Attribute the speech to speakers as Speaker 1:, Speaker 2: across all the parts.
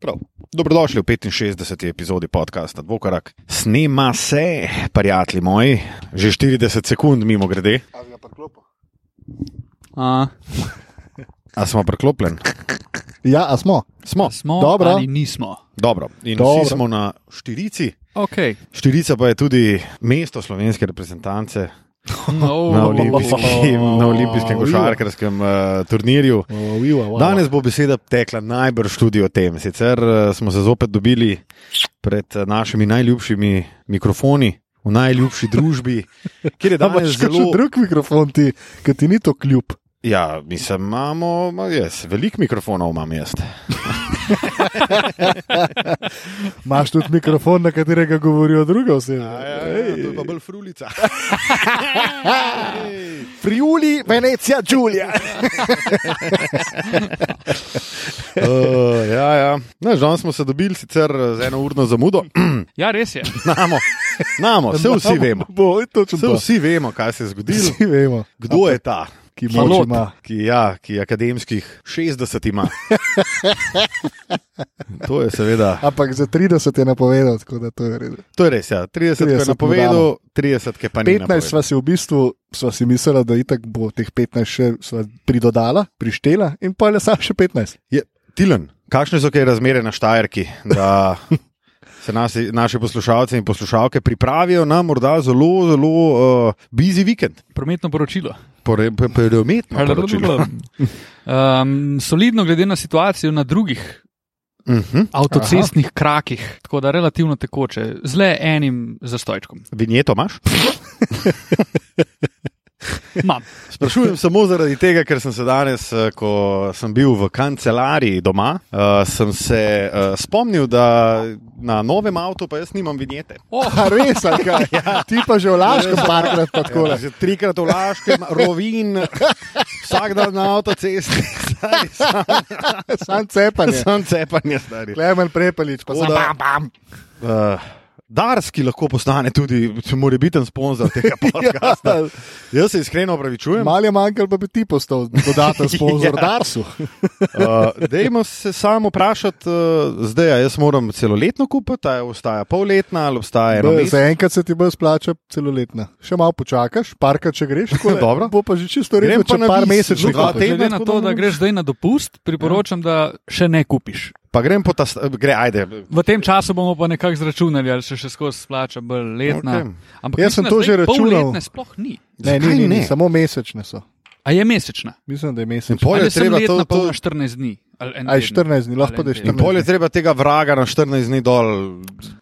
Speaker 1: Prav. Dobrodošli v 65. epizodi podcasta Dvokorak. Snema se, prijatelji moji, že 40 sekund mimo grede.
Speaker 2: Ali ga priklopil?
Speaker 3: A,
Speaker 1: A smo preklopljen?
Speaker 2: Ja, a smo.
Speaker 1: Smo,
Speaker 3: smo,
Speaker 2: Dobro.
Speaker 3: ali nismo.
Speaker 1: dobro. In Dobro.
Speaker 2: Dobro.
Speaker 1: vsi smo na štirici.
Speaker 3: Okay.
Speaker 1: Štirica pa je tudi mesto slovenske reprezentance
Speaker 3: No,
Speaker 1: na olimpijskem, na olimpijskem košarkarskem uh, turnirju.
Speaker 2: O, viva, wow.
Speaker 1: Danes bo beseda tekla najbrž tudi o tem. Sicer eh, smo se zopet dobili pred eh, našimi najljubšimi mikrofoni, v najljubši družbi, kjer je
Speaker 2: da imaš
Speaker 1: danes
Speaker 2: zelo
Speaker 1: zelo.
Speaker 2: drug mikrofon, ti, ki ti ni to kljub.
Speaker 1: Ja, mislim, imamo, ma, jaz, veliko mikrofonov imam jaz.
Speaker 2: Imaš tudi mikrofon, na katerega govorijo druge
Speaker 1: Ja,
Speaker 2: osebe.
Speaker 1: bolj frulica.
Speaker 2: Friuli, Venecija, Giulia.
Speaker 1: uh, ja, ja. No, Žal smo se dobili sicer eh, z eno urno zamudo.
Speaker 3: Ja, res je.
Speaker 1: Znamo, znamo, vse No, vsi vemo.
Speaker 2: Bo, točno
Speaker 1: Vse
Speaker 2: to.
Speaker 1: vsi vemo, kaj se je zgodilo.
Speaker 2: Vsi vemo,
Speaker 1: Kdo je ta?
Speaker 2: ki
Speaker 1: Ki-
Speaker 2: moč
Speaker 3: Falot.
Speaker 2: ima.
Speaker 1: ki, ja, ki akademskih 60 ima. to je seveda.
Speaker 2: Ampak za 30 je napovedal, tako da to je v redu.
Speaker 1: To je res, ja. 30, 30 je
Speaker 2: 30
Speaker 1: napovedal, 30 je pa ni.
Speaker 2: 15 sva si v bistvu, sva si mislila, da itak bo teh 15 še sva pridodala, prištela in pa je samo še 15.
Speaker 1: Je, Tilen, kakšne so kaj razmere na Štajerki, da se nasi, naši poslušalci in poslušalke pripravijo na morda zelo, zelo uh, busy vikend?
Speaker 3: Prometno poročilo.
Speaker 1: Predometno.
Speaker 3: Um, solidno, glede na situacijo na drugih
Speaker 1: Uh -huh.
Speaker 3: avtocestnih Aha. krakih, tako da relativno tekoče, z le enim zastojčkom.
Speaker 1: Vinjeto imaš?
Speaker 3: Imam.
Speaker 1: Sprašujem samo zaradi tega, ker sem se danes, eh, ko sem bil v kancelariji doma, uh, sem se uh, spomnil, da na novem avtu pa jaz nimam vinjete.
Speaker 3: Oh,
Speaker 2: A res, ali kaj? Ti pa že v Laškem parkrat pa tako.
Speaker 1: Ja, že trikrat v Laškem, rovin, vsak dan na avtocesti, stari,
Speaker 2: Sam cepanje.
Speaker 1: sam cepanje stari.
Speaker 2: Klemen Prepelič, pa
Speaker 1: Tako
Speaker 2: sem
Speaker 1: da-
Speaker 2: bam, bam.
Speaker 1: Uh, Dars, ki lahko postane tudi morebiten sponzor tega
Speaker 2: Ja.
Speaker 1: podcasta. Jaz se iskreno opravičujem.
Speaker 2: Mal je manjkal, pa bi ti postal dodaten sponzor
Speaker 1: Ja.
Speaker 2: ja. Darsu.
Speaker 1: Uh, Dajmo se samo vprašati, uh, zdaj a jaz moram celoletno kupiti, ali ostaja polletna, ali obstaja eno
Speaker 2: Bolj-
Speaker 1: leto.
Speaker 2: Za enkrat se ti bo splača celoletna. Še malo počakaš, parkrat če greš, tako
Speaker 1: Dobro.
Speaker 2: Bo pa že čisto
Speaker 1: Grem
Speaker 2: rekel,
Speaker 1: pa
Speaker 2: če
Speaker 1: na
Speaker 2: par
Speaker 1: viz,
Speaker 2: mesečnih
Speaker 1: dva
Speaker 2: kupiš.
Speaker 1: tedna,
Speaker 3: glede na
Speaker 1: tako
Speaker 3: to,
Speaker 1: da
Speaker 3: da
Speaker 1: moram-
Speaker 3: greš zdaj na dopust, priporočam, da še ne kupiš.
Speaker 1: Pa grem po ta, sta- gre, ajde.
Speaker 3: V tem času bomo pa nekako zračunali, ali se še skozi splača bolj letna.
Speaker 1: Okej.
Speaker 3: Ampak
Speaker 2: Jaz sem
Speaker 3: mislim, da
Speaker 2: to
Speaker 3: zdaj
Speaker 2: že računal.
Speaker 3: polletne Sploh ni.
Speaker 2: Ne,
Speaker 1: Zakaj
Speaker 2: ni, ni,
Speaker 1: ne?
Speaker 2: ni, samo mesečne so.
Speaker 3: A je mesečna?
Speaker 2: Mislim, da je
Speaker 1: In
Speaker 2: mesečna.
Speaker 1: pol je
Speaker 3: Ali sem
Speaker 1: treba to,
Speaker 3: letna, pa
Speaker 1: to
Speaker 3: ona 14 dni. ali en
Speaker 2: Aj
Speaker 3: teden.
Speaker 2: 14 dni, lahko
Speaker 3: Ali
Speaker 2: da je
Speaker 3: en
Speaker 1: In
Speaker 2: 14
Speaker 1: pol je treba tega vraga na 14 dni dol.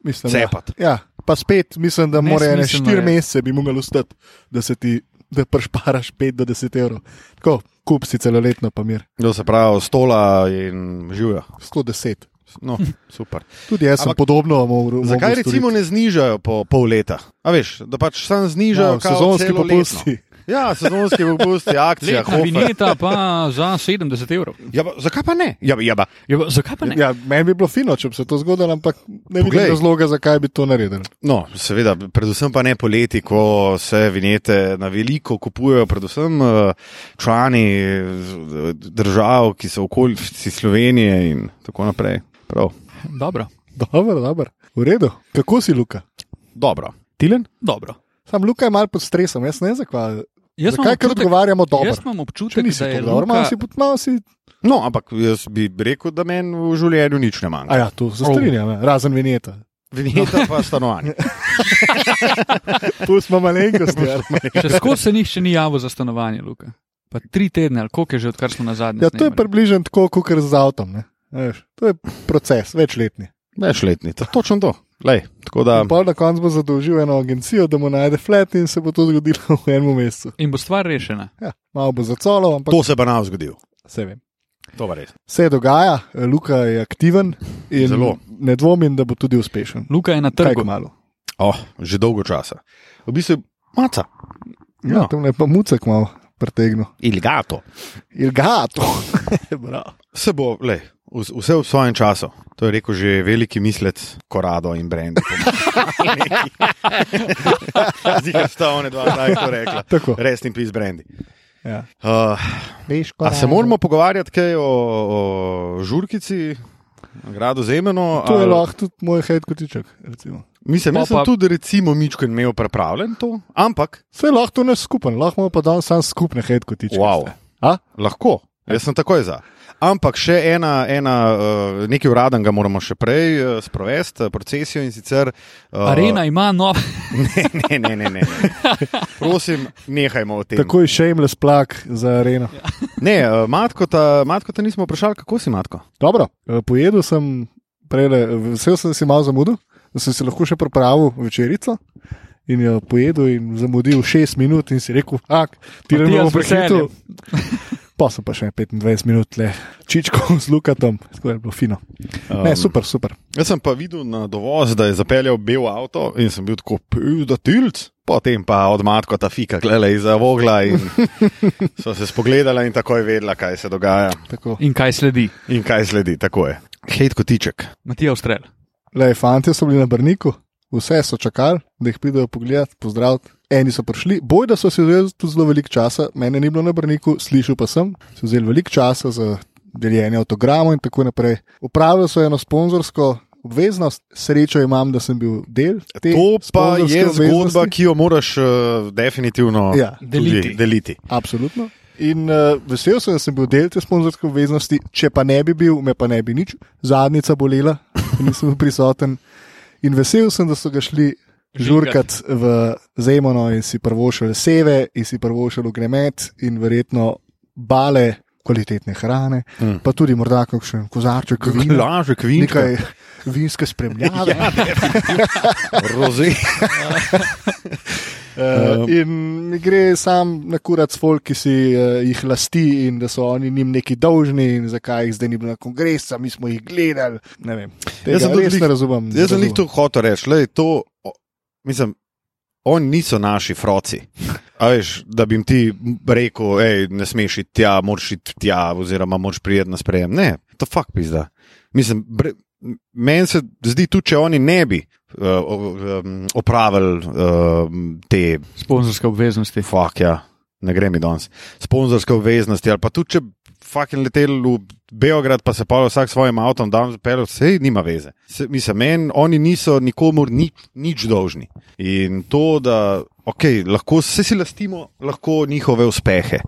Speaker 2: mislim, ja.
Speaker 1: cepat.
Speaker 2: Ja, pa spet mislim, da mora ene
Speaker 3: Nesmiselno
Speaker 2: 4
Speaker 3: je.
Speaker 2: mesece bi mogel ostati, da se ti da pršparaš 5 do 10 evrov. Tako, kup si celoletno, pa mir.
Speaker 1: To se pravi, stola in živja.
Speaker 2: 110.
Speaker 1: No, super.
Speaker 2: Tudi jaz sem
Speaker 1: Ampak-
Speaker 2: podobno Hm. mogel.
Speaker 1: Zakaj recimo ne znižajo po pol leta? A veš, da pač sam znižajo no,
Speaker 2: sezonski popusti?
Speaker 1: Ja, sezonski popusti,
Speaker 2: ja,
Speaker 1: akcija,
Speaker 3: Letna
Speaker 1: hofer.
Speaker 3: vinjeta pa za 70 evrov.
Speaker 1: Ja, pa, zakaj pa ne? Ja, ja, pa.
Speaker 3: Ja, pa zakaj pa ne?
Speaker 2: Ja, meni bi bilo fino, če bi se to zgodilo, ampak ne vidim
Speaker 1: Poglej.
Speaker 2: razloga, zakaj bi to naredili.
Speaker 1: No, seveda, predvsem pa ne poleti, ko se vinjete na veliko kupujejo, predvsem eh, člani eh, držav, ki so okolici Slovenije in tako naprej. Prav.
Speaker 3: Dobro.
Speaker 2: Dobro, dobro. V redu. Kako si, Luka?
Speaker 1: Dobro. Tilen?
Speaker 3: Dobro.
Speaker 2: Sam Luka je mal pod stresom, jaz ne vem zakaj.
Speaker 3: Jaz imam
Speaker 2: Zakaj, ker
Speaker 3: občutek-
Speaker 2: odgovarjamo dobro?
Speaker 3: Jaz imam
Speaker 2: Če
Speaker 3: občutek,
Speaker 2: nisi
Speaker 3: da je
Speaker 2: to dobro,
Speaker 3: Luka,
Speaker 2: malo si, pot- malo si.
Speaker 1: No, ampak jaz bi rekel, da meni v življenju nič ne manjka.
Speaker 2: A ja, tu
Speaker 3: Oh.
Speaker 2: se strinjam, ja. razen vinjeta.
Speaker 1: Vinjeta pa stanovanje.
Speaker 2: Pustimo malenkost. ja.
Speaker 3: še skozi se nihče ni javil za stanovanje, Luka. Pa tri tedne, ali koliko je že, odkar smo na zadnji.
Speaker 2: Ja, to je približno tako, kot z avtom. ne. A veš, To je proces, večletni.
Speaker 1: Večletni, to- točno to. Lej, tako da,
Speaker 3: Um.
Speaker 2: In pol na koncu bo zadolžil eno agencijo, da mu najde flat in se bo to zgodilo v enem mesecu.
Speaker 3: In bo stvar rešena.
Speaker 2: Ja, malo bo zacolov, ampak
Speaker 1: to se bo nam zgodilo.
Speaker 2: se vem.
Speaker 1: To pa res.
Speaker 2: Se dogaja, Luka je aktiven in
Speaker 1: Zelo.
Speaker 2: ne dvomim, da bo tudi uspešen.
Speaker 3: Luka je na
Speaker 2: Tako
Speaker 3: trgu.
Speaker 2: malo.
Speaker 1: Oh, že dolgo časa. V bistvu, maca.
Speaker 2: Ja,
Speaker 1: No.
Speaker 2: tam je pa mucek malo pretegnil.
Speaker 1: Ilgato.
Speaker 2: Ilgato.
Speaker 1: Se bo, lej, vs- vse v svojem času. To je rekel že veliki mislec Korado in Brend. Zika sta one dva, zdaj to rekla.
Speaker 2: Tako.
Speaker 1: Resni pis Brendi.
Speaker 2: Ja.
Speaker 1: Uh,
Speaker 2: Veš,
Speaker 1: a se moramo pogovarjati kaj o, o žurkici? nagrado za imeno.
Speaker 2: To je
Speaker 1: ali-
Speaker 2: lahko tudi moj hate kotiček. recimo.
Speaker 1: Mislim,
Speaker 3: Pa
Speaker 1: jaz sem
Speaker 3: pa-
Speaker 1: tudi, recimo, Mičko imel pripravljen to, ampak
Speaker 2: Vse lahko to ne skupen, lahko imamo pa dan sam skupne hate kotičke.
Speaker 1: Wow.
Speaker 2: A?
Speaker 1: lahko. Jaz sem takoj za. Ampak še ena, ena eh, nekaj uraden ga moramo še prej eh, sprovesti, eh, procesijo in sicer. eh,
Speaker 3: Arena ima nov.
Speaker 1: Ne, ne, ne, ne, ne. Prosim, nehajmo o tem.
Speaker 2: Tako je shameless plak za areno. Ja.
Speaker 1: Ne, eh, matko ta, matko ta nismo vprašali, kako si matko.
Speaker 2: Dobro, eh, pojedel sem, prele, vesel sem si malo zamudil, da sem si lahko še pripravil večerico. In jo pojedel in zamudil 6 minut, in si rekel, ak, ti ne
Speaker 3: Matija,
Speaker 2: bomo
Speaker 3: z
Speaker 2: prehitel.
Speaker 3: veseljem.
Speaker 2: Pa sem pa še 25 minut le, čičko z lukatom, tako je bilo fino. Um, ne, super, super.
Speaker 1: Jaz sem pa videl na dovoz, da je zapeljal bel avto in sem bil tako pil, da tilc. Potem pa od matko ta fika, gledaj, zavogla in so se spogledala in takoj vedela, kaj se dogaja
Speaker 2: Tako.
Speaker 3: In kaj sledi?
Speaker 1: in kaj sledi. Tako je. Hejt kotiček.
Speaker 3: Matija Ustrel.
Speaker 2: Le, fanti so bili na Brniku, vse so čakali, da jih pridejo pogledat, pozdraviti. Eni so prišli, boj da so si vzeli tudi zelo veliko časa, mene ni bilo na Brniku, slišal pa sem, so vzeli veliko časa za deljenje avtogramov in tako naprej. Upravili so eno sponzorsko obveznost, srečo imam, da sem bil del te.
Speaker 1: To pa
Speaker 2: sponzorske
Speaker 1: je zgodba,
Speaker 2: obveznosti.
Speaker 1: ki jo moraš uh, definitivno
Speaker 2: Ja.
Speaker 1: tudi
Speaker 3: Deliti.
Speaker 1: deliti.
Speaker 2: Absolutno. In uh, vesel sem, da sem bil del te sponzorske obveznosti, če pa ne bi bil, me pa ne bi nič, zadnjica bolela, ker nisem bil prisoten. In vesel sem, da so ga šli
Speaker 3: Žurkat.
Speaker 2: žurkat v Zemano in si prvošil seve, in si prvošil gremet in verjetno bale kvalitetne hrane,
Speaker 1: Mm.
Speaker 2: mm. pa tudi morda kakšen kozarček, vina,
Speaker 1: Laže, kvinčka,
Speaker 2: nekaj vinske spremljave. ja,
Speaker 1: roze.
Speaker 2: Uh, in mi gre sam na kurac folk, ki si uh, jih lasti in da so oni njim neki dolžni, in zakaj jih zdaj ni bilo na kongresu, mi smo jih gledali. Ne vem, tega
Speaker 1: sem tudi
Speaker 2: res
Speaker 1: glih-
Speaker 2: ne razumem.
Speaker 1: Jaz sem
Speaker 2: razumem.
Speaker 1: jih tu hotel reči, da je to, o- mislim, oni niso naši froci. A veš, da bi jim ti rekel, ej, ne smeš iti tja, moraš iti tja, oziroma moraš prijeti na sprejem. Ne, to fuk pizda. Mislim, bre, meni se zdi tudi, če oni ne bi uh, um, opravili uh, te
Speaker 3: Sponzorske obveznosti.
Speaker 1: Fak, ja, ne gre mi danes. Sponzorske obveznosti, ali pa tudi če fucking letel v Beograd, pa se pa vsak s svojim avtom dam zapelil, vse nima veze. Se, mislim, men, oni niso nikomur nič, nič dolžni. In to, da okay, lahko se si lastimo, lahko njihove uspehe,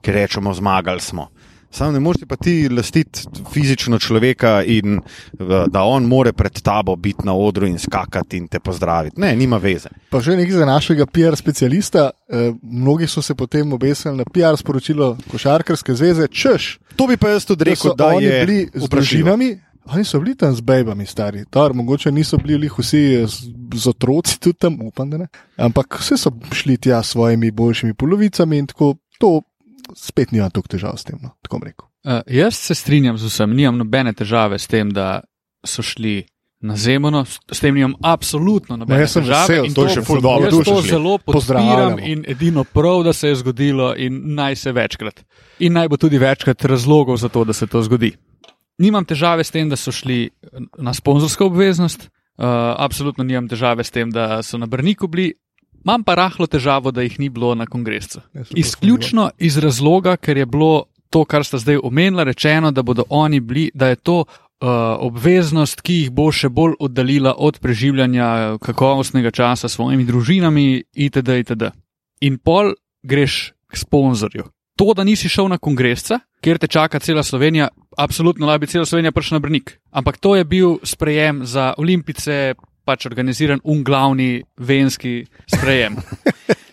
Speaker 1: ki rečemo, zmagali smo. Sam ne moreš pa ti lastiti fizično človeka, in eh, da on more pred tabo biti na odru in skakati in te pozdraviti. Ne, nima veze.
Speaker 2: Pa še nekaj za našega PR specialista. Uh, mnogi so se potem obesili na PR sporočilo Košarkarske zveze, češ,
Speaker 1: To bi pa jaz tudi
Speaker 2: da
Speaker 1: rekel,
Speaker 2: so
Speaker 1: da, da
Speaker 2: oni
Speaker 1: je
Speaker 2: bili z
Speaker 1: vprašljivo.
Speaker 2: družinami. Oni so bili tam z bebami, stari. Tar, mogoče niso bili lih vsi eh, z, z otroci tudi tam, upam, da ne. Ampak vsi so šli tja s svojimi boljšimi polovicami in tako. To spet nimam toliko težav s tem, no, tako bom rekel.
Speaker 3: Uh, jaz se strinjam z vsem, nimam nobene težave s tem, da so šli na Zemljo, s s tem nimam absolutno nobene
Speaker 2: Ma, jaz sem
Speaker 3: težave.
Speaker 2: vesel,
Speaker 3: in
Speaker 2: to je še ful dobro,
Speaker 3: Jaz
Speaker 2: dušo
Speaker 3: to
Speaker 2: šli.
Speaker 3: zelo podpiram
Speaker 2: Pozdravljamo.
Speaker 3: in edino prav, da se je zgodilo in naj se večkrat. In naj bo tudi večkrat razlogov za to, da se to zgodi. Nimam težave s tem, da so šli eh, na sponzorsko obveznost, uh, absolutno nimam težave s tem, da so na Brniku bili, imam pa rahlo težavo, da jih ni bilo na kongresu.
Speaker 2: Jaz sem to
Speaker 3: Izključno iz razloga, ker je bilo to, kar sta zdaj omenila, rečeno, da bodo oni bili, da je to uh, obveznost, ki jih bo še bolj oddaljila od preživljanja kakovostnega časa s svojimi družinami, itd. itd. In pol greš k sponzorju. To, da nisi šel na kongresca, kjer te čaka cela Slovenija, absolutno lahko bi cela Slovenija prišla na Brnik. Ampak to je bil sprejem za olimpice, pač organiziran un glavni venski sprejem.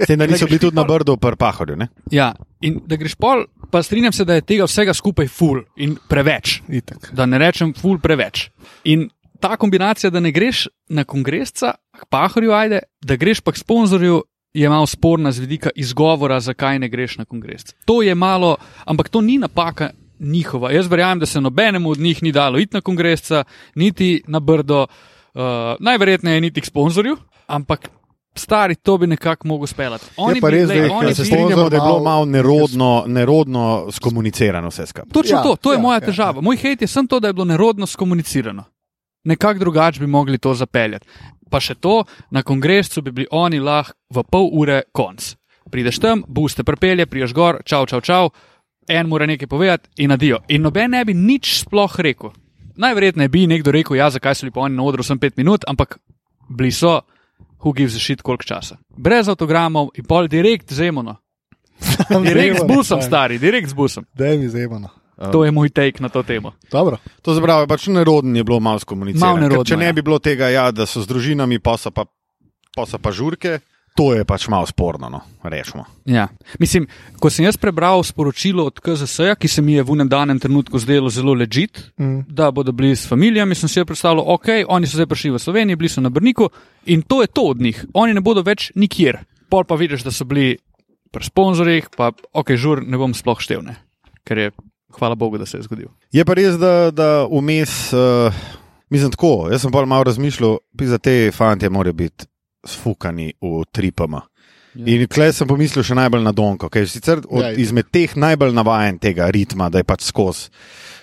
Speaker 1: Te da niso bili tudi na brdu, pri pahorju. Ne?
Speaker 3: Ja, in da greš pol, pa strinjam se, da je tega vsega skupaj ful in preveč.
Speaker 2: Itak.
Speaker 3: Da ne rečem ful preveč. In ta kombinacija, da ne greš na kongresca, k pahorju, ajde, da greš pa k sponzorju. Je malo sporna z vidika izgovora, zakaj ne greš na kongres. To je malo, ampak to ni napaka njihova. Jaz verjamem, da se nobenemu od njih ni dalo iti na kongres, niti na Brdo, uh, najverjetneje niti k sponzorju, ampak stari to bi nekako mogel speljati. Oni
Speaker 2: pa
Speaker 3: bi,
Speaker 2: res,
Speaker 3: glej,
Speaker 2: da je-
Speaker 3: oni
Speaker 2: da
Speaker 1: Ja, Se
Speaker 3: bi-
Speaker 2: Sponzor
Speaker 1: strinjamo, da je bilo
Speaker 2: malo-
Speaker 1: malo nerodno, nerodno skomunicirano vse skupaj.
Speaker 3: Točno ja,
Speaker 2: Ja,
Speaker 3: to, to je
Speaker 2: ja,
Speaker 3: ja, moja
Speaker 2: ja,
Speaker 3: ja, težava. Ja. Moj hate je samo to, da je bilo nerodno skomunicirano. Nekako drugače bi mogli to zapeljati. Pa še to, na kongresu bi bili oni lahko v pol ure konc. Prideš tam, buste prepelje, priješ gor, čau, čau, čau, en mora nekaj povedati in adijo. In noben ne bi nič sploh rekel. najverjetneje bi nekdo rekel, ja, zakaj so bili pa oni na odru sem pet minut, ampak bili so, who gives a shit, koliko časa. Brez avtogramov in pol direkt z Emono. Direkt z Ja. busom, stari, direkt z busom.
Speaker 2: Da je mi zebano.
Speaker 3: To je moj take na to temo.
Speaker 2: Dobro,
Speaker 1: To se pravi, pač nerodno je bilo malo skomunicirano.
Speaker 3: Malo
Speaker 1: Ker
Speaker 3: nerodno,
Speaker 1: Če ne
Speaker 3: ja.
Speaker 1: bi bilo tega, ja, da so z družinami, pa so pa, pa, so pa žurke, to je pač malo sporno, no, rečemo.
Speaker 3: Ja. Mislim, ko sem jaz prebral sporočilo od KZS-ja, ki se mi je v enem danem trenutku zdelo zelo ležit, mm. da bodo bili s familijami, sem si je predstavljal, ok, oni so zdaj prišli v Slovenijo, bili so na Brniku in to je to od njih. Oni ne bodo več nikjer. Pol pa vidiš, da so bili pri sponzorjih, pa ok, žur ne bom sploh števne, ker je, hvala Bogu, da se je zgodil.
Speaker 1: Je pa res, da, da vmes, uh, mislim tako, jaz sem pa malo razmišljal, za te fante morajo biti sfukani v tripama.
Speaker 3: Ja.
Speaker 1: In klej sem pomislil še najbolj na Donko, ki je sicer od,
Speaker 2: Ja, itak.
Speaker 1: izmed teh najbolj navaden tega ritma, da je pač skozi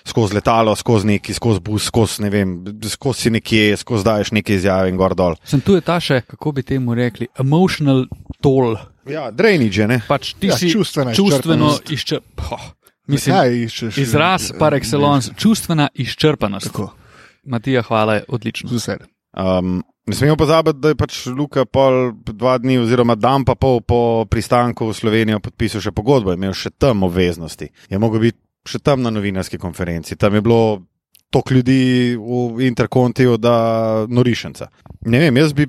Speaker 1: skoz letalo, skozi neki, skozi bus, skozi ne vem, skozi si nekje, skozi daješ neke izjave in gor dol.
Speaker 3: Sem tu je ta še, kako bi temu rekli, emotional toll.
Speaker 1: Ja, dreniče, ne?
Speaker 3: Pač ti
Speaker 2: Ja,
Speaker 3: si
Speaker 2: čustvena
Speaker 3: čustveno
Speaker 2: izčrpanost.
Speaker 3: izčrpan. Oh, mislim,
Speaker 2: kaj iščeš?
Speaker 3: Izraz par excellence, čustvena izčrpanost.
Speaker 2: Tako,
Speaker 3: Matija, hvala, je
Speaker 2: z
Speaker 3: odlično.
Speaker 2: veseljem.
Speaker 1: Um, ne smemo pozabiti, da je pač Luka pol dva dni, oziroma dan pa pol po pristanku v Slovenijo podpisal še pogodbo, je imel še tam obveznosti. Je mogel biti še tam na novinarski konferenci, tam je bilo toliko ljudi v interkontiju, da norišenca. Ne vem, jaz bi,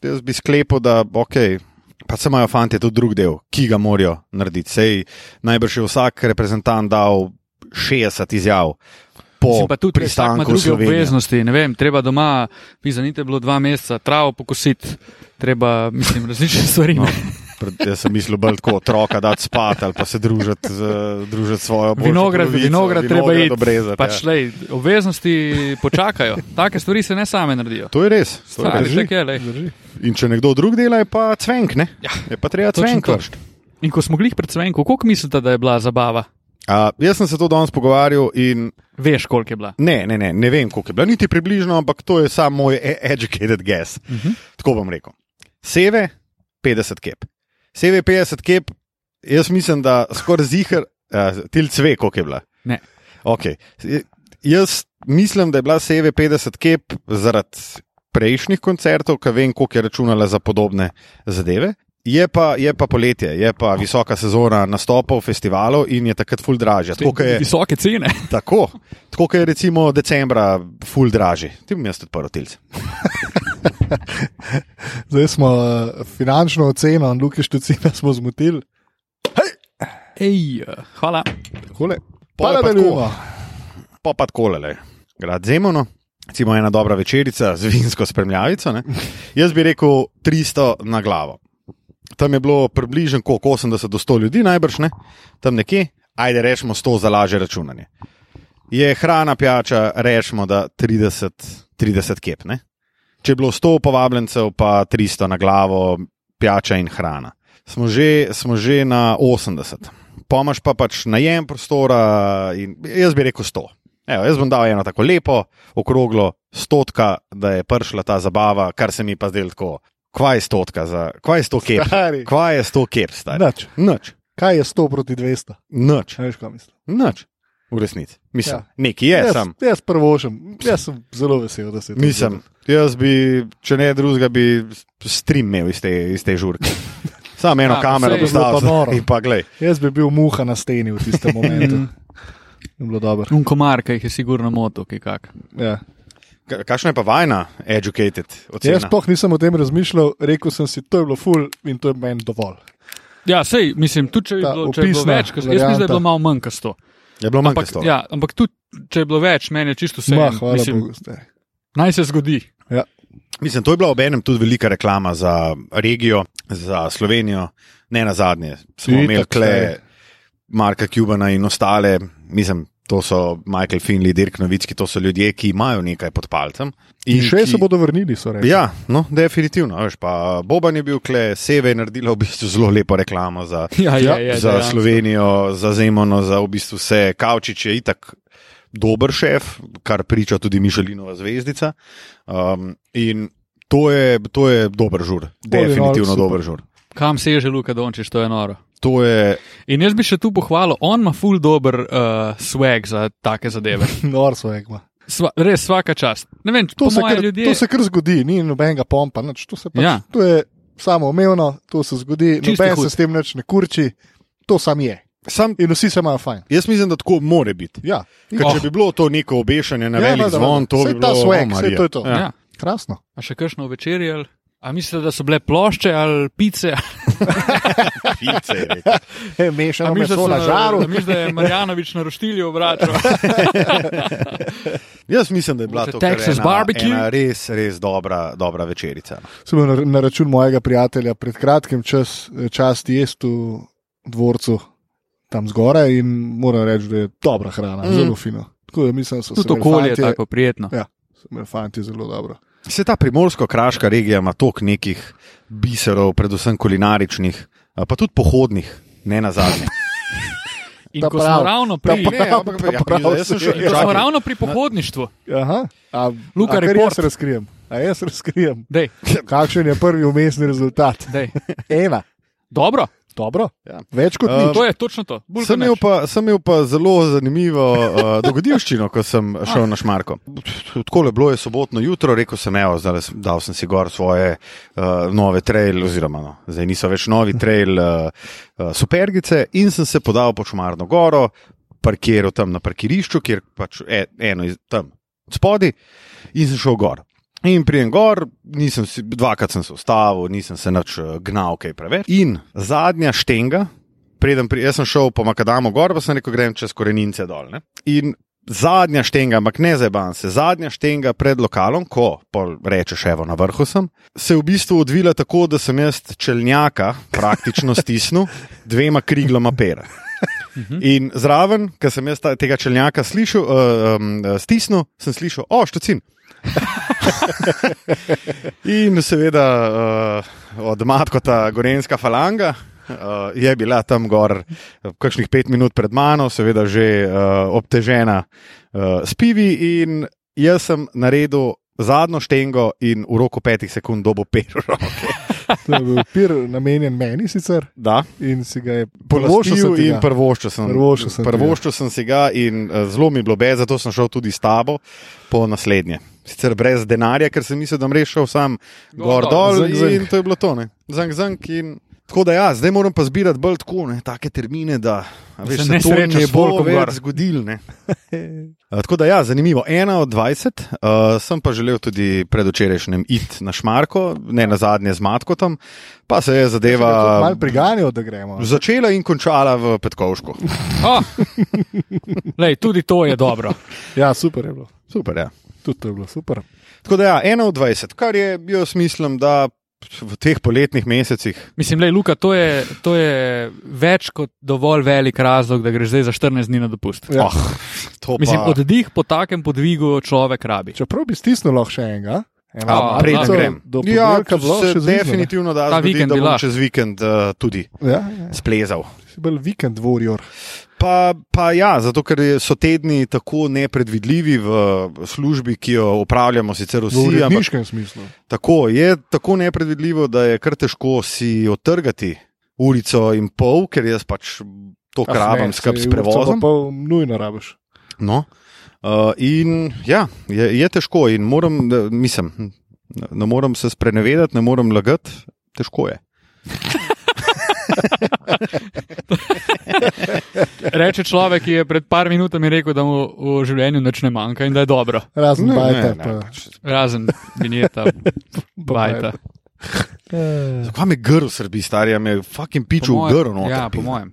Speaker 1: jaz bi sklepal, da ok. Pa se imajo fanti tudi drug del, ki ga morajo narediti. Sej, najbrž je vsak reprezentant dal 60 izjav po
Speaker 3: Mislim pa tudi, da ima
Speaker 1: pristanku v
Speaker 3: druge
Speaker 1: Slovenijo.
Speaker 3: obveznosti. Ne vem, treba doma, pizanite bilo dva meseca, travo pokositi, treba, mislim, različne stvari. No,
Speaker 1: Pred- Jaz sem mislil bolj tako otroka, da spati ali pa se družiti z eh, družiti s svojo boljšo
Speaker 3: vinograd,
Speaker 1: polovico,
Speaker 3: vinograd treba iti.
Speaker 1: obrezati,
Speaker 3: pač,
Speaker 1: ja.
Speaker 3: lej, obveznosti počakajo. Take stvari se ne same naredijo.
Speaker 1: To je res. To je
Speaker 3: Stari,
Speaker 1: res.
Speaker 3: tako je, lej.
Speaker 2: Drži.
Speaker 1: In če nekdo drug dela, je pa cvenk, ne?
Speaker 3: Ja.
Speaker 1: Je pa treba
Speaker 3: Točno
Speaker 1: cvenk.
Speaker 3: to. In ko smo glih pred Svenko, koliko mislite, da je bila zabava?
Speaker 1: Jaz sem se to danes pogovarjal in
Speaker 3: Veš, koliko je bila.
Speaker 1: ne, ne, ne, ne vem, koliko je bilo, niti približno, ampak to je samo moj e- educated guess. Uh -huh. Tako bom rekel. Seve 50 kep. Seve 50 kep, jaz mislim, da skoraj zihar, uh, tilc ve, koliko je bila.
Speaker 3: Ne.
Speaker 1: Okay. Jaz mislim, da je bila Seve 50 kep zaradi prejšnjih koncertov, ki vem, koliko je računala za podobne zadeve. Je pa, je pa poletje, je pa visoka sezona nastopov, festivalov in je takrat ful dražja. Tako kot je,
Speaker 3: Visoke cene.
Speaker 1: tako, tako kot je recimo decembra ful dražji. Ti mi jaz odprl tilc.
Speaker 2: Zdaj smo eh, finančno oceno, Luki Štucina smo zmotili.
Speaker 3: Ej, hvala.
Speaker 2: Takole.
Speaker 1: Pol
Speaker 2: Pa
Speaker 1: je pa
Speaker 2: nadaljujemo.
Speaker 1: Pa pa tako le, grad Zemono. Recimo ena dobra večerica z vinsko spremljavico. Ne? Jaz bi rekel 300 na glavo. Tam je bilo približno koliko, 80 do 100 ljudi, najbrž ne, tam nekje, ajde rečemo 100 za laže računanje. Je hrana, pijača, rečemo da 30, 30 kep. Ne? Če je bilo 100 povabljencev, pa 300 na glavo, pijača in hrana. Smo že, smo že na 80. Pomaž pa pač najem prostora in jaz bi rekel 100. Evo, jaz bom dal eno tako lepo, okroglo stotka, da je prišla ta zabava, kar se mi pa zdelo tako. Kva je stotka, za, kva je sto kep?
Speaker 2: Stari.
Speaker 1: Kva je sto kep, stari?
Speaker 2: Nič.
Speaker 1: Noč,
Speaker 2: Kaj je 100 proti 200?
Speaker 1: noč,
Speaker 2: Ne veš, kaj mislim.
Speaker 1: noč. V resnici. Mislim,
Speaker 2: Ja.
Speaker 1: ja. nekaj je yes.
Speaker 2: jaz,
Speaker 1: sam.
Speaker 2: jaz prvošem, jaz sem zelo vesel, da se je to
Speaker 1: Mislim,
Speaker 2: zgodilo.
Speaker 1: jaz bi, če ne drugega, bi stream imel iz te, iz te žurke. Sam eno
Speaker 3: Ja,
Speaker 1: ja, kamero
Speaker 3: saj je bilo
Speaker 1: postavil
Speaker 2: pa noro.
Speaker 1: in pa glej.
Speaker 2: Jaz bi bil muha na steni v tistem
Speaker 3: Mm.
Speaker 2: momentu. Je bilo dobro.
Speaker 3: Un komar, ki jih je sigurno moto, ki kak.
Speaker 2: Ja.
Speaker 1: Ka- Kakšna je pa vajna, educated ocena?
Speaker 2: Jaz sploh nisem o tem razmišljal, rekel sem si, to je bilo ful in to je meni dovolj.
Speaker 3: Ja, sej, mislim, tudi če je
Speaker 2: Ta
Speaker 3: bilo, če je bilo
Speaker 2: opisna
Speaker 3: več, kot jaz mislim, da je bilo
Speaker 2: varianta.
Speaker 3: malo manj kot 100.
Speaker 1: Je bilo manj
Speaker 3: Ampak,
Speaker 1: kot sto.
Speaker 3: ja, ampak tudi, če je bilo več, meni je čisto vse.
Speaker 2: Ma,
Speaker 3: en.
Speaker 2: hvala
Speaker 3: Mislim,
Speaker 2: Bogu. stari.
Speaker 3: naj se zgodi.
Speaker 2: Ja.
Speaker 1: Mislim, to je bila obenem tudi velika reklama za regijo, za Slovenijo, ne na zadnje. Smo
Speaker 2: Itak,
Speaker 1: imeli kle
Speaker 2: saj.
Speaker 1: Marka Cubana in ostale, mislim, to so Michael Finley, Dirk Novicki, to so ljudje, ki imajo nekaj pod palcem.
Speaker 2: In še
Speaker 1: ki-
Speaker 2: se bodo vrnili, so rekli.
Speaker 1: Ja, no, definitivno. Veš, pa Boban je bil kle, Seve je naredila v bistvu zelo lepo reklamo za,
Speaker 3: Ja, ja, ja,
Speaker 1: za
Speaker 3: dejansko.
Speaker 1: Slovenijo, za Zemono, za v bistvu vse. Kavčič je itak dober šef, kar priča tudi Mišelinova zvezdica. Um, in to je, to je dober žur,
Speaker 2: Bolje,
Speaker 1: definitivno
Speaker 2: no,
Speaker 1: dober žur.
Speaker 3: Kam se je že Luka Dončiš, to je noro.
Speaker 1: To je,
Speaker 3: In jaz bi še tu pohvalil, on ima ful dober uh, swag za take zadeve.
Speaker 2: Nor so rekli.
Speaker 3: Sva, res vsaka čast. Ne vem,
Speaker 2: To
Speaker 3: po
Speaker 2: se,
Speaker 3: moje
Speaker 2: kar,
Speaker 3: ljudje-
Speaker 2: to se kar zodi, ni nobenega pompa, nič. To, se pač,
Speaker 3: Ja.
Speaker 2: ja. to je samo omejeno, to se zgodi,
Speaker 3: Čisti
Speaker 2: noben
Speaker 3: hud.
Speaker 2: se s tem nič ne kurči, to sam je.
Speaker 1: Sam,
Speaker 2: In vsi se imajo fajn.
Speaker 1: jaz mislim, da tako more biti.
Speaker 2: Ja,
Speaker 1: Ker
Speaker 3: Oh.
Speaker 1: če bi bilo to neko obešanje na
Speaker 2: Ja,
Speaker 1: velik
Speaker 2: valjda,
Speaker 1: zvon,
Speaker 2: valjda.
Speaker 1: to
Speaker 2: Saj
Speaker 1: bi
Speaker 2: ta
Speaker 1: bilo
Speaker 2: swag,
Speaker 1: o,
Speaker 2: saj
Speaker 1: Marija.
Speaker 2: to je to.
Speaker 1: Ja.
Speaker 3: Ja.
Speaker 2: krasno.
Speaker 3: A še kakšno večerje? ali- A mislite, da so bile plošče ali pice?
Speaker 1: Pice, je rekel.
Speaker 2: E,
Speaker 3: A
Speaker 2: mešano
Speaker 3: mislite,
Speaker 2: meso
Speaker 3: da
Speaker 2: na
Speaker 3: so-
Speaker 2: žaru.
Speaker 3: a mislite, da je Marjanovič na roštilju obračal?
Speaker 1: Jaz mislim, da je bila
Speaker 3: Mogoče
Speaker 1: to kar
Speaker 3: Texas
Speaker 1: ena,
Speaker 3: barbecue?
Speaker 1: ena res, res dobra, dobra večerica. no.
Speaker 2: Sem bil na, na račun mojega prijatelja pred kratkim čas, čas jesti v dvorcu tam zgoraj in moram reči, da je dobra hrana,
Speaker 1: Mm.
Speaker 2: mm. zelo fino. Tako da mislim, da so se
Speaker 3: Tudi
Speaker 2: imeli
Speaker 3: okolje je
Speaker 2: fantje- Ja,
Speaker 3: tako prijetno.
Speaker 2: so imeli Fanti zelo dobro.
Speaker 1: Se ta primorsko-kraška regija ima toliko nekih biserov, predvsem kulinaričnih, a pa tudi pohodnih, ne na zadnje.
Speaker 3: In
Speaker 2: Ta
Speaker 3: ko smo
Speaker 2: prav,
Speaker 3: ravno
Speaker 2: ta
Speaker 3: pri,
Speaker 2: prav.
Speaker 1: Ne, ampak
Speaker 2: Ta
Speaker 1: ja,
Speaker 2: prav
Speaker 1: jaz sem
Speaker 2: si
Speaker 1: šel-
Speaker 2: je.
Speaker 3: ko smo
Speaker 1: čakaj.
Speaker 3: ravno pri pohodništvu,
Speaker 2: Aha. A,
Speaker 3: Luka,
Speaker 2: a kar
Speaker 3: report.
Speaker 2: jaz razkrijem. A jaz razkrijem.
Speaker 3: dej,
Speaker 2: Kakšen je prvi umestni rezultat?
Speaker 3: dej.
Speaker 2: Ena.
Speaker 3: Dobro,
Speaker 2: Dobro.
Speaker 1: Ja.
Speaker 2: Več kot
Speaker 1: Um,
Speaker 2: nič.
Speaker 3: Uh, to je točno to. Bolj kot
Speaker 1: Sem imel,
Speaker 3: nič.
Speaker 1: pa, sem imel pa zelo zanimivo uh, dogodivščino, ko sem
Speaker 3: Ah.
Speaker 1: šel na Šmarko. Tako je bilo je sobotno jutro, rekel sem, evo, zdaj dal sem si gor svoje uh, nove trail, oziroma no, zdaj niso več novi trail uh, uh, supergice in sem se podal po Šmarno goro, parkiral tam na parkirišču, kjer pač e, eno iz, tam spodi in sem šel gor. In prijem gor, nisem si, dvakrat sem se ustavil, nisem se nič eh, gnal, kaj preveč. In zadnja štenga, preden pri, jaz sem šel po Makadamu gor, pa sem rekel, grem čez korenince dol. Ne? In zadnja štenga, ampak ne zaban se, zadnja štenga pred lokalom, ko pol rečeš, evo na vrhu sem, se je v bistvu odvila tako, da sem jaz čelnjaka praktično stisnil dvema krigloma pera. In zraven, ker sem jaz ta, tega čelnjaka slišal, uh, um, stisnil, sem slišal, o, štocin. In seveda uh, od matkota Gorenska falanga. Uh, je bila tam gor, eh, kakšnih pet minut pred mano, seveda že uh, obtežena uh, s pivi, in jaz sem naredil zadnjo štengo, in v roku petih sekund dobo pero.
Speaker 2: To je bil pir namenjen meni sicer
Speaker 1: Da,
Speaker 2: in si ga je
Speaker 1: Položil
Speaker 2: sem
Speaker 1: sem
Speaker 2: ti
Speaker 1: in
Speaker 2: ga.
Speaker 1: prvoščil sem,
Speaker 2: Privoščil sem ti ga.
Speaker 1: prvoščil sem si ga in eh, zelo mi je bilo bed, zato sem šel tudi s tabo po naslednje. Sicer brez denarja, ker sem mislil, da bom rešil sam
Speaker 3: Gor
Speaker 1: gor
Speaker 3: dol,
Speaker 1: dol
Speaker 2: zank, zank.
Speaker 1: in to je bilo to. ne. Zank, zank in... Tako da ja, zdaj moram pa zbirati bolj tako, ne, take termine, da a
Speaker 3: Se
Speaker 1: veš,
Speaker 3: ne
Speaker 1: se to
Speaker 3: srečaš
Speaker 1: ne bo
Speaker 3: volkom gor.
Speaker 1: več zgodil. Ne. Eh, Tako da, ja, zanimivo. Ena od 20, uh, sem pa želel tudi predvčerajšnjem iti na Šmarko, ne na zadnje z Matkotom, pa se je zadeva
Speaker 2: Mal priganjal, da gremo.
Speaker 1: začela in končala v Petkovšku.
Speaker 3: Oh. Lej, tudi to je dobro.
Speaker 2: Ja, super je bilo.
Speaker 1: Super, ja.
Speaker 2: Tudi to je bilo super.
Speaker 1: Tako da, ja, 21, kar je, jaz mislim, da v teh poletnih mesecih.
Speaker 3: Mislim, lej, Luka, to je, to je več kot dovolj velik razlog, da greš zdaj za 14 dni na dopust. Ah,
Speaker 2: Ja.
Speaker 1: Oh, to
Speaker 3: Mislim,
Speaker 1: pa,
Speaker 3: oddih po takem podvigu človek rabi.
Speaker 2: Čeprav bi stisnil lahko še enega, eno
Speaker 3: A,
Speaker 2: malico
Speaker 3: preden
Speaker 1: ja, grem.
Speaker 2: do
Speaker 1: ja,
Speaker 2: ponedeljka bilo
Speaker 1: se
Speaker 2: še zvezno, ne?
Speaker 1: definitivno da,
Speaker 3: Ta
Speaker 1: zgodi,
Speaker 3: vikend
Speaker 1: da
Speaker 3: bi
Speaker 1: bom
Speaker 3: lahko.
Speaker 1: čez vikend uh, tudi
Speaker 2: Ja, ja,
Speaker 1: splezal.
Speaker 2: si bolj vikend warrior.
Speaker 1: Pa, pa ja, zato ker je- so tedni tako nepredvidljivi v službi, ki jo upravljamo, sicer
Speaker 2: V
Speaker 1: vsi, ampak
Speaker 2: uredniškem smislu.
Speaker 1: Tako je tako nepredvidljivo, da je kar težko si otrgati urico in pol, ker jaz pač to
Speaker 2: Ah,
Speaker 1: krabam
Speaker 2: ne,
Speaker 1: skrb s
Speaker 2: saj urico
Speaker 1: prevozom.
Speaker 2: Pa pol nujno rabiš.
Speaker 1: No. Uh, in ja, je, je težko in moram, da- mislim, ne- ne moram se sprenevedati, ne moram lagati, težko je.
Speaker 3: Reče človek, ki je pred par minutami rekel, da mu v življenju nič ne manjka in da je dobro,
Speaker 2: Razen
Speaker 1: Ne,
Speaker 2: bajta.
Speaker 1: ne, ne,
Speaker 2: pa-
Speaker 1: pač.
Speaker 3: razen vinjeta,
Speaker 2: pa
Speaker 3: bajta.
Speaker 2: Eh,
Speaker 1: Zakaj me grl srbi, starja me je fucking pičil
Speaker 3: Po
Speaker 1: v grl. no,
Speaker 3: mojem- Ja, po mojem.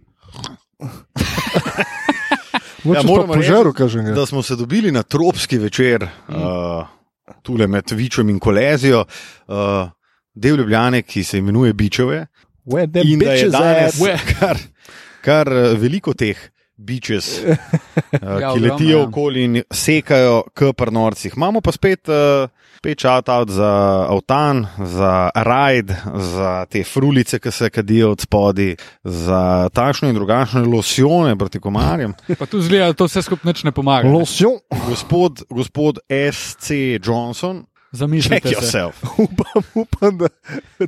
Speaker 2: Moče
Speaker 1: moram
Speaker 2: pa požaru,
Speaker 1: reči,
Speaker 2: kažem.
Speaker 1: Da smo se dobili na tropski večer,
Speaker 3: Mhm.
Speaker 1: uh, tule med Vičem in Kolezijo, uh, del Ljubljane, ki se imenuje Bičeve. In da je danes
Speaker 3: ass.
Speaker 1: kar, kar eh, veliko teh bičes, eh,
Speaker 3: Ja,
Speaker 1: ki
Speaker 3: ogromno,
Speaker 1: letijo
Speaker 3: ja.
Speaker 1: okoli in sekajo k prnorcih. Imamo pa spet eh, spet out za avtan, za rajd, za te frulice, ki se kadijo od spodi, za takšne in drugačne losione proti komarjem.
Speaker 3: Pa tu zgleda, da to vse skupaj nič ne pomaga. ne.
Speaker 2: Losjo,
Speaker 1: Gospod, gospod S.C. Johnson, check
Speaker 3: Zamislite se.
Speaker 1: yourself.
Speaker 2: upam, upam, da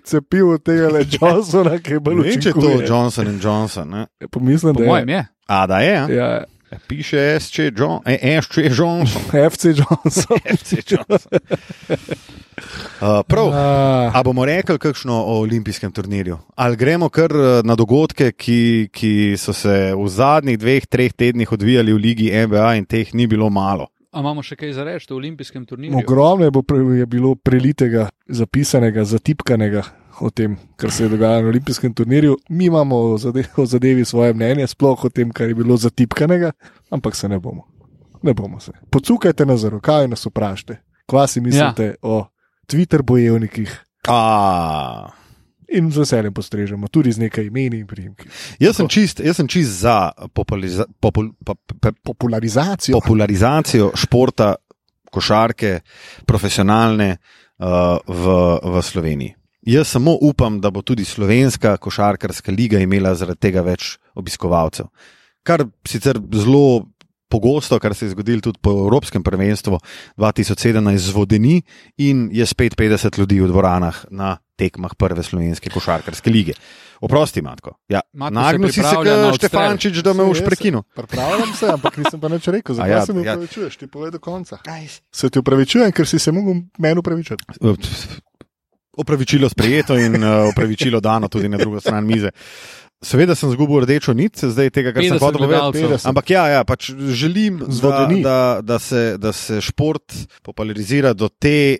Speaker 2: cepivo tega le Johnsona, ki je bolj
Speaker 1: Ne vem, če je
Speaker 2: učinkovito.
Speaker 1: to Johnson Johnson. Ne?
Speaker 2: Pomislim,
Speaker 3: Po
Speaker 2: da je.
Speaker 3: mojem je.
Speaker 1: A da je. ja?
Speaker 2: Ja,
Speaker 1: Ja, Piše SC John, eh, SC Johnson,
Speaker 2: FC Johnson.
Speaker 1: FC Johnson. Uh, prav.
Speaker 2: Ah,
Speaker 1: A bomo rekli kakšno o olimpijskem turnirju? Ali gremo kar eh, na dogodke, ki, ki so se v zadnjih dveh, treh tednih odvijali v ligi NBA in teh ni bilo malo?
Speaker 3: A imamo še kaj za reči o olimpijskem turnirju?
Speaker 2: ogromno je, bo, pre- je bilo prelitega, zapisanega, zatipkanega o tem, kar se je dogajalo na olimpijskem turnirju. Mi imamo o zadevi, o zadevi svoje mnenje, sploh o tem, kar je bilo zatipkanega, ampak se ne bomo. Ne bomo se. Pocukajte nas za rokav in nas vprašajte, kva si mislite ja. o Twitter bojevnikih.
Speaker 1: A,
Speaker 2: In z veseljem postrežemo, tudi z nekaj imeni in priimki.
Speaker 1: jaz, sem čist, jaz sem čist za populariza, popul, pa, pa,
Speaker 2: Popularizacijo.
Speaker 1: popularizacijo športa, košarke, profesionalne uh, v, v Sloveniji. Jaz samo upam, da bo tudi slovenska košarkarska liga imela zaradi tega več obiskovalcev. Kar sicer zelo pogosto, kar se je zgodilo tudi po Evropskem prvenstvu 2017, zvodeni in je spet 50 ljudi v dvoranah na tekmah prve slovenske košarkarske lige. Oprosti, Matko. Ja,
Speaker 3: Matko se
Speaker 1: Nagnil si se,
Speaker 3: pripravlja na
Speaker 1: kot
Speaker 3: odstrel.
Speaker 1: Štefančič, da me
Speaker 2: Saj
Speaker 1: boš
Speaker 2: jaz-
Speaker 1: prekinil.
Speaker 2: Pripravljam se, ampak nisem pa nič rekel, zakaj
Speaker 1: ja,
Speaker 2: ja, se mi
Speaker 1: ja.
Speaker 2: upravičuješ, ti povej do konca. Se ti upravičujem, ker si se mogel meni upravičiti.
Speaker 1: Opravičilo sprejeto in eh, opravičilo dano tudi na drugo stran mize. Seveda sem zgubil rdečo nit, zdaj tega, kar sem
Speaker 3: 50
Speaker 1: hotel povedati.
Speaker 3: gledalcev.
Speaker 2: 50.
Speaker 1: Ampak ja, ja pač želim, da,
Speaker 2: Zvodeni.
Speaker 1: da, da, se, da se šport popularizira do te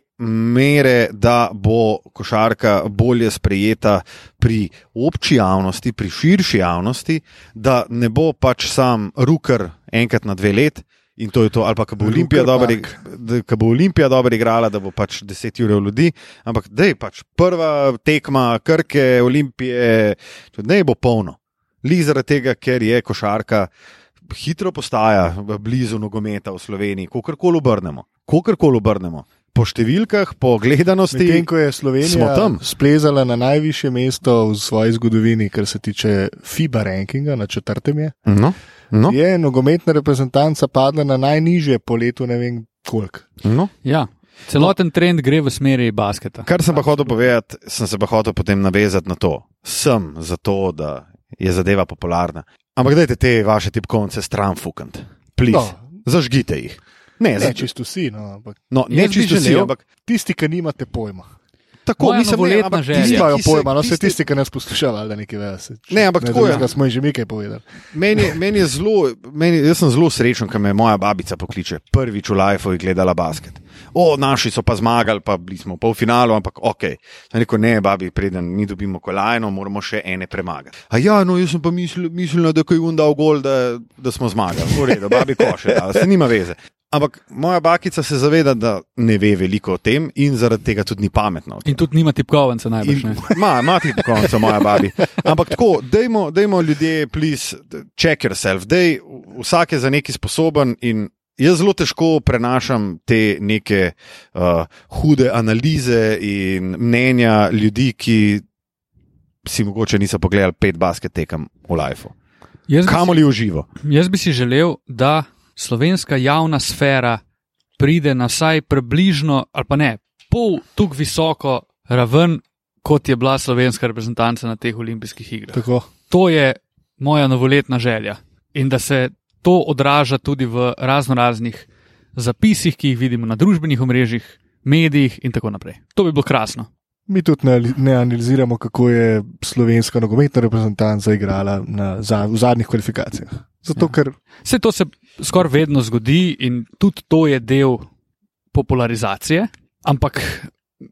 Speaker 1: mere, da bo košarka bolje sprejeta pri obči javnosti, pri širši javnosti, da ne bo pač sam rukar enkrat na dve let. In to je to, ali pa ko bo
Speaker 2: Rukar
Speaker 1: Olimpija dobro
Speaker 2: Park.
Speaker 1: da- ko bo Olimpija dobro igrala, da bo pač 10 ur ljudi, ampak da je pač prva tekma Krke, Olimpije, ne bo polno. Lih zaradi tega, ker je košarka hitro postaja v blizu nogometa v Sloveniji, kakorkoli obrnemo. Kakorkoli obrnemo. Po številkah, po
Speaker 2: Medtem
Speaker 1: gledanosti.
Speaker 2: ko je Slovenija
Speaker 1: smo tam.
Speaker 2: splezala na najvišje mesto v svoji zgodovini, kar se tiče FIBA rankinga, na četrtem je,
Speaker 1: No, no,
Speaker 2: je nogometna reprezentanca padla na najnižje po letu, ne vem koliko.
Speaker 1: no.
Speaker 3: Ja, celoten trend gre v smeri basketa.
Speaker 1: Kar sem pa hotel povedati, sem se pa hotel potem navezati na to. Sem za to, da je zadeva popularna. Ampak dajte te vaše tipkovnice stran fukant. No.
Speaker 2: No,
Speaker 1: Zažgite jih. Ne, ne,
Speaker 2: ne čisto vsi, no, ampak
Speaker 1: no, ne
Speaker 3: Jaz bi
Speaker 1: čisto vsi,
Speaker 3: želel-
Speaker 1: ampak
Speaker 2: tisti, ki nimate pojma.
Speaker 1: tako
Speaker 3: Moja
Speaker 1: mislim, ne,
Speaker 3: novoletna
Speaker 1: ampak
Speaker 3: želja.
Speaker 1: Ja, tisti,
Speaker 2: Nimajo
Speaker 1: ki se-
Speaker 2: pojma, no se
Speaker 1: tisti-
Speaker 2: tisti, ki nas poslušajo, da nekaj vejo. se-
Speaker 1: Ne, ampak tako je.
Speaker 2: drugega smo jim že nekaj povedali.
Speaker 1: Meni, je- meni je zelo, meni, jaz sem zelo srečen, ker me moja babica pokliče. Prvič v Lifeu je gledala basket. O, naši so pa zmagali, pa bili smo v polfinalu, ampak ok. Sem rekel, ne, babi, preden mi dobimo kolajno, moramo še ene premagati. A ja, no, jaz sem pa mislil, mislila, da ko je undal gol, da, da smo zmagali. V redu, babi koše, da se nima veze. Ampak moja bakica se zaveda, da ne ve veliko o tem in zaradi tega tudi ni pametna. o tem.
Speaker 3: In tudi nima tipkovnice najbrž.
Speaker 1: In-
Speaker 3: ne?
Speaker 1: Ma, ima ti po koncu, moja babi. Ampak tako, dajmo, dajmo ljudje, please, check yourself. Dej, vsak je za neki sposoben in jaz zelo težko prenašam te neke uh, hude analize in mnenja ljudi, ki si mogoče niso pogledali pet basket tekem v lifeu.
Speaker 3: Jaz bi
Speaker 1: Kamoli v živo.
Speaker 3: Jaz bi si želel, da slovenska javna sfera pride na vsaj približno, ali pa ne, pol tako visoko raven, kot je bila slovenska reprezentanca na teh olimpijskih igrah.
Speaker 2: Tako.
Speaker 3: To je moja novoletna želja in da se to odraža tudi v razno raznih zapisih, ki jih vidimo na družbenih omrežjih, medijih in tako naprej. To bi bilo krasno.
Speaker 2: Mi tudi ne, ne analiziramo, kako je slovenska nogometna reprezentanca igrala na, za, v zadnjih kvalifikacijah. Zato,
Speaker 3: Ja.
Speaker 2: ja. ker
Speaker 3: Vse to se skoraj vedno zgodi in tudi to je del popularizacije, ampak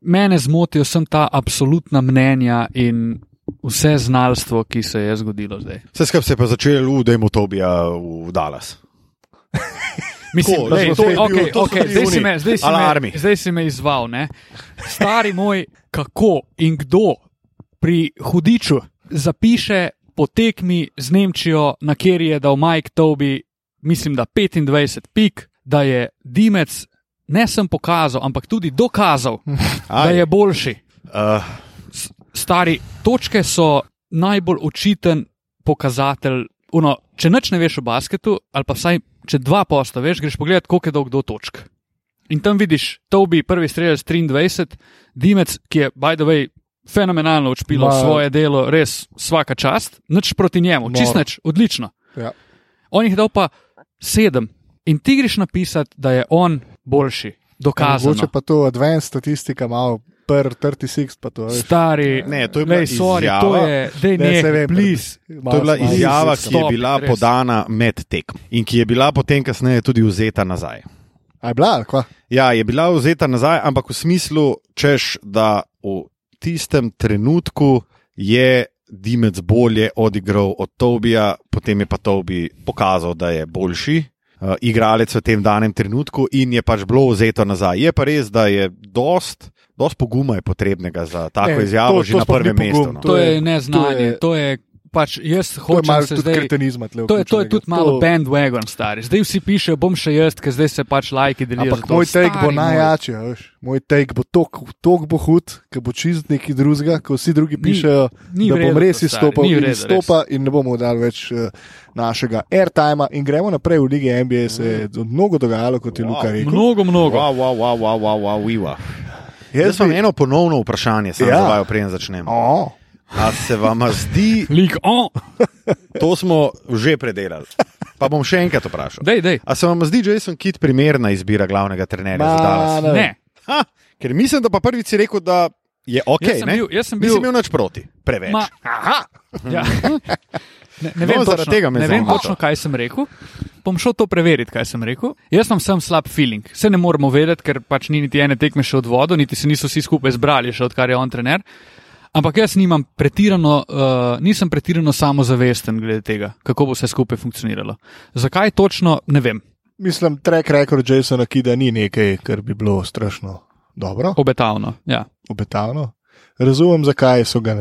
Speaker 3: mene zmotijo sem ta absolutna mnenja in vse znalstvo, ki se je zgodilo zdaj.
Speaker 1: Vse skupaj se je pa začelo, da je Motobija v Dallas.
Speaker 3: Mislim,
Speaker 1: Tako,
Speaker 3: da
Speaker 1: lej,
Speaker 3: je
Speaker 1: to
Speaker 3: to
Speaker 1: je bil-
Speaker 3: okay,
Speaker 1: to so
Speaker 3: okay,
Speaker 1: bili
Speaker 3: zdaj, si
Speaker 1: oni,
Speaker 3: me, zdaj, si
Speaker 1: alarmi.
Speaker 3: me, zdaj si me izval. Ne? Stari moj, kako in kdo pri hudiču zapiše po tekmi z Nemčijo, na kjer je dal Mike Tobi, mislim, da 25 pik, da je Dimec ne sem pokazal, ampak tudi dokazal, da je boljši.
Speaker 1: Uh,
Speaker 3: Stari točke so najbolj očiten pokazatelj. Uno, če nič ne veš o basketu, ali pa vsaj če dva posta veš, greš pogledat, koliko je dolg do točk. In tam vidiš, to bi prvi strelec 23, Dimec, ki je, by the way, fenomenalno odšpilo
Speaker 2: Ma-
Speaker 3: svoje delo, res vsaka čast, nič proti njemu,
Speaker 2: Noro.
Speaker 3: čist nič, odlično.
Speaker 2: Ja.
Speaker 3: On jih je dal pa sedem. In ti greš napisati, da je on boljši, dokazano.
Speaker 2: Mogoče pa to advanced statistika, malo per 36, pa to veš.
Speaker 3: Stari,
Speaker 1: Ne, to je bila
Speaker 3: lej, sorry,
Speaker 1: izjava.
Speaker 3: to je, dej,
Speaker 2: Ne,
Speaker 3: ne,
Speaker 2: saj
Speaker 3: ne,
Speaker 2: vem,
Speaker 3: please.
Speaker 1: To je bila
Speaker 2: Malo-
Speaker 1: izjava,
Speaker 3: Stop,
Speaker 1: ki je bila
Speaker 3: res.
Speaker 1: podana med tekmo in ki je bila potem kasneje tudi vzeta nazaj.
Speaker 2: A je bila, ali kva?
Speaker 1: Ja, je bila vzeta nazaj, ampak v smislu, češ, da v tistem trenutku je Dimec bolje odigral od Tobija, potem je pa Tobi pokazal, da je boljši. Uh, igralec v tem danem trenutku, in je pač bilo vzeto nazaj. Je pa res, da je dost, dost poguma je potrebnega za tako
Speaker 2: Ne,
Speaker 1: ne, izjavo,
Speaker 2: to-
Speaker 1: to, že
Speaker 2: to
Speaker 1: to na
Speaker 2: sploh ni
Speaker 1: prvem
Speaker 2: pogum,
Speaker 1: mestu. No.
Speaker 3: To
Speaker 2: To
Speaker 3: je
Speaker 2: je-
Speaker 3: neznanje, to je pač jaz
Speaker 2: To je
Speaker 3: hočem
Speaker 2: malo
Speaker 3: se
Speaker 2: tudi
Speaker 3: zdaj.
Speaker 2: kretenizma.
Speaker 3: To
Speaker 2: tule
Speaker 3: je, to je
Speaker 2: vključenega.
Speaker 3: tudi malo bandwagon, stari. Zdaj vsi pišejo, bom še jaz, ker zdaj se pač lajki delijo. za
Speaker 2: Ampak
Speaker 3: to.
Speaker 2: moj take bo
Speaker 3: Stari
Speaker 2: najjači, a veš. Moj take bo tok, tok bo hud, ki bo čist neki drugega, ko vsi drugi
Speaker 3: Ni-
Speaker 2: pišejo,
Speaker 3: ni
Speaker 2: da
Speaker 3: v redu
Speaker 2: bom
Speaker 3: to,
Speaker 2: res
Speaker 3: stari,
Speaker 2: izstopal
Speaker 3: ni v
Speaker 2: in
Speaker 3: redu,
Speaker 2: izstopa in ne bomo dali več eh, našega airtima in gremo naprej v lige NBA, se je mnogo dogajalo, kot je
Speaker 1: Wow.
Speaker 2: Luka rekel.
Speaker 3: Mm. Mnogo, mnogo.
Speaker 1: Wow, wow, wow, wow, wow, wow, viva. Jaz
Speaker 2: Jaz
Speaker 1: sem
Speaker 2: bi-
Speaker 1: eno ponovno vprašanje, samo
Speaker 2: Ja.
Speaker 1: ja. vaju, preden začnemo.
Speaker 2: O,
Speaker 1: A se vam zdi,
Speaker 3: Lik, on.
Speaker 1: to smo že predelali? Pa bom še enkrat vprašal.
Speaker 3: Dej, dej.
Speaker 1: A se vam zdi Jason Kidd primerna izbira glavnega trenerja
Speaker 2: Ma,
Speaker 1: za Dallas?
Speaker 2: ne.
Speaker 3: Ne.
Speaker 1: Ha, ker mislim, da pa prvič si rekel, da je ok.
Speaker 3: Jaz sem
Speaker 1: ne?
Speaker 3: bil- jaz sem
Speaker 1: Nisi
Speaker 3: bil-
Speaker 1: imel nič proti, preveč.
Speaker 3: Ma, ja. Ne, ne vem,
Speaker 1: No, zaradi
Speaker 3: točno,
Speaker 1: tega me
Speaker 3: ne vem
Speaker 1: zanima
Speaker 3: točno,
Speaker 1: to.
Speaker 3: kaj sem rekel. Bom šel to preveriti, kaj sem rekel. Jaz imam sam slab feeling. Se ne moramo vedeti, ker pač ni niti ene tekme še od vodo, niti se niso vsi skupaj zbrali, še odkar je on trener. Ampak jaz nimam pretirano, uh, nisem pretirano samozavesten glede tega, kako bo vse skupaj funkcioniralo. Zakaj točno, ne vem.
Speaker 2: mislim, track record Jasona Kida ni nekaj, kar bi bilo strašno dobro,
Speaker 3: Obetavno. Ja.
Speaker 2: obetavno. Razumem, zakaj so ga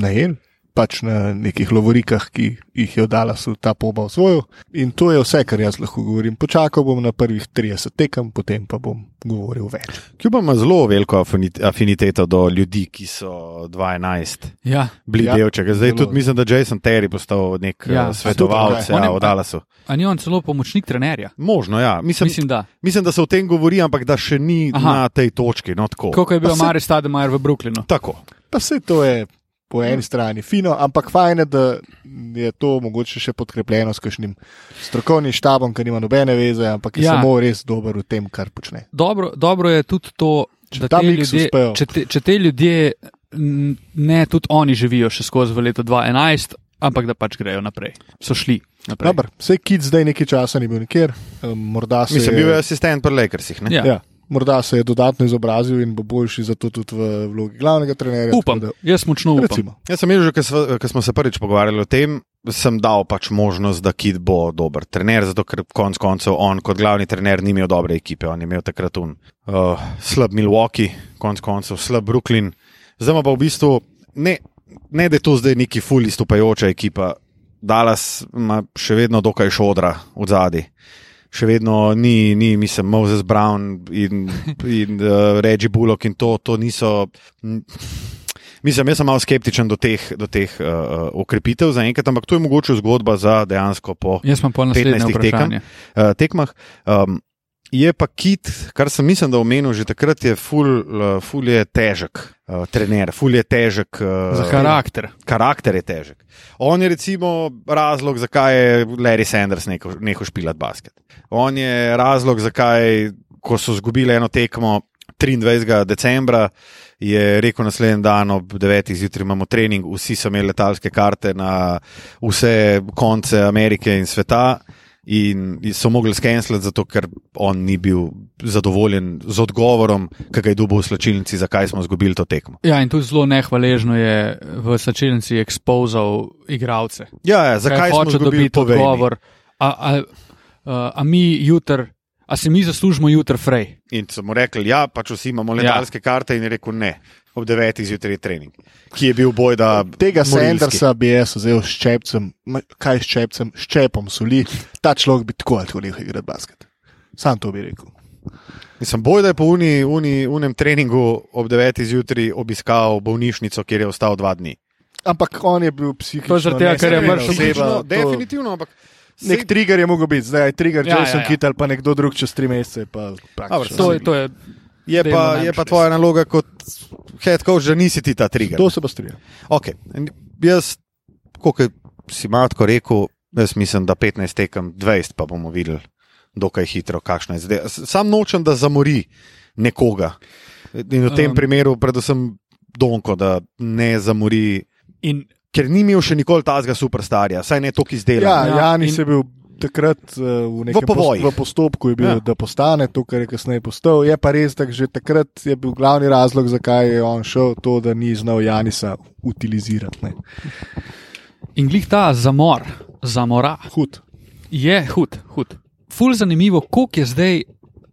Speaker 2: najeli. Pač na nekih lovorikah, ki jih je oddala so ta poba v svojo. In to je vse, kar jaz lahko govorim. Počakal bom na prvih 30 tekem, potem pa bom govoril več.
Speaker 1: Kjuba ima zelo veliko afinit- afiniteto do ljudi, ki so 12
Speaker 3: Ja.
Speaker 1: bili
Speaker 2: Ja,
Speaker 1: ja, del čega. Zdaj
Speaker 2: zelo.
Speaker 1: tudi mislim, da Jason Terry postal nek
Speaker 3: Ja.
Speaker 1: ja, svetovalec
Speaker 2: A
Speaker 3: tudi,
Speaker 1: ja,
Speaker 3: ok.
Speaker 1: v Dallasu.
Speaker 3: A ni on celo pomočnik trenerja?
Speaker 1: Možno, ja. Mislim, mislim,
Speaker 3: Mislim, da.
Speaker 1: mislim, da se o tem govori, ampak da še ni
Speaker 3: Aha.
Speaker 1: Aha. na tej točki. No, tako.
Speaker 3: Kako je bil
Speaker 2: Pa se-
Speaker 3: Maris Tademajer v Brooklynu?
Speaker 1: tako.
Speaker 2: Pa vse to je po eni strani fino, ampak fajn je, da je to mogoče še podkrepljeno s kakšnim strokovnim štabom, ki nima nobene veze, ampak je
Speaker 3: Ja.
Speaker 2: ja. samo res dober v tem, kar počne.
Speaker 3: dobro, dobro je tudi to,
Speaker 2: Če
Speaker 3: da
Speaker 2: ta
Speaker 3: te
Speaker 2: miks
Speaker 3: ljudje,
Speaker 2: uspejo.
Speaker 3: če, te, če te ljudje, n- ne tudi oni živijo še skozi v letu 2011, ampak da pač grejo naprej. So šli naprej.
Speaker 2: Dobar, Vse kid zdaj nekaj časa ni bil nikjer, em, morda se
Speaker 1: Mislim,
Speaker 2: je,
Speaker 1: bil je asistent pri Lakersih. ne?
Speaker 3: Ja.
Speaker 2: ja, morda se je dodatno izobrazil in bo boljši zato tudi v vlogi glavnega trenerja.
Speaker 3: Upam,
Speaker 2: tako
Speaker 3: jaz močno
Speaker 2: Da,
Speaker 3: upam.
Speaker 2: recimo,
Speaker 1: Jaz sem že, ko smo se prvič pogovarjali o tem, sem dal pač možnost, da Kid bo dober trener, zato ker konec koncev on kot glavni trener ni imel dobre ekipe, on je imel takrat un, uh, slab Milwaukee, konec koncev slab Brooklyn. Zdaj ima pa v bistvu ne, ne da je to zdaj neki fully stopajoča ekipa. Dallas ima še vedno dokaj šodra v zadnji. Še vedno ni, ni, mislim, Moses Brown in, in uh, Reggie Bullock in to, to niso. n- Mislim, jaz sem malo skeptičen do teh, do teh uh, okrepitev za enkrat, ampak to je mogoče zgodba za dejansko po
Speaker 3: Jaz imam pol
Speaker 1: 15
Speaker 3: naslednje vprašanje.
Speaker 1: tekem, uh, tekmah. Um, je pa kit, kar sem mislim, da omenil že takrat, je ful, uh, ful je težek, uh, trener, ful je težek. Uh,
Speaker 3: Za karakter.
Speaker 1: Karakter je težek. On je recimo razlog, zakaj je Larry Sanders nehal nehal špilati basket. On je razlog, zakaj, ko so izgubili eno tekmo 23. decembra, je rekel naslednji dan ob 9. zjutraj imamo trening, vsi so imeli letalske karte na vse konce Amerike in sveta. In so mogli skenslati, zato ker on ni bil zadovoljen z odgovorom, ki ga je dobil v slačilnici, zakaj smo izgubili to tekmo.
Speaker 3: Ja, in tudi zelo nehvaležno je v sačilnici ekspozal igralce.
Speaker 1: Ja, ja zakaj smo
Speaker 3: hoče
Speaker 1: izgubili
Speaker 3: dobiti
Speaker 1: to
Speaker 3: odgovor? A, a, a, a mi jutr, a si mi zaslužimo jutr frej?
Speaker 1: In so mu rekli, ja, pač vsi imamo letalske ja. karte, in je rekel ne. Ob 9. zjutraj je trening, ki je bil boj, da.
Speaker 2: Tega
Speaker 1: morilski.
Speaker 2: Sandersa bi jaz vzel s čepcem, ma, kaj s čepcem, s čepom soli. Ta človek bi tako ali tako nehal igrati basket. Sam to bi rekel.
Speaker 1: Mislim, boj, da je po uni, uni, unem treningu ob 9. zjutraj obiskal bolnišnico, kjer je ostal dva dni.
Speaker 2: Ampak on je bil psihično.
Speaker 3: To je zaradi tega, ker je
Speaker 2: nestabilen
Speaker 3: prišel-
Speaker 2: oseba,
Speaker 1: Psihično,
Speaker 2: to-
Speaker 1: no, definitivno, ampak.
Speaker 2: Nek trigger je mogel biti, zdaj je trigger
Speaker 3: Ja,
Speaker 2: ja, Jason
Speaker 3: ja,
Speaker 2: ja,
Speaker 3: ja.
Speaker 2: ja. Kitt ali pa nekdo drug čez tri mesece. je Pa praktično
Speaker 3: To je,
Speaker 2: sigurno.
Speaker 3: to je
Speaker 1: Je
Speaker 3: dajmo
Speaker 1: pa,
Speaker 3: najbrž
Speaker 1: je pa
Speaker 3: res.
Speaker 1: tvoja naloga kot head coach, da nisi ti ta trigger.
Speaker 2: to se pa strinja.
Speaker 1: Okay. Jaz, kot si Matko rekel, Jaz mislim, da 15 tekem, 20 pa bomo videli, dokaj hitro, kakšno je zdaj. Sam nočem, da zamori nekoga. In v tem
Speaker 3: Um.
Speaker 1: um, primeru, predvsem Donko, da ne zamori,
Speaker 3: In
Speaker 1: ker ni imel še nikoli tazga superstarja, saj ne toliko
Speaker 2: Ja,
Speaker 1: izdelal.
Speaker 2: ja,
Speaker 3: Ja,
Speaker 2: Janis
Speaker 3: in-
Speaker 2: je bil takrat eh, v nekem
Speaker 1: V povojih.
Speaker 2: v postopku, je bil, ja.
Speaker 1: Ja.
Speaker 2: da postane to, kar je kasneje postal. Je pa res, da že takrat je bil glavni razlog, zakaj je on šel, to, da ni znal Janisa utilizirati. Ne.
Speaker 3: In glih ta zamor, zamora,
Speaker 2: Hud.
Speaker 3: je hud, hud. Ful zanimivo, koliko je zdaj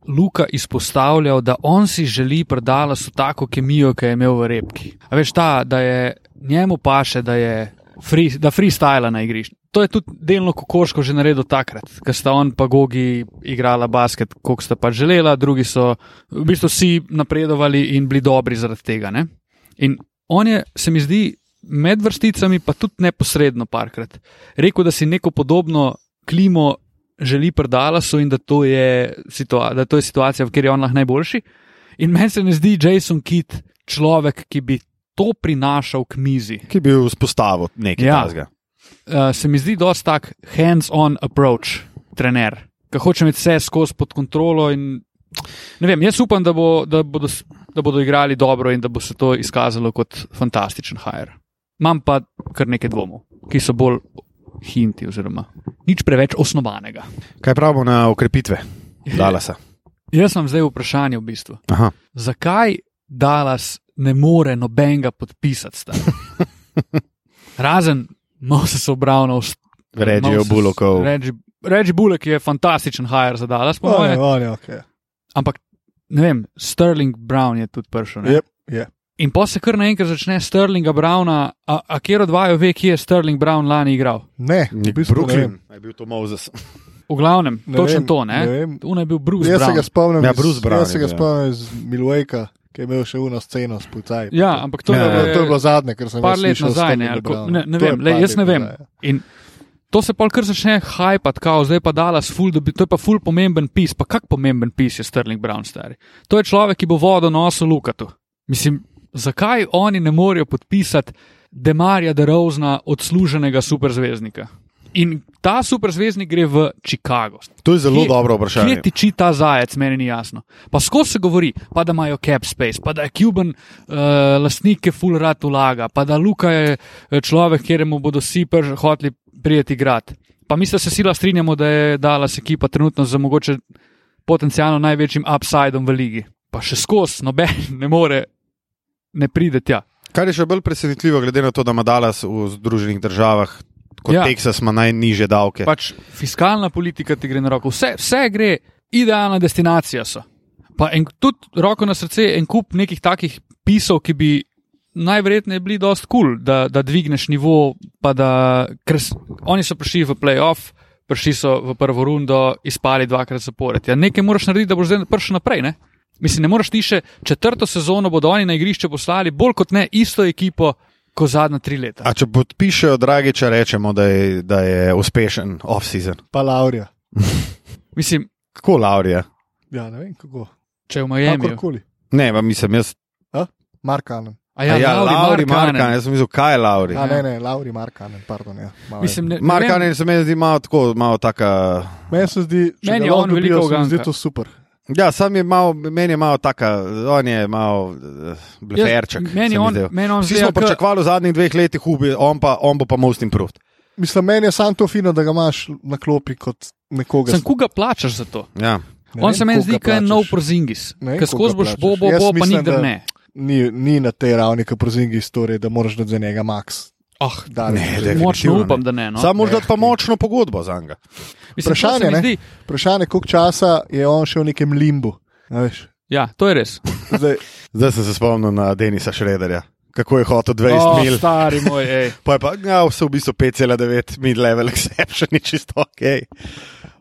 Speaker 3: Luka izpostavljal, da on si želi predala so tako kemijo, ki je imel v repki. A veš ta, da je njemu paše, da je free, da freestyla na igrišču. To je tudi delno kokoško že naredil takrat, ker sta on pa Gogi igrala basket, koliko sta pa želela, drugi so v bistvu vsi napredovali in bili dobri zaradi tega. Ne? In on je, se mi zdi, med vrsticami, pa tudi neposredno parkrat, rekel, da si neko podobno klimo želi predala so in da to je, situa da to je situacija, v kateri je on lahko najboljši. In meni se ne zdi Jason Kidd človek, ki bi to prinašal k mizi.
Speaker 1: Ki bi vzpostavil nekaj
Speaker 3: Ja.
Speaker 1: ja. tazga.
Speaker 3: Uh, se mi zdi dosti tak hands-on approach, trener, ki hoče imeti vse skozi pod kontrolo. In, ne vem, jaz upam, da, bo, da, bodo, s- da bodo igrali dobro in da bo se to izkazalo kot fantastičen hajer. Imam pa kar nekaj dvomov, ki so bolj hinti, oziroma nič preveč osnovanega.
Speaker 1: Kaj pravimo na okrepitve? Dalasa.
Speaker 3: Jaz sem zdaj v vprašanju v bistvu.
Speaker 1: Aha.
Speaker 3: zakaj Dallas ne more nobenega podpisati? stari? Razen Moses obravnal
Speaker 1: Regijo Bulokov.
Speaker 3: Reči Bulek je fantastičen hajer za Dallas, po
Speaker 2: On je,
Speaker 3: moje.
Speaker 2: on je, okay.
Speaker 3: Ampak ne vem, Sterling Brown je tudi prišel. ne?
Speaker 2: je, je.
Speaker 3: In pa se kar naenkrat začne Sterlinga Browna, a, a kjer od vaju ve, kje je Sterling Brown lani igral.
Speaker 2: Ne, v
Speaker 1: Nek
Speaker 2: bistvu, ne
Speaker 1: Brooklyn.
Speaker 2: vem.
Speaker 1: Je bil to Moses.
Speaker 3: V glavnem,
Speaker 2: Ne
Speaker 3: točno
Speaker 2: vem,
Speaker 3: to,
Speaker 2: ne
Speaker 3: ne?
Speaker 2: vem.
Speaker 3: Uno je bil Bruce
Speaker 2: Jaz se
Speaker 3: Brown.
Speaker 2: ga spomnim,
Speaker 1: Ja,
Speaker 2: iz-
Speaker 1: Bruce Brown
Speaker 2: jaz se
Speaker 1: je
Speaker 2: ga
Speaker 1: bil, ja.
Speaker 2: spomnim iz Milwakea, ki je imel še uno sceno s pucaj.
Speaker 3: Ja, ampak to
Speaker 1: Ja,
Speaker 3: je
Speaker 1: ja,
Speaker 2: To je bilo zadnje, kar sem
Speaker 3: Par
Speaker 2: jaz
Speaker 3: let
Speaker 2: slišal o
Speaker 3: nazaj, ne,
Speaker 2: Sterlingu
Speaker 3: ali ko,
Speaker 2: Brownu.
Speaker 3: ne, ne
Speaker 2: To je
Speaker 3: vem, le,
Speaker 2: par
Speaker 3: jaz
Speaker 2: let
Speaker 3: ne vem.
Speaker 2: nazaj, ja.
Speaker 3: In to se pa kar začne hajpat, kao, zdaj pa Dallas, ful, dobi, to je pa ful pomemben pis, pa kak pomemben pis je Sterling Brown stari. To je človek, ki bo vodo nosil Lukatu. Mislim, zakaj oni ne morejo podpisati Demarja Derozna odsluženega superzvezdnika? In ta superzvezdnik gre v Chicago.
Speaker 1: To je zelo
Speaker 3: Kje-
Speaker 1: kje, dobro
Speaker 3: Kje
Speaker 1: vprašanje.
Speaker 3: tiči ta zajec, meni ni jasno. Pa skozi se govori, pa da imajo cap space, pa da je Cuban uh, lastnik, ki full rad ulaga, pa da Luka je eh, človek, kjer mu bodo vsi prž- hoteli prijeti igrati. Pa mi se sila strinjamo, da je Dallas ekipa trenutno za mogoče potencialno največjim upsidom v ligi. Pa še skozi, noben ne more, ne pride tja.
Speaker 1: Kar je še bolj presenetljivo, glede na to, da ima Dallas v Združenih državah, kot
Speaker 3: Ja.
Speaker 1: ja. Teksas, ima najniže davke.
Speaker 3: Pač fiskalna politika ti gre na roko, vse, vse gre, idealna destinacija so. Pa en, tudi roko na srce, en kup nekih takih pisov, ki bi najverjetneje bili dost kul, cool, da, da dvigneš nivo, pa da ker s- oni so prišli v playoff. Prišli so v prvo rundo, izpali dvakrat zapored. Ja, nekaj moraš narediti, da boš zdaj prišel naprej. Ne? Mislim, ne moreš ti še četrto sezono, bodo oni na igrišče poslali bolj kot ne isto ekipo, kot zadnja tri leta.
Speaker 1: A če podpišejo Dragiča, rečemo, da je, da je uspešen off-season.
Speaker 2: Pa Laurija.
Speaker 3: Mislim,
Speaker 1: Kako Laurija?
Speaker 2: Ja, ne vem kako.
Speaker 3: če je v Miami.
Speaker 2: Kakorkoli. Ja?
Speaker 1: Ne, pa mislim, jaz.
Speaker 2: Markanen.
Speaker 3: A
Speaker 1: Ja, ja
Speaker 3: Lauri
Speaker 1: Lauri
Speaker 3: Markkanen.
Speaker 1: Markan, jaz sem mislil, kaj je Lauri.
Speaker 2: A, ne, ne, Lauri Markanen, pardon. Ja, malo je.
Speaker 3: Ja. Mislim, ne, ne vem,
Speaker 1: Markan je se meni zdi malo tako, malo taka.
Speaker 2: Meni se zdi, če
Speaker 3: Meni
Speaker 2: ga
Speaker 3: je on
Speaker 2: lahko dobijo,
Speaker 3: veliko
Speaker 2: se mi zdi
Speaker 3: uganka.
Speaker 2: to super.
Speaker 1: Ja, sam je malo, meni je malo taka, on je malo eh,
Speaker 3: jaz-
Speaker 1: bleferček. se
Speaker 3: Meni
Speaker 1: mi
Speaker 3: on,
Speaker 1: zdel.
Speaker 3: meni on
Speaker 1: Vsi
Speaker 3: zgleda
Speaker 1: smo
Speaker 3: k-
Speaker 1: pričakovali v zadnjih dveh letih, ubi, on, pa, on bo pa most improved.
Speaker 2: Mislim, meni je samo to fino, da ga imaš na klopi kot nekoga.
Speaker 3: Sem koga plačaš za to?
Speaker 1: Ja.
Speaker 2: Ne
Speaker 3: On
Speaker 2: vem,
Speaker 3: se meni
Speaker 2: koga
Speaker 3: zdi, da je
Speaker 2: plačaš.
Speaker 3: nov porzingis.
Speaker 2: Ne vem,
Speaker 3: Ker
Speaker 2: koga
Speaker 3: skozi boš
Speaker 2: plačaš.
Speaker 3: bo, bo,
Speaker 2: Jaz
Speaker 3: bo, pa
Speaker 2: mislim,
Speaker 3: nikdar
Speaker 2: da-
Speaker 3: ne.
Speaker 2: Ni, ni na tej ravni, kot prozingi stori, da moraš dati za njega max.
Speaker 3: Ah,
Speaker 2: Daleč.
Speaker 1: Ne,
Speaker 2: Zdaj,
Speaker 1: definitivno
Speaker 3: močno
Speaker 1: ne.
Speaker 3: upam, da ne. No.
Speaker 1: No, Samo
Speaker 2: ne.
Speaker 1: morda pa močno pogodbo za njega.
Speaker 3: Mislim, to se
Speaker 2: vprašanje,
Speaker 3: mi
Speaker 2: ne?
Speaker 3: zdi-
Speaker 2: Vprašanje, koliko časa je on še v nekem limbu. a veš.
Speaker 3: Ja, to je res.
Speaker 2: Zdaj,
Speaker 1: Zdaj sem se spomnil na Denisa Šrederja, kako je hotel 20
Speaker 3: O,
Speaker 1: oh, mil.
Speaker 3: stari moj, ej.
Speaker 1: Pa je pa, ja, vse v bistvu 5,9 mid-level exception je čisto ok.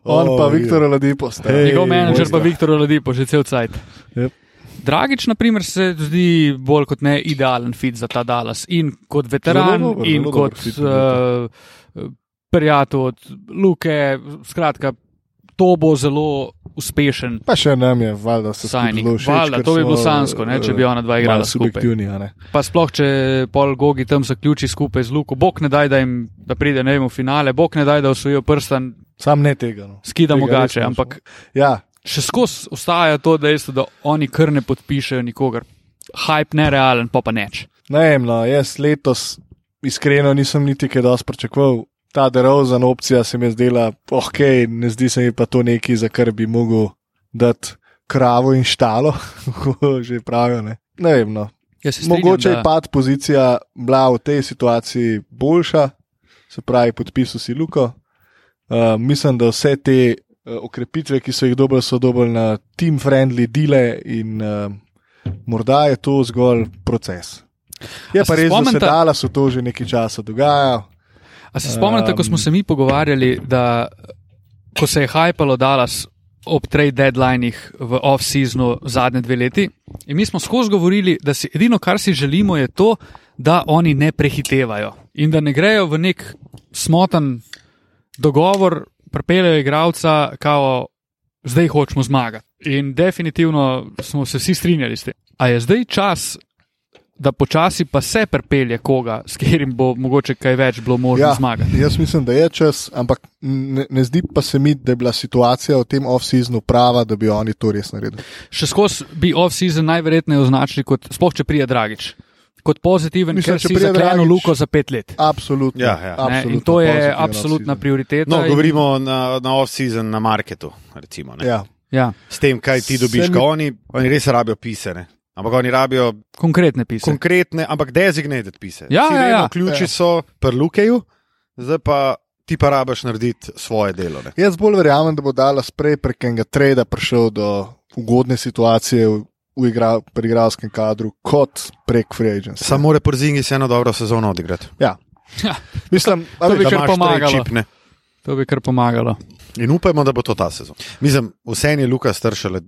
Speaker 2: on oh,
Speaker 1: Oh,
Speaker 2: pa Viktor Oladipo sta.
Speaker 1: Hej.
Speaker 3: ja. Njegov menedžer pa
Speaker 1: Bosna.
Speaker 3: Viktor Oladipo, že cel cajt.
Speaker 2: Yep.
Speaker 3: Dragič, na primer, se zdi bolj kot ne idealen fit za ta Dallas. In kot veteran,
Speaker 2: Zelo dober,
Speaker 3: in
Speaker 2: zelo dober
Speaker 3: kot eh,
Speaker 2: fit,
Speaker 3: uh, prijatelj od Luke, skratka, to bo zelo uspešen.
Speaker 2: Pa še nam je, valjda se
Speaker 3: Sajnik.
Speaker 2: zelo všeč.
Speaker 3: Valjda,
Speaker 2: ker
Speaker 3: to bi
Speaker 2: smo,
Speaker 3: bilo sanjsko, ne, če bi
Speaker 2: eh,
Speaker 3: ona dva
Speaker 2: malo
Speaker 3: igrala skupaj.
Speaker 2: Subjektivni, a ne.
Speaker 3: Pa sploh, če pol Gogi tam zaključi skupaj z Luko, bog ne daj, da, jim, da pride ne vem, v finale, bog ne daj, da osujijo prstan,
Speaker 2: Sam ne tega. No.
Speaker 3: skidamo
Speaker 2: Tega res
Speaker 3: gače,
Speaker 2: nočemo.
Speaker 3: ampak
Speaker 2: Ja,
Speaker 3: še skozi ostaja to dejstvo, da oni kar ne podpišejo nikogar. Hype nerealen, pa pa neč.
Speaker 2: ne vem, no, jaz letos iskreno nisem niti kaj dosti pričakoval. Ta derozan opcija se mi je zdela, ok, ne zdi se mi pa to nekaj, za kar bi mogel dati kravo in štalo, kako že pravijo. Ne, ne vem, no.
Speaker 3: Jaz Ja, se strinjam,
Speaker 2: Mogoče
Speaker 3: da-
Speaker 2: je pad pozicija bila v tej situaciji boljša, se pravi, podpisal si Luko. Uh, mislim, da vse te uh, okrepitve, ki so jih dobili, so dobili na team-friendly dele in uh, morda je to zgolj proces. Je
Speaker 3: A
Speaker 2: pa
Speaker 3: se
Speaker 2: res, da se
Speaker 3: spomnite-
Speaker 2: dala so to že nekaj časa dogaja.
Speaker 3: A se spomnite, ko smo
Speaker 2: Um,
Speaker 3: se mi pogovarjali, da ko se je hajpalo Dallas ob trade deadlinih v off-seasonu zadnje dve leti, in mi smo skozi govorili, da si edino, kar si želimo, je to, da oni ne prehitevajo in da ne grejo v nek smotan dogovor, pripeljejo igralca, kao zdaj hočemo zmagati. In definitivno smo se vsi strinjali s tem. A je zdaj čas, da počasi pa se pripelje koga, s katerim bo mogoče kaj več bilo možno ja. zmagati?
Speaker 2: Jaz mislim, da je čas, ampak ne, ne zdi pa se mi, da je bila situacija v tem off-seasonu prava, da bi oni to res naredili.
Speaker 3: Še skozi bi off-season najverjetneje označili kot, sploh če prije Dragič, kot pozitiven, Mislim,
Speaker 2: Mislim,
Speaker 3: ker
Speaker 2: če
Speaker 3: si
Speaker 2: pride
Speaker 3: zakleno
Speaker 2: Dragić,
Speaker 3: luko za pet let.
Speaker 2: Absolutno.
Speaker 1: Ja, ja. Ne, in
Speaker 3: Ne,
Speaker 2: absolutno
Speaker 3: in to je
Speaker 2: pozitiven
Speaker 3: absolutna
Speaker 2: off-season.
Speaker 3: prioriteta.
Speaker 1: No,
Speaker 3: in-
Speaker 1: govorimo na, na off-season, na marketu. Recimo, ne.
Speaker 2: Ja.
Speaker 3: Ja,
Speaker 1: S tem, kaj ti dobiš,
Speaker 2: Se mi-
Speaker 1: mi... oni, oni res rabijo pisane. Ampak oni rabijo
Speaker 3: konkretne pisem.
Speaker 1: konkretne, ampak designated pise.
Speaker 3: Ja,
Speaker 1: Vsi
Speaker 3: ja,
Speaker 1: vemo,
Speaker 3: ja.
Speaker 1: Ključi ja.
Speaker 2: Ja.
Speaker 1: so pri Lukeju, zdaj pa ti pa rabiš narediti svoje delo. Ne.
Speaker 2: Jaz bolj verjamem, da bo Dallas prej prek enega trada prišel do ugodne situacije v, v igra, pri igralskem kadru, kot prek free agency.
Speaker 1: Samo reporzingi se eno dobro sezono odigrati.
Speaker 2: Ja.
Speaker 3: Ja.
Speaker 2: Mislim, a
Speaker 3: To
Speaker 2: veš,
Speaker 3: bi kar
Speaker 1: imaš trade
Speaker 3: pomagalo.
Speaker 1: chip, ne.
Speaker 3: To bi kar pomagalo.
Speaker 1: In upajmo, da bo to ta sezon. Mislim, vse je Luka stršele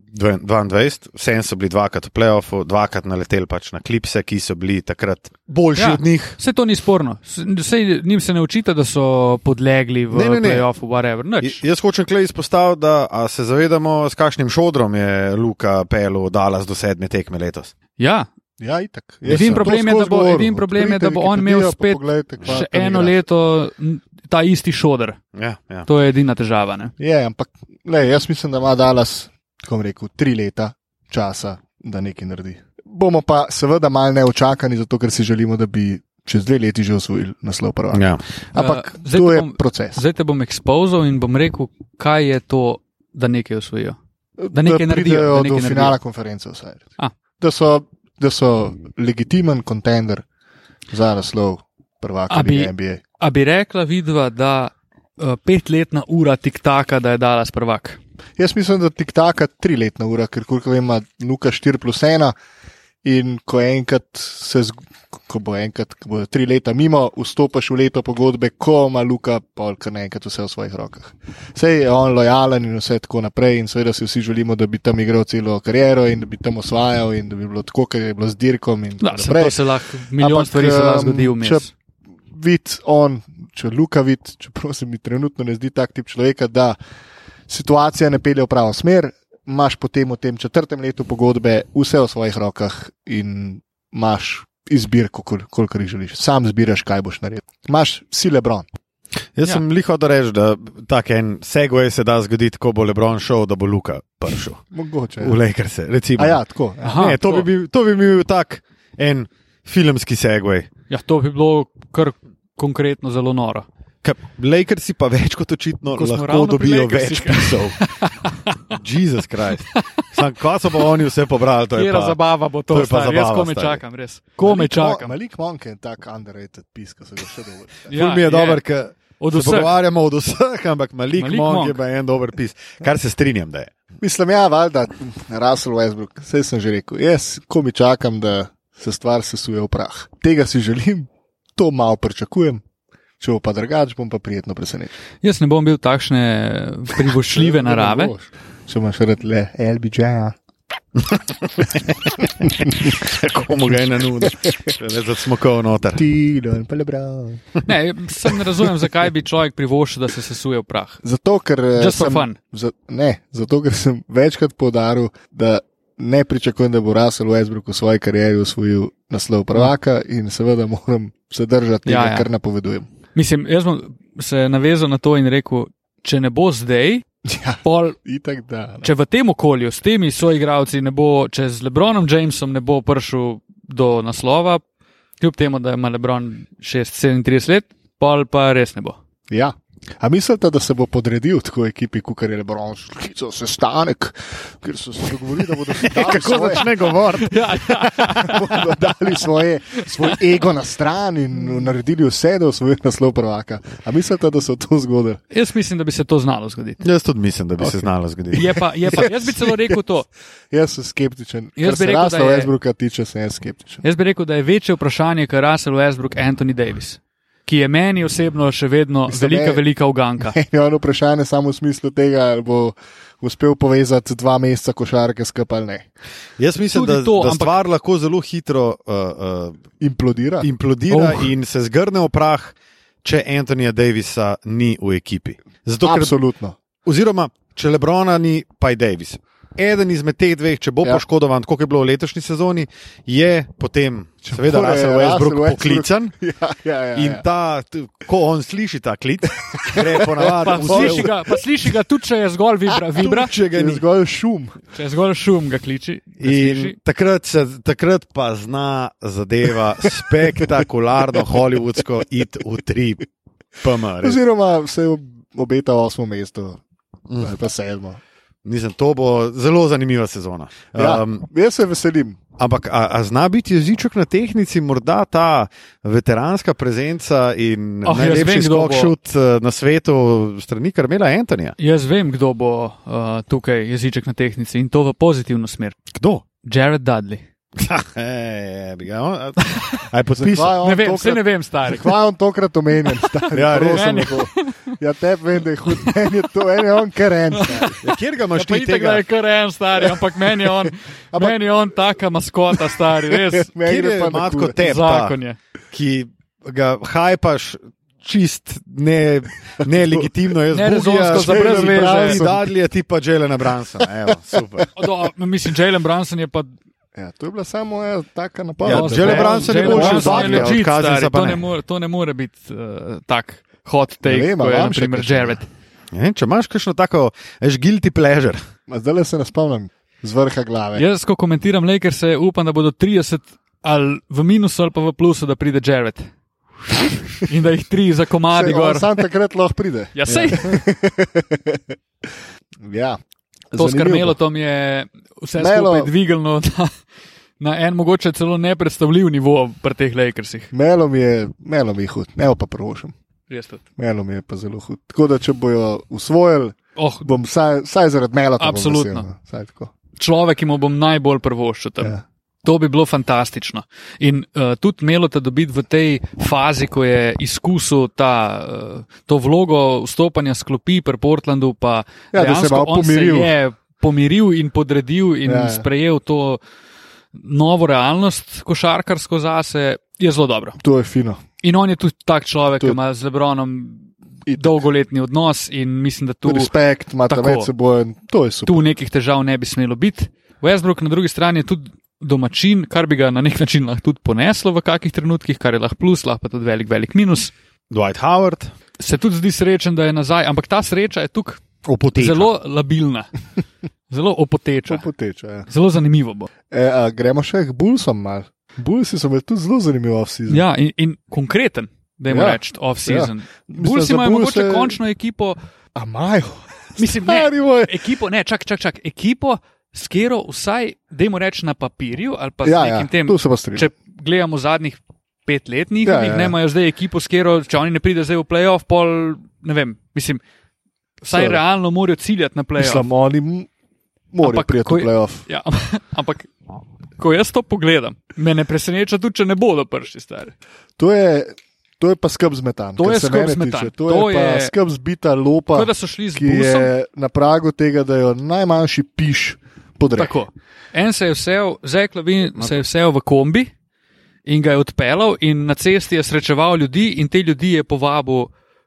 Speaker 1: 22, vse so bili dvakrat v playoffu, dvakrat naleteli pač na klipse, ki so bili takrat boljši
Speaker 3: Ja.
Speaker 1: ja. od njih.
Speaker 3: Vse to ni sporno. Vse njim se ne očita, da so podlegli v
Speaker 1: Ne, ne, ne.
Speaker 3: playoffu, whatever.
Speaker 1: J-
Speaker 3: Nič.
Speaker 1: Jaz hočem klej izpostaviti, da a se zavedamo, s kakšnim šodrom je Luka Pelu dala do sedme tekme letos.
Speaker 3: Ja,
Speaker 2: Ja, itak. Jaz
Speaker 3: Edini
Speaker 2: sem
Speaker 3: problem
Speaker 2: to
Speaker 3: je, da
Speaker 2: skozi
Speaker 3: bo-
Speaker 2: govoril.
Speaker 3: edini problem je, da bo on imel
Speaker 2: Odprite Wikipedijo, pa
Speaker 3: spet
Speaker 2: poglejte, kva
Speaker 3: še
Speaker 2: tam
Speaker 3: eno
Speaker 2: igra.
Speaker 3: leto n- ta isti šodr.
Speaker 1: Ja, ja.
Speaker 3: To je edina težava. Ne?
Speaker 2: Je, ampak le, jaz mislim, da ima Dallas, tako bom rekel, tri leta časa, da nekaj naredi. Bomo pa seveda malo neočakani, zato ker si želimo, da bi čez dve leti že osvojili naslov prvaka.
Speaker 1: Ja.
Speaker 2: Ampak
Speaker 3: Eh,
Speaker 2: uh,
Speaker 3: zdaj
Speaker 2: to
Speaker 3: te
Speaker 2: je
Speaker 3: bom-
Speaker 2: proces.
Speaker 3: Zdaj te bom ekspozal in bom rekel, kaj je to, da nekaj osvojijo. Da nekaj
Speaker 2: da
Speaker 3: naredijo, da
Speaker 2: pridejo
Speaker 3: nekaj
Speaker 2: do
Speaker 3: naredijo. Ah.
Speaker 2: finala konference. Vsaj.
Speaker 3: A.
Speaker 2: Da so, da so legitimen kontender za naslov prvaka
Speaker 3: A bi-
Speaker 2: lige NBA.
Speaker 3: A bi rekla vidva, da uh, petletna ura tiktaka, da je dala prvak.
Speaker 2: Jaz mislim, da tik taka triletna ura, ker koliko vem, ima Luka 4 plus 1 in ko enkrat se zg- ko bo enkrat, ko bo tri leta mimo, vstopaš v leto pogodbe, ko ima Luka polka naenkrat vse v svojih rokah. Sej je on lojalen in vse tako naprej in seveda si vsi želimo, da bi tam igral celo kariero in da bi tam osvajal in da bi bilo tako, ker je bilo z dirkom in
Speaker 3: Da,
Speaker 2: tako
Speaker 3: se, to
Speaker 2: naprej.
Speaker 3: se lahko, milijon
Speaker 2: Ampak,
Speaker 3: Ampak, stvari se lahko
Speaker 1: ehm,
Speaker 2: em,
Speaker 3: zgodi
Speaker 2: če-
Speaker 3: vmes.
Speaker 2: vid on, če Luka vid, čeprav se mi trenutno ne zdi tak tip človeka, da situacija ne pelje v pravo smer, imaš potem v tem četrtem letu pogodbe vse v svojih rokah in imaš izbirko, kol- kolikor jih želiš. Sam zbiraš, kaj boš naredil. Imaš si lebron.
Speaker 1: Jaz
Speaker 3: Ja.
Speaker 1: ja. sem liho da reči, da tak en segway se da zgoditi, ko bo Lebron šel, da bo Luka prišel.
Speaker 2: Mogoče.
Speaker 1: V Lakerse, recimo.
Speaker 2: A ja, tako. Ja.
Speaker 3: Aha,
Speaker 1: ne, to, bi bil, to bi bil tak en filmski segway.
Speaker 3: ja, to bi bilo kar konkretno zelo noro.
Speaker 1: Ka- Lakersi pa več kot očitno
Speaker 3: Ko smo ravno
Speaker 1: lahko
Speaker 3: pri
Speaker 1: dobijo več
Speaker 3: Lakersih.
Speaker 1: pisov. Jezus Krist. Sam, kaj so pa oni vse pobrali, to je
Speaker 3: Kera
Speaker 1: pa,
Speaker 3: zabava bo to,
Speaker 1: to je pa
Speaker 3: stari. jaz
Speaker 1: zabava,
Speaker 3: kome
Speaker 1: stari.
Speaker 3: čakam, res. Kome
Speaker 2: Malik Mon-
Speaker 3: čakam.
Speaker 2: Malik Monk je tak underrated pis, ki se ga še dovolj.
Speaker 1: Ja, mi je, je. dober, ker
Speaker 3: Od
Speaker 1: se
Speaker 3: vseh.
Speaker 1: pogovarjamo od vseh, ampak Malik,
Speaker 3: Malik
Speaker 1: Malik Monk, Monk je
Speaker 3: Monk.
Speaker 1: pa en dober pis, kar se strinjam, da je.
Speaker 2: Mislim, ja, valjda, Russell Westbrook, vse sem že rekel. Jaz, ko mi čakam, da se stvar sesuje v prah. Tega si želim, to malo pričakujem. Če bo pa drugače, bom pa prijetno presenečen.
Speaker 3: Jaz ne bom bil takšne privošljive
Speaker 2: Ne
Speaker 3: narave.
Speaker 2: boš, Če imaš rad le LBJ. -ja.
Speaker 1: Komu ga je na nudi, da je smokal noter.
Speaker 2: Ti, da je lebral.
Speaker 3: Ne, sem ne razumem, zakaj bi človek privoščil, da se sesuje v prah.
Speaker 2: Zato, ker eh,
Speaker 3: Just for
Speaker 2: sem-
Speaker 3: fun.
Speaker 2: Za, ne, zato, ker sem večkrat podaril, da ne pričakujem, da bo Russell Westbrook v svoji karieri osvojil naslov prvaka in seveda moram se držati tega,
Speaker 3: Ja,
Speaker 2: ja,
Speaker 3: ja.
Speaker 2: ja. kar napovedujem.
Speaker 3: Mislim, jaz bom se navezal na to in rekel, če ne bo zdaj,
Speaker 2: Ja,
Speaker 3: pol,
Speaker 2: itak da. no.
Speaker 3: če v tem okolju s temi soigravci ne bo, če z Lebronom Jamesom ne bo prišel do naslova, kljub temu, da ima Lebron 6-37 let, pol pa res ne bo.
Speaker 2: Ja. A mislite, da se bo podredil tako ekipi, kot je Lebron, šlico, sestanek, ker so se dogovorili, da bodo se dali svoje,
Speaker 1: govoriti?
Speaker 3: Ja, ja.
Speaker 2: bodo dali svoje, svoj ego na stran in naredili vse, da osvojijo naslov prvaka. A mislite, da se je to zgodilo?
Speaker 3: Jaz mislim, da bi se to znalo zgoditi.
Speaker 1: Jaz tudi mislim, da bi okay. se
Speaker 2: Ok.
Speaker 1: znalo zgoditi.
Speaker 3: Je pa, je pa, jaz bi celo rekel to.
Speaker 2: Jaz sem skeptičen.
Speaker 3: Jaz bi
Speaker 2: Jaz bi
Speaker 3: rekel, da
Speaker 2: rekel, da
Speaker 3: je-
Speaker 2: je Westbrooka tiče, sem skeptičen.
Speaker 3: Jaz bi rekel, da je večje vprašanje, kar Russell Westbrook Anthony Davis, ki je meni osebno še vedno
Speaker 2: Mislim,
Speaker 3: velika,
Speaker 2: ne-
Speaker 3: velika uganka.
Speaker 2: Je ono vprašanje samo v smislu tega, ali bo uspel povezati dva meseca košarke skupaj ali ne.
Speaker 1: Jaz mislim,
Speaker 3: Tudi
Speaker 1: da,
Speaker 3: to,
Speaker 1: to, da
Speaker 3: ampak-
Speaker 1: stvar ampak... lahko zelo hitro uh, uh,
Speaker 2: Implodira.
Speaker 1: implodira
Speaker 3: Oh.
Speaker 1: oh. in se zgrne v prah, če Antonija Davisa ni v ekipi. Zato, ker,
Speaker 2: Absolutno.
Speaker 1: oziroma, če Lebrona ni, pa je Davis. Eden izmed teh dveh, če bo ja.
Speaker 2: Ja.
Speaker 1: poškodovan, kot je bilo v letošnji sezoni, je potem, če seveda,
Speaker 2: bo
Speaker 1: Russell
Speaker 2: je Torej, Russell
Speaker 1: Westbrook
Speaker 2: Westbrook-
Speaker 1: poklican.
Speaker 2: Ja, ja, ja,
Speaker 1: In
Speaker 2: ja.
Speaker 1: ta, t- ko on sliši ta klic, gre
Speaker 3: Pa
Speaker 1: ponavadi
Speaker 3: sliši, ga, pa sliši ga tudi, če je zgolj
Speaker 2: Ja,
Speaker 3: vibra, vibra
Speaker 1: Če ga
Speaker 2: Je
Speaker 1: ni
Speaker 2: zgolj šum.
Speaker 3: če je zgolj šum, ga kliči. Ga sliši.
Speaker 1: In takrat, se, takrat pa zna zadeva spektakularno, holivudsko, it v tri, pmr.
Speaker 2: Oziroma se ob- obeta osmo mesto,
Speaker 1: Mm.
Speaker 2: ali pa sedmo.
Speaker 1: Mislim, to bo zelo zanimiva sezona.
Speaker 2: Ja,
Speaker 1: Um,
Speaker 2: jaz se veselim.
Speaker 1: ampak, a, a zna biti jeziček na tehnici, morda ta veteranska prezenca in
Speaker 3: Ah,
Speaker 1: oh,
Speaker 3: jaz vem,
Speaker 1: najlepši
Speaker 3: kdo bo.
Speaker 1: skokšut eh, na svetu strani Karmela Antonija?
Speaker 3: Jaz vem, kdo bo uh, tukaj jeziček na tehnici in to v pozitivno smer.
Speaker 1: Kdo?
Speaker 3: Jared Dudley.
Speaker 1: Ej, bi ga on- A je podpisal?
Speaker 2: Zakaj
Speaker 3: Ne
Speaker 2: on
Speaker 3: vem, vse ne
Speaker 2: tokrat-
Speaker 3: vem, stari.
Speaker 2: Zakaj je on tokrat omenjen? Stari,
Speaker 1: Ja, res.
Speaker 2: prosim,
Speaker 3: Meni-
Speaker 2: lepo. ja, te vem, da je hud, meni je to, en je on keren. stari.
Speaker 1: Ja, kjer ga imaš
Speaker 3: Ja, pa
Speaker 1: ti
Speaker 3: itak, da
Speaker 1: tega?
Speaker 3: je kar en stari, ampak meni je on,
Speaker 2: Ampak-
Speaker 3: meni je on taka maskota, stari, res.
Speaker 2: Meni
Speaker 1: Kjer
Speaker 2: gre
Speaker 1: je
Speaker 2: pa na
Speaker 1: matko
Speaker 2: kurac.
Speaker 1: tep? ta?
Speaker 3: Zakon je.
Speaker 1: ki ga hajpaš čist, ne, ne legitimno, jaz
Speaker 3: Nerezonsko, za brez veze.
Speaker 1: Zadlje ti pa Jelena Bransona, evo, super.
Speaker 3: O, Do, no, mislim, Jalen Brunson je pa.
Speaker 2: Ja, to je bila samo ena taka napada.
Speaker 1: Ja,
Speaker 3: o,
Speaker 1: Jalen
Speaker 3: Jalen-
Speaker 1: Brunson je
Speaker 3: Jalen
Speaker 1: boljši ja. od
Speaker 3: Brunson je
Speaker 1: Dudleyja, od
Speaker 3: legit,
Speaker 1: Cousinsa
Speaker 3: stari,
Speaker 1: pa
Speaker 3: To
Speaker 1: ne.
Speaker 3: ne more- to ne more biti uh, tak hot take,
Speaker 2: Ne vem, a
Speaker 3: kot je
Speaker 2: vam
Speaker 3: na
Speaker 2: še
Speaker 3: primer
Speaker 2: kakšno?
Speaker 3: Jared.
Speaker 1: Ne, če imaš kakšno tako, veš, guilty pleasure.
Speaker 2: Zdaj le se ne spomnim z vrha glave.
Speaker 3: Jaz, ko komentiram Lakers, se upam, da bodo 30 ali v minusu ali pa v plusu, da pride Jared. In da jih tri za komadi
Speaker 2: Saj on
Speaker 3: gor.
Speaker 2: Sam takrat lahko pride.
Speaker 3: Ja, sej,
Speaker 2: Ja.
Speaker 3: to
Speaker 2: Zanimivo
Speaker 3: skarmelo,
Speaker 2: bo.
Speaker 3: to mi je vse
Speaker 2: Melo-
Speaker 3: skupaj dvignilo na, na en mogoče celo nepredstavljiv nivo pri teh Lakersih.
Speaker 2: Melo mi je, melo mi je hud, ne bo pa prošim.
Speaker 3: Res tudi.
Speaker 2: Melo mi je pa zelo hud. Tako da, če bojo usvojili,
Speaker 3: Oh,
Speaker 2: bom vsaj, vsaj zaradi mela tam.
Speaker 3: Absolutno.
Speaker 2: Vsaj no. tako.
Speaker 3: človek, ki mu bom najbolj prvoščil tam.
Speaker 2: Ja.
Speaker 3: To bi bilo fantastično. In uh, tudi Melota dobiti v tej fazi, ko je izkusil ta, uh, to vlogo vstopanja s klopi pri Portlandu, pa
Speaker 2: Ja, da se je
Speaker 3: dejansko
Speaker 2: malo
Speaker 3: on
Speaker 2: pomiril.
Speaker 3: Se je pomiril in podredil in ja,
Speaker 2: Ja, ja.
Speaker 3: sprejel to novo realnost košarkarsko zase, je zelo dobro.
Speaker 2: To je fino.
Speaker 3: In on je tudi tak človek,
Speaker 2: To-
Speaker 3: ki ima z Lebronom
Speaker 2: Itak.
Speaker 3: dolgoletni odnos in mislim, da tu.
Speaker 2: Respekt, imate
Speaker 3: tako.
Speaker 2: med seboj, to je super.
Speaker 3: tu nekih težav ne bi smelo biti. Westbrook na drugi strani je tudi domačin, kar bi ga na nek način lahko tudi poneslo v kakih trenutkih, kar je lahko plus, lahko pa tudi velik, velik minus.
Speaker 1: Dwight Howard,
Speaker 3: Se tudi zdi srečen, da je nazaj, ampak ta sreča je tukaj
Speaker 1: opotečen.
Speaker 3: zelo labilna, zelo opoteča.
Speaker 2: To poteče. Ja.
Speaker 3: Zelo zanimivo bo.
Speaker 2: E, a, gremo še k Bullsom mal. Bullsi so bili tudi zelo zanimivi vsi.
Speaker 3: Ja, in, in konkreten, da jim ja,
Speaker 2: Ja,
Speaker 3: reči, off-season. Ja.
Speaker 2: Mislim,
Speaker 3: Bulls
Speaker 2: za
Speaker 3: imajo
Speaker 2: Bullse-
Speaker 3: mogoče končno ekipo,
Speaker 2: A majo.
Speaker 3: mislim, ne, Ja,
Speaker 2: Stari moj.
Speaker 3: ekipo, ne, čak, čak, čak, ekipo, s katero vsaj, da jim reči na papirju ali pa
Speaker 2: Ja,
Speaker 3: s
Speaker 2: ja,
Speaker 3: nekim tem
Speaker 2: tu se pa strinjam.
Speaker 3: če gledamo zadnjih pet let, njihovih, ja,
Speaker 2: Ja,
Speaker 3: ja,
Speaker 2: ja,
Speaker 3: ja. ne
Speaker 2: ja.
Speaker 3: imajo zdaj ekipo, s katero, če oni ne pridejo zdaj v playoff, pol ne vem. Mislim, vsaj
Speaker 2: Seveda.
Speaker 3: realno morajo ciljati na playoff.
Speaker 2: Mislim, oni m- morajo
Speaker 3: ja. Ampak
Speaker 2: priti
Speaker 3: ko
Speaker 2: v
Speaker 3: je-
Speaker 2: playoff.
Speaker 3: Ja, ampak, ko jaz to pogledam, me ne preseneča tudi, če ne bodo prši stari.
Speaker 2: To je, to je pa skrb zmetan.
Speaker 3: To
Speaker 2: kar
Speaker 3: je
Speaker 2: se
Speaker 3: skrb
Speaker 2: mene
Speaker 3: zmetan.
Speaker 2: Tiče. To, to je, je pa skrb zbita lopa,
Speaker 3: Kot da so šli z
Speaker 2: ki
Speaker 3: busom.
Speaker 2: je na pragu tega, da jo najmanjši piš podrek.
Speaker 3: Tako. En se je vsel, Zek Lavin se je vsel v kombi in ga je odpeljal, in na cesti je srečeval ljudi, in te ljudi je povabil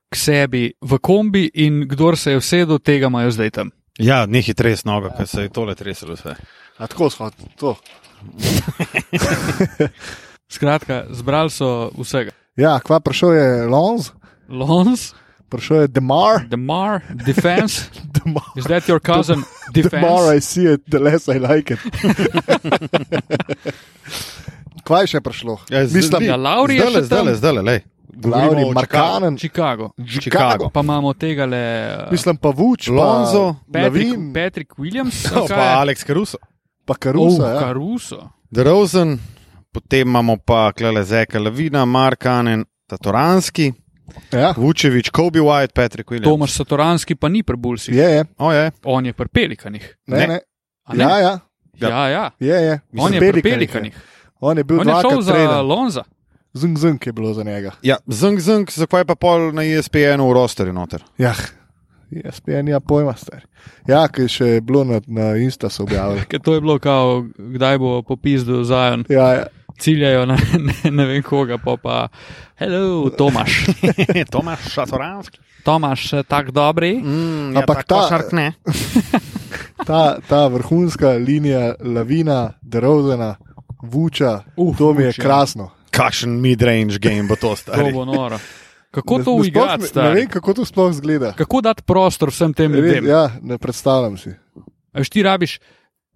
Speaker 3: k sebi v kombi, in kdor se je usedel, tega imajo zdaj tam.
Speaker 1: Ja, nekaj tres noga, ker se je tole treslo vse.
Speaker 2: A tako smo to.
Speaker 3: Skratka, zbrali so vsega.
Speaker 2: Ja, kva prišel je Lons,
Speaker 3: Lons,
Speaker 2: prišel je Demar.
Speaker 3: Demar, Defense,
Speaker 2: Demar.
Speaker 3: is that your cousin?
Speaker 2: The
Speaker 3: Defense.
Speaker 2: more I see it, the less I like it. Kaj je še prišlo?
Speaker 1: Ja, zdaj-
Speaker 2: Mislim,
Speaker 3: Ja, Lauri je
Speaker 1: Zdaj,
Speaker 3: še tam,
Speaker 1: zdaj, zdaj, le.
Speaker 2: Lauri, Markanen,
Speaker 3: Chicago.
Speaker 1: Chicago.
Speaker 3: Pa imamo tega le. uh,
Speaker 2: mislim pa Vuč,
Speaker 1: Lonzo,
Speaker 3: Patrick,
Speaker 2: Lavin,
Speaker 3: Patrick Williams,
Speaker 1: No, pa
Speaker 3: ali
Speaker 1: Alex Caruso.
Speaker 2: pa
Speaker 3: Ruso.
Speaker 2: Karusa.
Speaker 3: Oh,
Speaker 2: ja.
Speaker 3: Caruso.
Speaker 1: Drozen, potem imamo pa Klele Zeka Levina, Markanen, Tatoranski,
Speaker 2: Ja.
Speaker 1: Vučevič, Kobe White, Patrick Williams.
Speaker 3: Tomaš Satoranski pa ni prebulsi,
Speaker 2: Je, je.
Speaker 1: O, je.
Speaker 3: on je pri pelikanih.
Speaker 2: Ne,
Speaker 1: Ne.
Speaker 2: ne.
Speaker 3: A ne?
Speaker 2: Ja, ja.
Speaker 1: Ja.
Speaker 3: Ja, ja.
Speaker 2: Je, je.
Speaker 3: On
Speaker 2: Mislim,
Speaker 3: je pri
Speaker 2: Pelikanih
Speaker 3: pelikanih.
Speaker 2: On je bil
Speaker 3: On je šel
Speaker 2: dvakrat
Speaker 3: za
Speaker 2: treden.
Speaker 3: Lonza.
Speaker 2: Zung, zung je bilo za njega.
Speaker 1: Ja, zung, zung, zakaj pa pol na E ESPN v rosterju noter?
Speaker 2: Ja, jaz pa enja pojma, star. Ja, ki je še bilo na, na Insta so objavili.
Speaker 3: Ker to je bilo, kao, kdaj bo popizdu Zajon,
Speaker 2: Ja, ja.
Speaker 3: ciljajo na ne, ne vem koga, pa pa, hello, Tomaš.
Speaker 1: Tomaš Šatoranski.
Speaker 3: Tomaš, tak dobri.
Speaker 1: Mm, ja,
Speaker 2: Ampak ta-
Speaker 1: košark ne.
Speaker 2: ta, ta vrhunska linija, lavina, derozena, vuča,
Speaker 3: Uf,
Speaker 2: uh, to mi je
Speaker 3: Vuč, ja.
Speaker 2: krasno.
Speaker 1: Kakšen mid-range game bo to
Speaker 3: To
Speaker 1: stari?
Speaker 3: bo noro. Kako to
Speaker 2: Ne- ne
Speaker 3: uigrati,
Speaker 2: sploh ne- Ne
Speaker 3: stari?
Speaker 2: vem, kako to sploh zgleda.
Speaker 3: Kako dati prostor vsem tem
Speaker 2: Red,
Speaker 3: ljudem?
Speaker 2: ja, ne predstavljam si.
Speaker 3: Veš, ti rabiš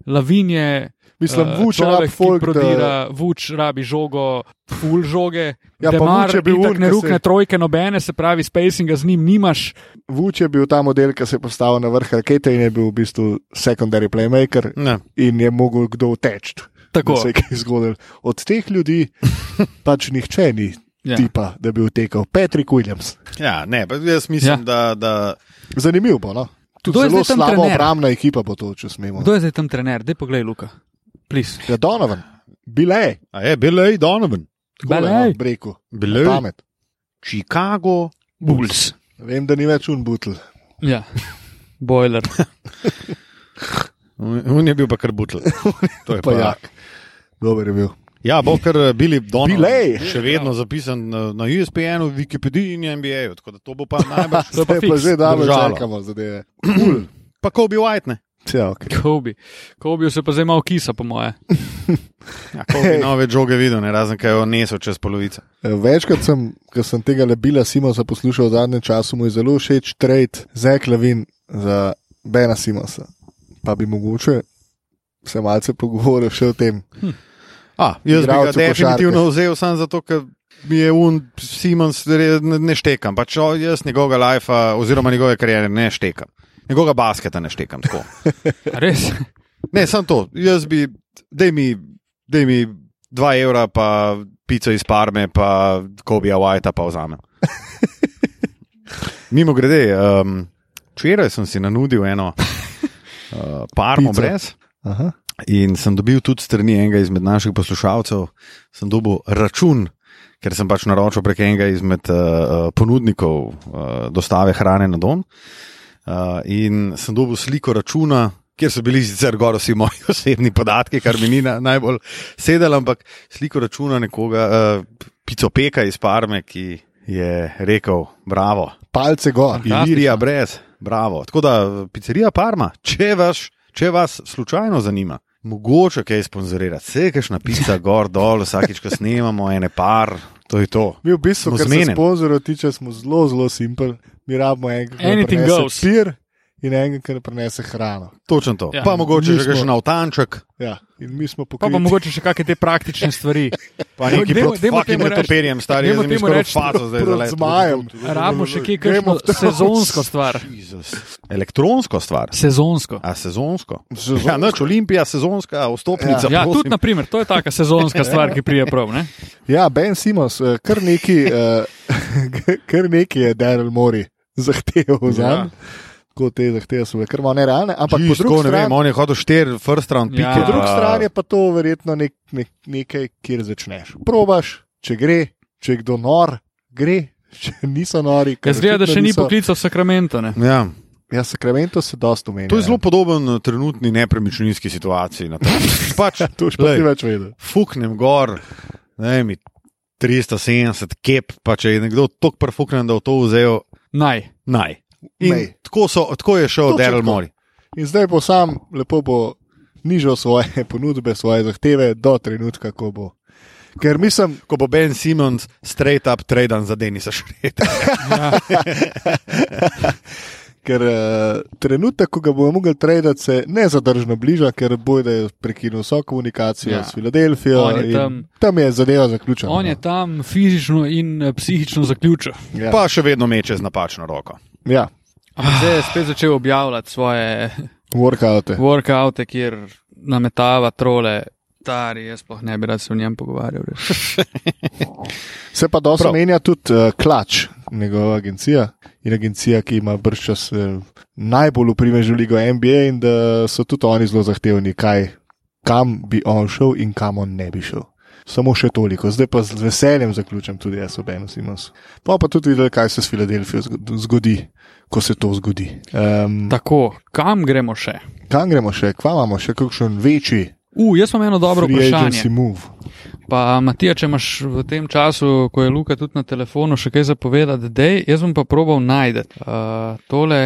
Speaker 3: lavinje.
Speaker 2: Mislim,
Speaker 3: eh,
Speaker 2: vuč,
Speaker 3: človek,
Speaker 2: rab
Speaker 3: ki
Speaker 2: folk, da,
Speaker 3: prodira, vuč rabi žogo, full žoge.
Speaker 2: Ja, pa
Speaker 3: Demar
Speaker 2: Vuč je bil
Speaker 3: itak
Speaker 2: un,
Speaker 3: ne
Speaker 2: ki
Speaker 3: rukne
Speaker 2: se-
Speaker 3: trojke nobene, se pravi, spacinga z njim nimaš.
Speaker 2: vuč je bil ta model, ki se je postavil na vrh rakete in je bil v bistvu secondary playmaker
Speaker 1: Ne.
Speaker 2: in je mogel kdo teči.
Speaker 3: Tako.
Speaker 2: da se je kaj zgodilo. Od teh ljudi pač nihče ni
Speaker 3: Ja.
Speaker 2: ja. tipa, da bi utekal. Patrick Williams.
Speaker 1: Ja, ne, pa jaz mislim, ja. da,
Speaker 3: Ja.
Speaker 1: da
Speaker 2: Zanimiv bo. No? Tudi
Speaker 3: Kdo je
Speaker 2: zelo
Speaker 3: zdaj tam
Speaker 2: slaba
Speaker 3: trener?
Speaker 2: obrambna ekipa bo to, če smemo.
Speaker 3: Kdo je zdaj tam trener? Dej poglej, Luka. Plis.
Speaker 2: Ja, Donovan, bile,
Speaker 1: a je bil je Donovan,
Speaker 2: tako je no, rekel,
Speaker 1: bil je
Speaker 2: pamet.
Speaker 1: Chicago.
Speaker 3: Bulls.
Speaker 2: Vem, da ni več unbutl.
Speaker 3: Ja. Boiler.
Speaker 1: On je bil pa kar butl. To je
Speaker 2: Pa
Speaker 1: pa,
Speaker 2: ja, dober je bil.
Speaker 1: Ja, bo kar bili Donovan.
Speaker 2: Bilej.
Speaker 1: Še vedno zapisan na, na E ESPN, v Wikipediji in NBA, tako da to bo pa najbolj.
Speaker 3: To je pa
Speaker 2: Zdaj
Speaker 3: fiks,
Speaker 2: že dobro
Speaker 1: držalo.
Speaker 2: čakamo zadeve.
Speaker 1: pa Kobe White, ne?
Speaker 2: Ja, okay.
Speaker 3: Kobi. Kobi se pa zdaj malo kisa, po moje.
Speaker 1: Ja, Kobe nove žoge videl, ne razen kaj je onesel čez polovico.
Speaker 2: E, Večkrat sem, ko sem tega lebila Simonsa poslušal v zadnjem času, mu je zelo všeč trade za Klavin, za Bena Simonsa. Pa bi mogoče se malce pogovoril še o tem.
Speaker 1: A, jaz bi ga
Speaker 2: Igralcu
Speaker 1: definitivno vzel samo zato, ker mi je un Simons re- ne, ne štekam. Pač o, jaz njegovega lajfa oziroma njegove kariere ne štekam. Njegovega basketa ne štekam. Tako.
Speaker 3: A Res.
Speaker 1: Ne, samo to. Jaz bi, dej mi, dej mi dva evra, pa pico iz Parme, pa Kobija Whitea, pa vzamem. Mimo grede, um, včeraj sem si nanudil eno uh, Parmo
Speaker 2: Pico.
Speaker 1: brez.
Speaker 2: Aha.
Speaker 1: In sem dobil tudi strani enega izmed naših poslušalcev, sem dobil račun, ker sem pač naročil prek enega izmed uh, ponudnikov uh, dostave hrane na dom. Uh, in sem dobil sliko računa, kjer so bili sicer gor vsi moji osebni podatki, kar mi ni na, najbolj sedelo, ampak sliko računa nekoga, uh, picopeka iz Parme, ki je rekel: Bravo,
Speaker 2: Palce gor.
Speaker 3: Fantastično.
Speaker 1: Ilirija brez, bravo. Tako da pizzerija Parma, če vas, če vas slučajno zanima. Mogoče kaj sponzorirati, vse kajšna pica, gor, dol, vsakič, ko snemamo, ene par, to je to.
Speaker 2: Mi v bistvu,
Speaker 1: Smo
Speaker 2: kar se
Speaker 1: zmenjeni.
Speaker 2: sponzorov tiče, smo zelo, zelo simpel. Mi rabimo enega, ki
Speaker 3: Anything
Speaker 2: ne
Speaker 3: goes.
Speaker 2: prinese pir in enega, ki ne prenese hrano.
Speaker 1: Točno to.
Speaker 3: Ja.
Speaker 1: Ja, pa mogoče
Speaker 2: Mi
Speaker 1: že
Speaker 2: smo-
Speaker 1: kakšen avtanček,
Speaker 2: Ja, in mi smo
Speaker 3: Pa pa
Speaker 2: pokrili.
Speaker 3: mogoče še kakšne te praktične stvari.
Speaker 1: pa
Speaker 3: Dajmo-
Speaker 1: neki
Speaker 3: dajmo-
Speaker 1: proti
Speaker 3: dajmo
Speaker 1: fucking
Speaker 3: temu reči-
Speaker 1: netoperjem, stari,
Speaker 3: dajmo
Speaker 1: jaz sem jim
Speaker 3: temu
Speaker 1: skoraj
Speaker 3: reči
Speaker 1: faco zdaj
Speaker 2: proti
Speaker 1: zalezl.
Speaker 2: zmajem.
Speaker 3: Rabimo še kaj
Speaker 2: Game of
Speaker 3: kakšno
Speaker 2: Thrones.
Speaker 3: sezonsko stvar.
Speaker 1: Jezus. Elektronsko stvar.
Speaker 3: Sezonsko.
Speaker 1: A sezonsko?
Speaker 2: Sezonsko.
Speaker 1: Ja, noč Olimpija, sezonska, vstopnica.
Speaker 3: Ja,
Speaker 1: prosim.
Speaker 3: tudi naprimer, to je taka sezonska stvar, ki prije prav, ne?
Speaker 2: Ja, Ben Simons, eh, kar neki, eh, kar neki je Daryl Mori zahteval za njim. Tako te zahteve so bile kar malo nerealne. Ampak po
Speaker 1: Ja. Jeez,
Speaker 2: drugi,
Speaker 1: tako, ne vem,
Speaker 2: strani,
Speaker 1: on je hodil štiri first round
Speaker 3: Ja.
Speaker 1: pike.
Speaker 2: po drugi
Speaker 1: pa-
Speaker 2: strani je pa to verjetno nek, nek, nekaj, kjer začneš. Probaš, če gre, če je kdo nor, gre, če niso nori. ker
Speaker 3: Jaz gledam, da
Speaker 2: očitno
Speaker 3: še ni
Speaker 2: niso.
Speaker 3: poklical Sakramento, ne?
Speaker 1: Ja,
Speaker 2: Ja, Sacramento se dosta omenja. ja.
Speaker 1: To je zelo podoben eh, trenutni nepremičninski situaciji. na tem. Pač,
Speaker 2: To še
Speaker 1: Glej.
Speaker 2: ni Ja, več vedel.
Speaker 1: fuknem gor, ne vem, 370 kep, pa če je nekdo tako prfuknen, da je to vzel,
Speaker 3: Naj.
Speaker 1: naj. In
Speaker 2: Nej.
Speaker 1: tako, so, tako je šel
Speaker 2: Točno
Speaker 1: Daryl
Speaker 2: tako.
Speaker 1: Mori.
Speaker 2: In zdaj bo sam lepo bo nižal svoje ponudbe, svoje zahteve do trenutka, ko bo. Ker mislim,
Speaker 1: Ko bo Ben Simons straight up traden za Denisa Šreda.
Speaker 2: ker uh, trenutek, ko ga bomo mogli traditi, se nezadržno bliža, ker bojda je prekinil vso komunikacijo
Speaker 3: Ja.
Speaker 2: ja. s Filadelfijo.
Speaker 3: On je
Speaker 2: in
Speaker 3: tam-
Speaker 2: tam je zadeva zaključena. no.
Speaker 3: On je tam fizično in eh, psihično zaključil.
Speaker 2: ja.
Speaker 1: Pa še vedno meče z napačno roko.
Speaker 2: Ja,
Speaker 3: Ampak Zdaj je spet začel objavljati svoje
Speaker 2: workoute.
Speaker 3: workoute, kjer nametava trole. Tari, jaz sploh ne bi rad se o njem pogovarjal. res.
Speaker 2: Se pa dosta
Speaker 1: Prav.
Speaker 2: omenja tudi uh, Klač, njegova agencija. In agencija, ki ima brščas uh, najbolj uprimežil ligo NBA, in da so tudi oni zelo zahtevni, kaj, kam bi on šel in kam on ne bi šel. Samo še toliko, zdaj pa z veseljem zaključim tudi jaz, obenem Simons. Pa pa tudi videl, kaj se s Filadelfijo zgod- zgodi, ko se to zgodi. Um,
Speaker 3: Tako, kam gremo še?
Speaker 2: kam gremo še, kva imamo še kakšen večji,
Speaker 3: U, jaz imam eno dobro
Speaker 2: free
Speaker 3: vprašanje.
Speaker 2: agency move.
Speaker 3: Pa, Matija, če imaš v tem času, ko je Luka tudi na telefonu, še kaj zapovedati, dej, jaz bom pa probal najti uh, tole,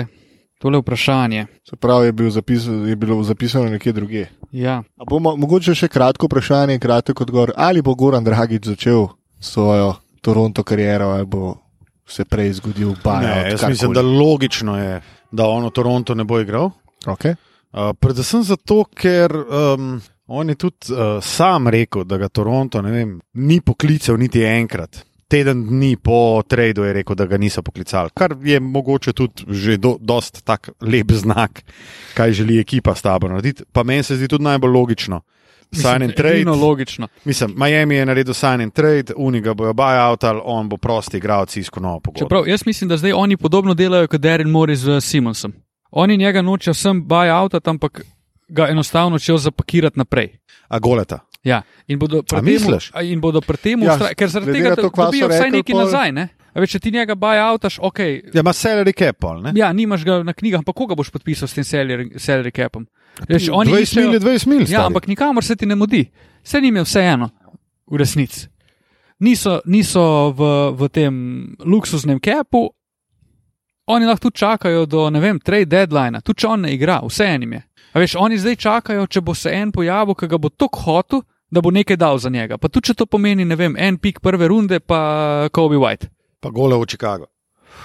Speaker 3: tole vprašanje.
Speaker 2: Se pravi, je, bil zapis, je bilo zapisano nekje drugje.
Speaker 3: Ja.
Speaker 2: A Bo, mo- mogoče še kratko vprašanje, kratek odgovor. Ali bo Goran Dragič začel svojo Toronto kariero, ali bo se prej zgodil
Speaker 1: Ne,
Speaker 2: Bajor?
Speaker 1: jaz mislim, da logično je, da on v Toronto ne bo igral.
Speaker 2: Okay.
Speaker 1: Uh, predvsem zato, ker um, on je tudi uh, sam rekel, da ga Toronto ne vem, ni poklical niti enkrat. Teden dni po tradu je rekel, da ga niso poklicali, kar je mogoče tudi že do, dost tak lep znak, kaj želi ekipa s tabo narediti. Pa meni se zdi tudi najbolj logično. Sign and trade.
Speaker 3: No, logično.
Speaker 1: Mislim, Miami je naredil sign and trade, uniga bojo buyoutali, on bo prosti igralec isko novo pogodbo.
Speaker 3: Čeprav jaz mislim, da zdaj oni podobno delajo kot Darren Mori z eh, Simonsom. Oni njega nočejo sem buy out, ampak ga enostavno hočejo zapakirati naprej.
Speaker 1: A goleta.
Speaker 3: Ja. In bodo pri
Speaker 1: A
Speaker 3: tem,
Speaker 1: misliš?
Speaker 3: in bodo pri tem,
Speaker 2: Ja,
Speaker 3: ustra- ker zaradi
Speaker 2: glede
Speaker 3: tega
Speaker 2: na to,
Speaker 3: to,
Speaker 2: kva so
Speaker 3: dobijo vsaj
Speaker 2: rekli
Speaker 3: nekaj
Speaker 2: pol-
Speaker 3: nazaj. Ne? A več, če ti njega buy outaš, ok.
Speaker 1: Ja, ima salary cap, pol, ne?
Speaker 3: Ja, nimaš ga na knjigah, pa koga boš podpisal s tem salary, salary capom? Veš, Ja, oni
Speaker 1: 20
Speaker 3: iščejo-
Speaker 1: mil je 20 mil.
Speaker 3: Ja,
Speaker 1: stari.
Speaker 3: ampak nikamor se ti ne mudi, vse jim je vseeno, v resnici. Niso, niso v, v tem luksuznem kepu, oni lahko tudi čakajo do, ne vem, trade deadline, tudi če on ne igra, vseeno jim je. A veš, oni zdaj čakajo, če bo se en pojavil, ki ga bo tako hotel, da bo nekaj dal za njega. Pa tudi, če to pomeni, ne vem, en pik prve runde, pa Kobe White.
Speaker 1: pa gole v Chicago.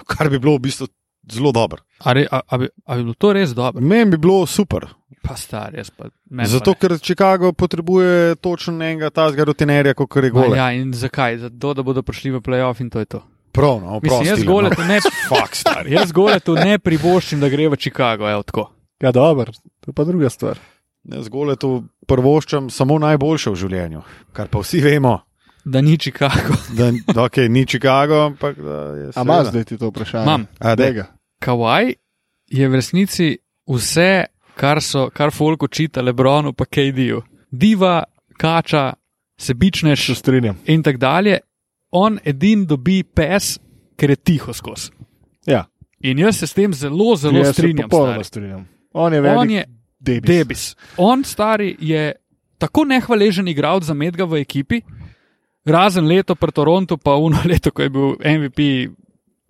Speaker 1: Kar bi bilo v bistvu zelo dobro.
Speaker 3: A, re, a, a, bi, a bi bilo to res dobro?
Speaker 1: Meni bi bilo super.
Speaker 3: Pa star, jaz pa ne.
Speaker 1: Zato, ker Chicago potrebuje točno enega tazga rutinerja, kot je gole.
Speaker 3: Ja, in zakaj? Zato, da bodo prišli v playoff in to je to.
Speaker 1: Prav, no,
Speaker 3: Mislim,
Speaker 1: oprosti,
Speaker 3: jaz
Speaker 1: no.
Speaker 3: Goletu ne-
Speaker 1: Fak, stari.
Speaker 3: Jaz gore tu ne privoščim, da gre v Chicago, evo tako.
Speaker 2: Ja, dobro, to je pa druga stvar.
Speaker 1: Jaz gole tu prvoščam samo najboljše v življenju, kar pa vsi vemo,
Speaker 3: Da ni Chicago.
Speaker 1: da okay, ni Chicago, ampak da je
Speaker 2: A imaš
Speaker 1: seveda.
Speaker 2: zdaj ti to vprašanje?
Speaker 3: Imam.
Speaker 1: A, daj.
Speaker 2: Daj ga.
Speaker 3: Kawhi je v resnici vse, kar, so, kar folk očita Lebronu pa KD-ju. Diva, kača, sebičneš
Speaker 2: Še strinjam.
Speaker 3: in tako dalje. On edin dobi pes, ker je tiho skozi.
Speaker 2: Ja,
Speaker 3: In jaz se s tem zelo, zelo
Speaker 2: jaz se
Speaker 3: strinjam.
Speaker 2: Popolnoma
Speaker 3: stari.
Speaker 2: strinjam. On je
Speaker 3: On
Speaker 2: velik
Speaker 3: je
Speaker 2: debis.
Speaker 3: Debis. On, stari, je tako nehvaležen igralec za medga v ekipi, razen leto pred Toronto, pa uno leto, ko je bil MVP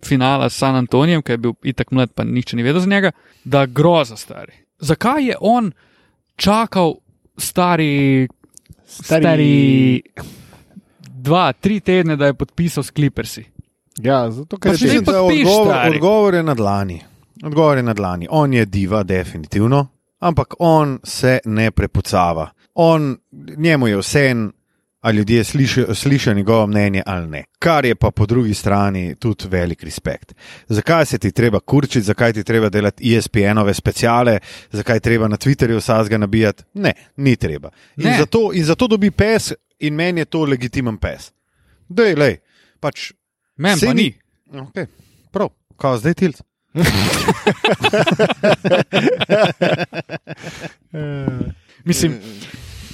Speaker 3: finala s San Antonijem, ki je bil itak mlad, pa nihče ni vedel za njega, da groza stari. Zakaj je on čakal stari, stari, stari dva, tri tedne, da je podpisal s Clippersi?
Speaker 2: Ja, zato ker
Speaker 1: Jaz
Speaker 2: je
Speaker 3: Mislim,
Speaker 1: mislim,
Speaker 2: debis.
Speaker 1: da
Speaker 3: podpiš,
Speaker 1: odgovor,
Speaker 3: stari.
Speaker 1: odgovor je na dlani. Odgovor je na dlani. On je diva, definitivno, ampak on se ne prepucava. On, njemu je vse, ali ljudje slišijo, slišijo njegovo mnenje ali ne. Kar je pa po drugi strani tudi velik respekt. Zakaj se ti treba kurčiti, zakaj ti treba delati E ESPN-ove speciale, zakaj je treba na Twitterju vsazga nabijati? Ne, ni treba. In,
Speaker 3: Ne.
Speaker 1: Zato, in zato dobi pes, in meni je to legitimen pes. Dej, lej, pač
Speaker 3: Meni pa
Speaker 1: Saj
Speaker 3: ni.
Speaker 1: Okay. Prav, kaj zdaj tilt. Mm,
Speaker 3: Mislim,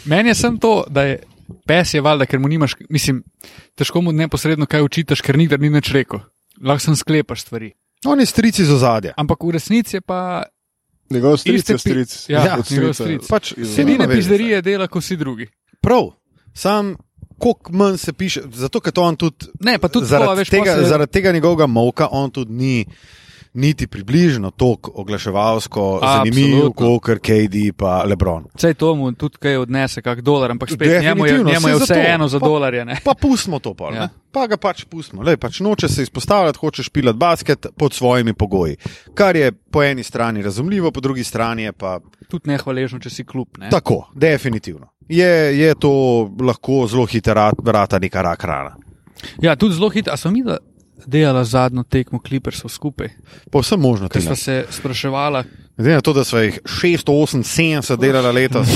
Speaker 3: meni je sem to, da je pes je valjda, ker mu nimaš, mislim, težko mu neposredno kaj učitaš, ker nikdar ni nič rekel. Lahko sem sklepaš stvari.
Speaker 1: On je stric iz ozadja.
Speaker 3: Ampak v resnici je pa
Speaker 2: Njegov stric
Speaker 3: Iste
Speaker 2: je
Speaker 3: pi-
Speaker 2: stric.
Speaker 3: Ja,
Speaker 2: od
Speaker 3: njegov
Speaker 2: strica.
Speaker 3: stric.
Speaker 1: Pač,
Speaker 2: Iz-
Speaker 1: saj nima
Speaker 3: sedine
Speaker 1: veze.
Speaker 3: pizderije dela kot vsi drugi.
Speaker 1: Prav, sam koliko manj se piše, zato ker to on tudi.
Speaker 3: Ne, pa tudi
Speaker 1: zaradi,
Speaker 3: tako, veš,
Speaker 1: tega,
Speaker 3: pol se-
Speaker 1: zaradi tega njegovega moka on tudi ni. Niti približno tako oglaševalsko zanimivo,
Speaker 3: Absolutno.
Speaker 1: kot KD pa Lebron.
Speaker 3: Vse to mu tudi kaj odnese, kak dolar, ampak spet njemu je,
Speaker 1: Definitivno,
Speaker 3: njemu je
Speaker 1: saj
Speaker 3: vse
Speaker 1: zato.
Speaker 3: eno za
Speaker 1: Pa-
Speaker 3: dolarje. Ne?
Speaker 1: Pa pustimo to, pol,
Speaker 3: Ja.
Speaker 1: ja. pa ga pač pustimo. Lej, pač noče se izpostavljati, hočeš pilati basket pod svojimi pogoji. Kar je po eni strani razumljivo, po drugi strani je
Speaker 3: Ja.
Speaker 1: pa
Speaker 3: Tudi nehvaležno, če si kljub. Ne?
Speaker 1: tako, definitivno. Je, je to lahko zelo hitro rat- rata neka rak rana.
Speaker 3: Ja, tudi zelo hitro. A smo mi da- delali zadnjo tekmo Clippersov skupaj,
Speaker 1: Povsem možno.
Speaker 3: ker
Speaker 1: Tina.
Speaker 3: smo se spraševali,
Speaker 1: Glede na to, da so jih 678 delali letos,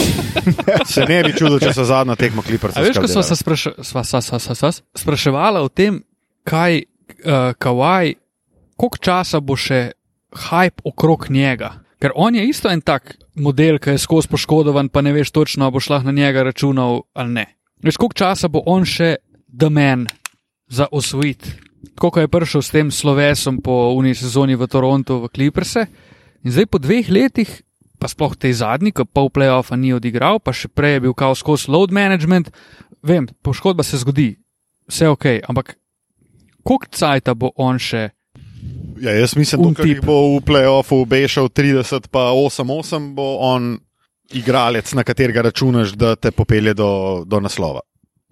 Speaker 1: se ne bi čudil, če so zadnja tekma
Speaker 3: A
Speaker 1: kliprsa.
Speaker 3: veš, ko smo se spraše, sva- sva- sva- sva- sva- spraševala o tem, kaj uh, Kawaj, koliko časa bo še hype okrog njega. Ker on je isto en tak model, ki je skozi poškodovan, pa ne veš točno, ali boš lahko na njega računal ali ne. Veš, koliko časa bo on še domen za osvojiti. Tako kot je prišel s tem slovesom po uni sezoni v Toronto v Clipperse. In zdaj po dveh letih, pa sploh tej zadnji, ki pol playoffa ni odigral, pa še prej je bil kao skozi load management, vem, poškodba se zgodi, vse ok, ampak koliko cajta bo on še?
Speaker 1: Ja, jaz mislim,
Speaker 3: Un
Speaker 1: da jih
Speaker 3: tip.
Speaker 1: bo v playoffu bešal 30, pa 8-8 bo on igralec, na katerega računaš, da te popelje do, do naslova.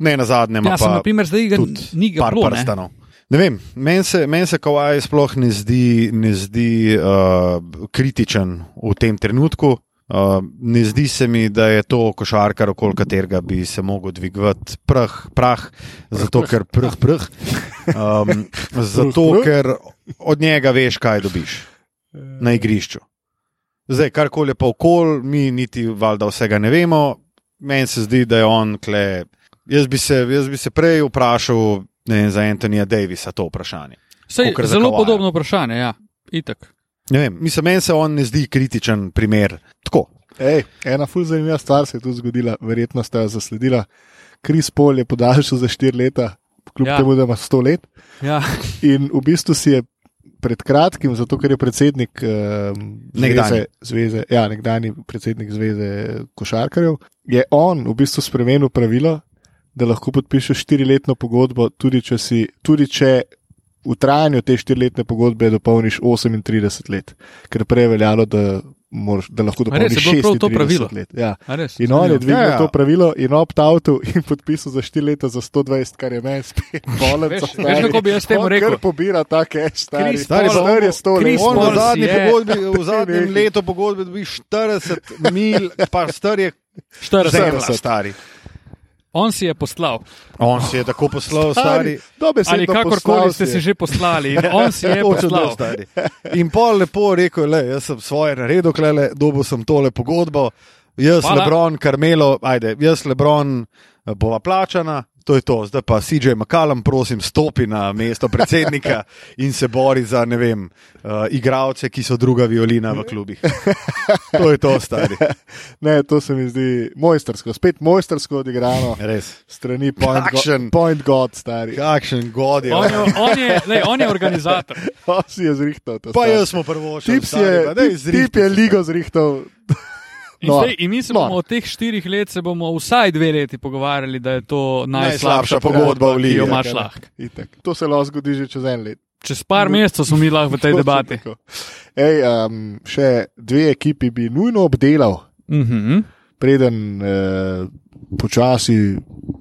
Speaker 1: Ne na zadnje,
Speaker 3: Ja, sem
Speaker 1: pa
Speaker 3: na primer zdaj ga
Speaker 1: tudi
Speaker 3: ni ga
Speaker 1: par
Speaker 3: bilo. ne.
Speaker 1: prstanov. Ne vem, meni se, men se Kowaj sploh ne zdi, ne zdi uh, kritičen v tem trenutku. Uh, ne zdi se mi, da je to košarkar, okoli katerega bi se lahko dvigovati prah, prah, zato ker prah, prah. Um, zato
Speaker 2: prah.
Speaker 1: ker od njega veš, kaj dobiš na igrišču. Zdaj, karkoli je pa okol, mi niti valjda vsega ne vemo. Meni se zdi, da je on kle. Jaz bi se, jaz bi se prej vprašal ne vem, za Antonija Davisa to vprašanje.
Speaker 3: Saj,
Speaker 1: Kakor za
Speaker 3: zelo
Speaker 1: Kavaja.
Speaker 3: podobno vprašanje, ja, itak.
Speaker 1: Ne vem, mislim, meni se on ne zdi kritičen primer. Tako.
Speaker 2: Ej, ena ful zanimiva stvar se je tu zgodila, verjetno ste jo zasledila. Kris Pol je podaljšal za 4 leta, kljub
Speaker 3: Ja.
Speaker 2: ja. temu, da ima 100 let.
Speaker 3: Ja,
Speaker 2: In v bistvu si je pred kratkim, zato ker je predsednik eh,
Speaker 1: Nekdanji.
Speaker 2: zveze, zveze, ja, nekdani predsednik zveze košarkarjev, je on v bistvu spremenil pravilo, da lahko podpišeš štiriletno pogodbo, tudi če, si, tudi če v trajanju te štiriletne pogodbe dopolniš 38 let, ker prej je veljalo, da, moraš, da lahko
Speaker 3: A res,
Speaker 2: dopolniš
Speaker 3: je bilo prav to pravilo?
Speaker 2: 36 let. Ja.
Speaker 3: a res.
Speaker 2: In on je dvignil
Speaker 1: Ja, ja.
Speaker 2: to pravilo in opt-outu in podpisal za 4 leta za 120, kar je meni spet bolj
Speaker 3: Veš- veš, kako bi jaz temu rekel?
Speaker 2: Pobira ta cash, stari.
Speaker 3: Chris
Speaker 2: Stari,
Speaker 1: Paul-
Speaker 2: stari je 100
Speaker 3: Chris
Speaker 2: let.
Speaker 1: On
Speaker 3: Paul-
Speaker 1: v
Speaker 2: On-
Speaker 1: zadnji
Speaker 3: je-
Speaker 1: pogodbi, v zadnjem
Speaker 2: Nekaj.
Speaker 1: letu pogodbe dobiš 40 mil, pa star je
Speaker 3: 40.
Speaker 1: zemlja, stari.
Speaker 3: On si je poslal.
Speaker 1: On si je tako poslal, stari.
Speaker 2: dobesedno
Speaker 3: Ali kakorkoli
Speaker 2: poslal
Speaker 3: ste
Speaker 2: si
Speaker 3: si
Speaker 2: je.
Speaker 3: že poslali, in on si je
Speaker 1: Hočem, da
Speaker 3: poslal.
Speaker 1: ostane. In pol lepo rekel, le, jaz sem svoje naredil, klele, dobil sem tole pogodbo, jaz,
Speaker 3: Hvala.
Speaker 1: Hvala. Lebron, Karmelo, ajde, jaz, Lebron, eh, bova plačana. To je to, zdaj pa CJ McCallum, prosim, stopi na mesto predsednika in se bori za, ne vem, uh, igravce, ki so druga violina v klubih. To je to, stari.
Speaker 2: Ne, to se mi zdi mojstersko, spet mojstersko odigrano.
Speaker 1: Res.
Speaker 2: Strani point, go,
Speaker 1: Kakšen-
Speaker 2: point God, stari.
Speaker 1: Kakšen god je.
Speaker 3: On je, on je, lej, on je organizator.
Speaker 2: On si je zrihtal. to,
Speaker 1: Pa
Speaker 2: stari.
Speaker 1: jaz smo prvo šli.
Speaker 2: Tip si je, tip je ligo zrihtal.
Speaker 3: In,
Speaker 2: No.
Speaker 3: no, zdaj, in mi se
Speaker 2: No.
Speaker 3: bomo no. o teh štirih letih, se bomo vsaj dve leti pogovarjali, da je to najslabša,
Speaker 1: Najslabša pogodba v
Speaker 3: ki
Speaker 1: ligi, ja,
Speaker 3: Jo imaš
Speaker 2: kaj ne.
Speaker 3: lahko.
Speaker 2: Itak. To se lahko zgodi že čez en let.
Speaker 3: Čez par mesecev smo mi lahko v tej
Speaker 2: Točno
Speaker 3: debati.
Speaker 2: tako. Ej, um, še dve ekipi bi nujno obdelal,
Speaker 3: Uh -huh.
Speaker 2: preden eh, počasi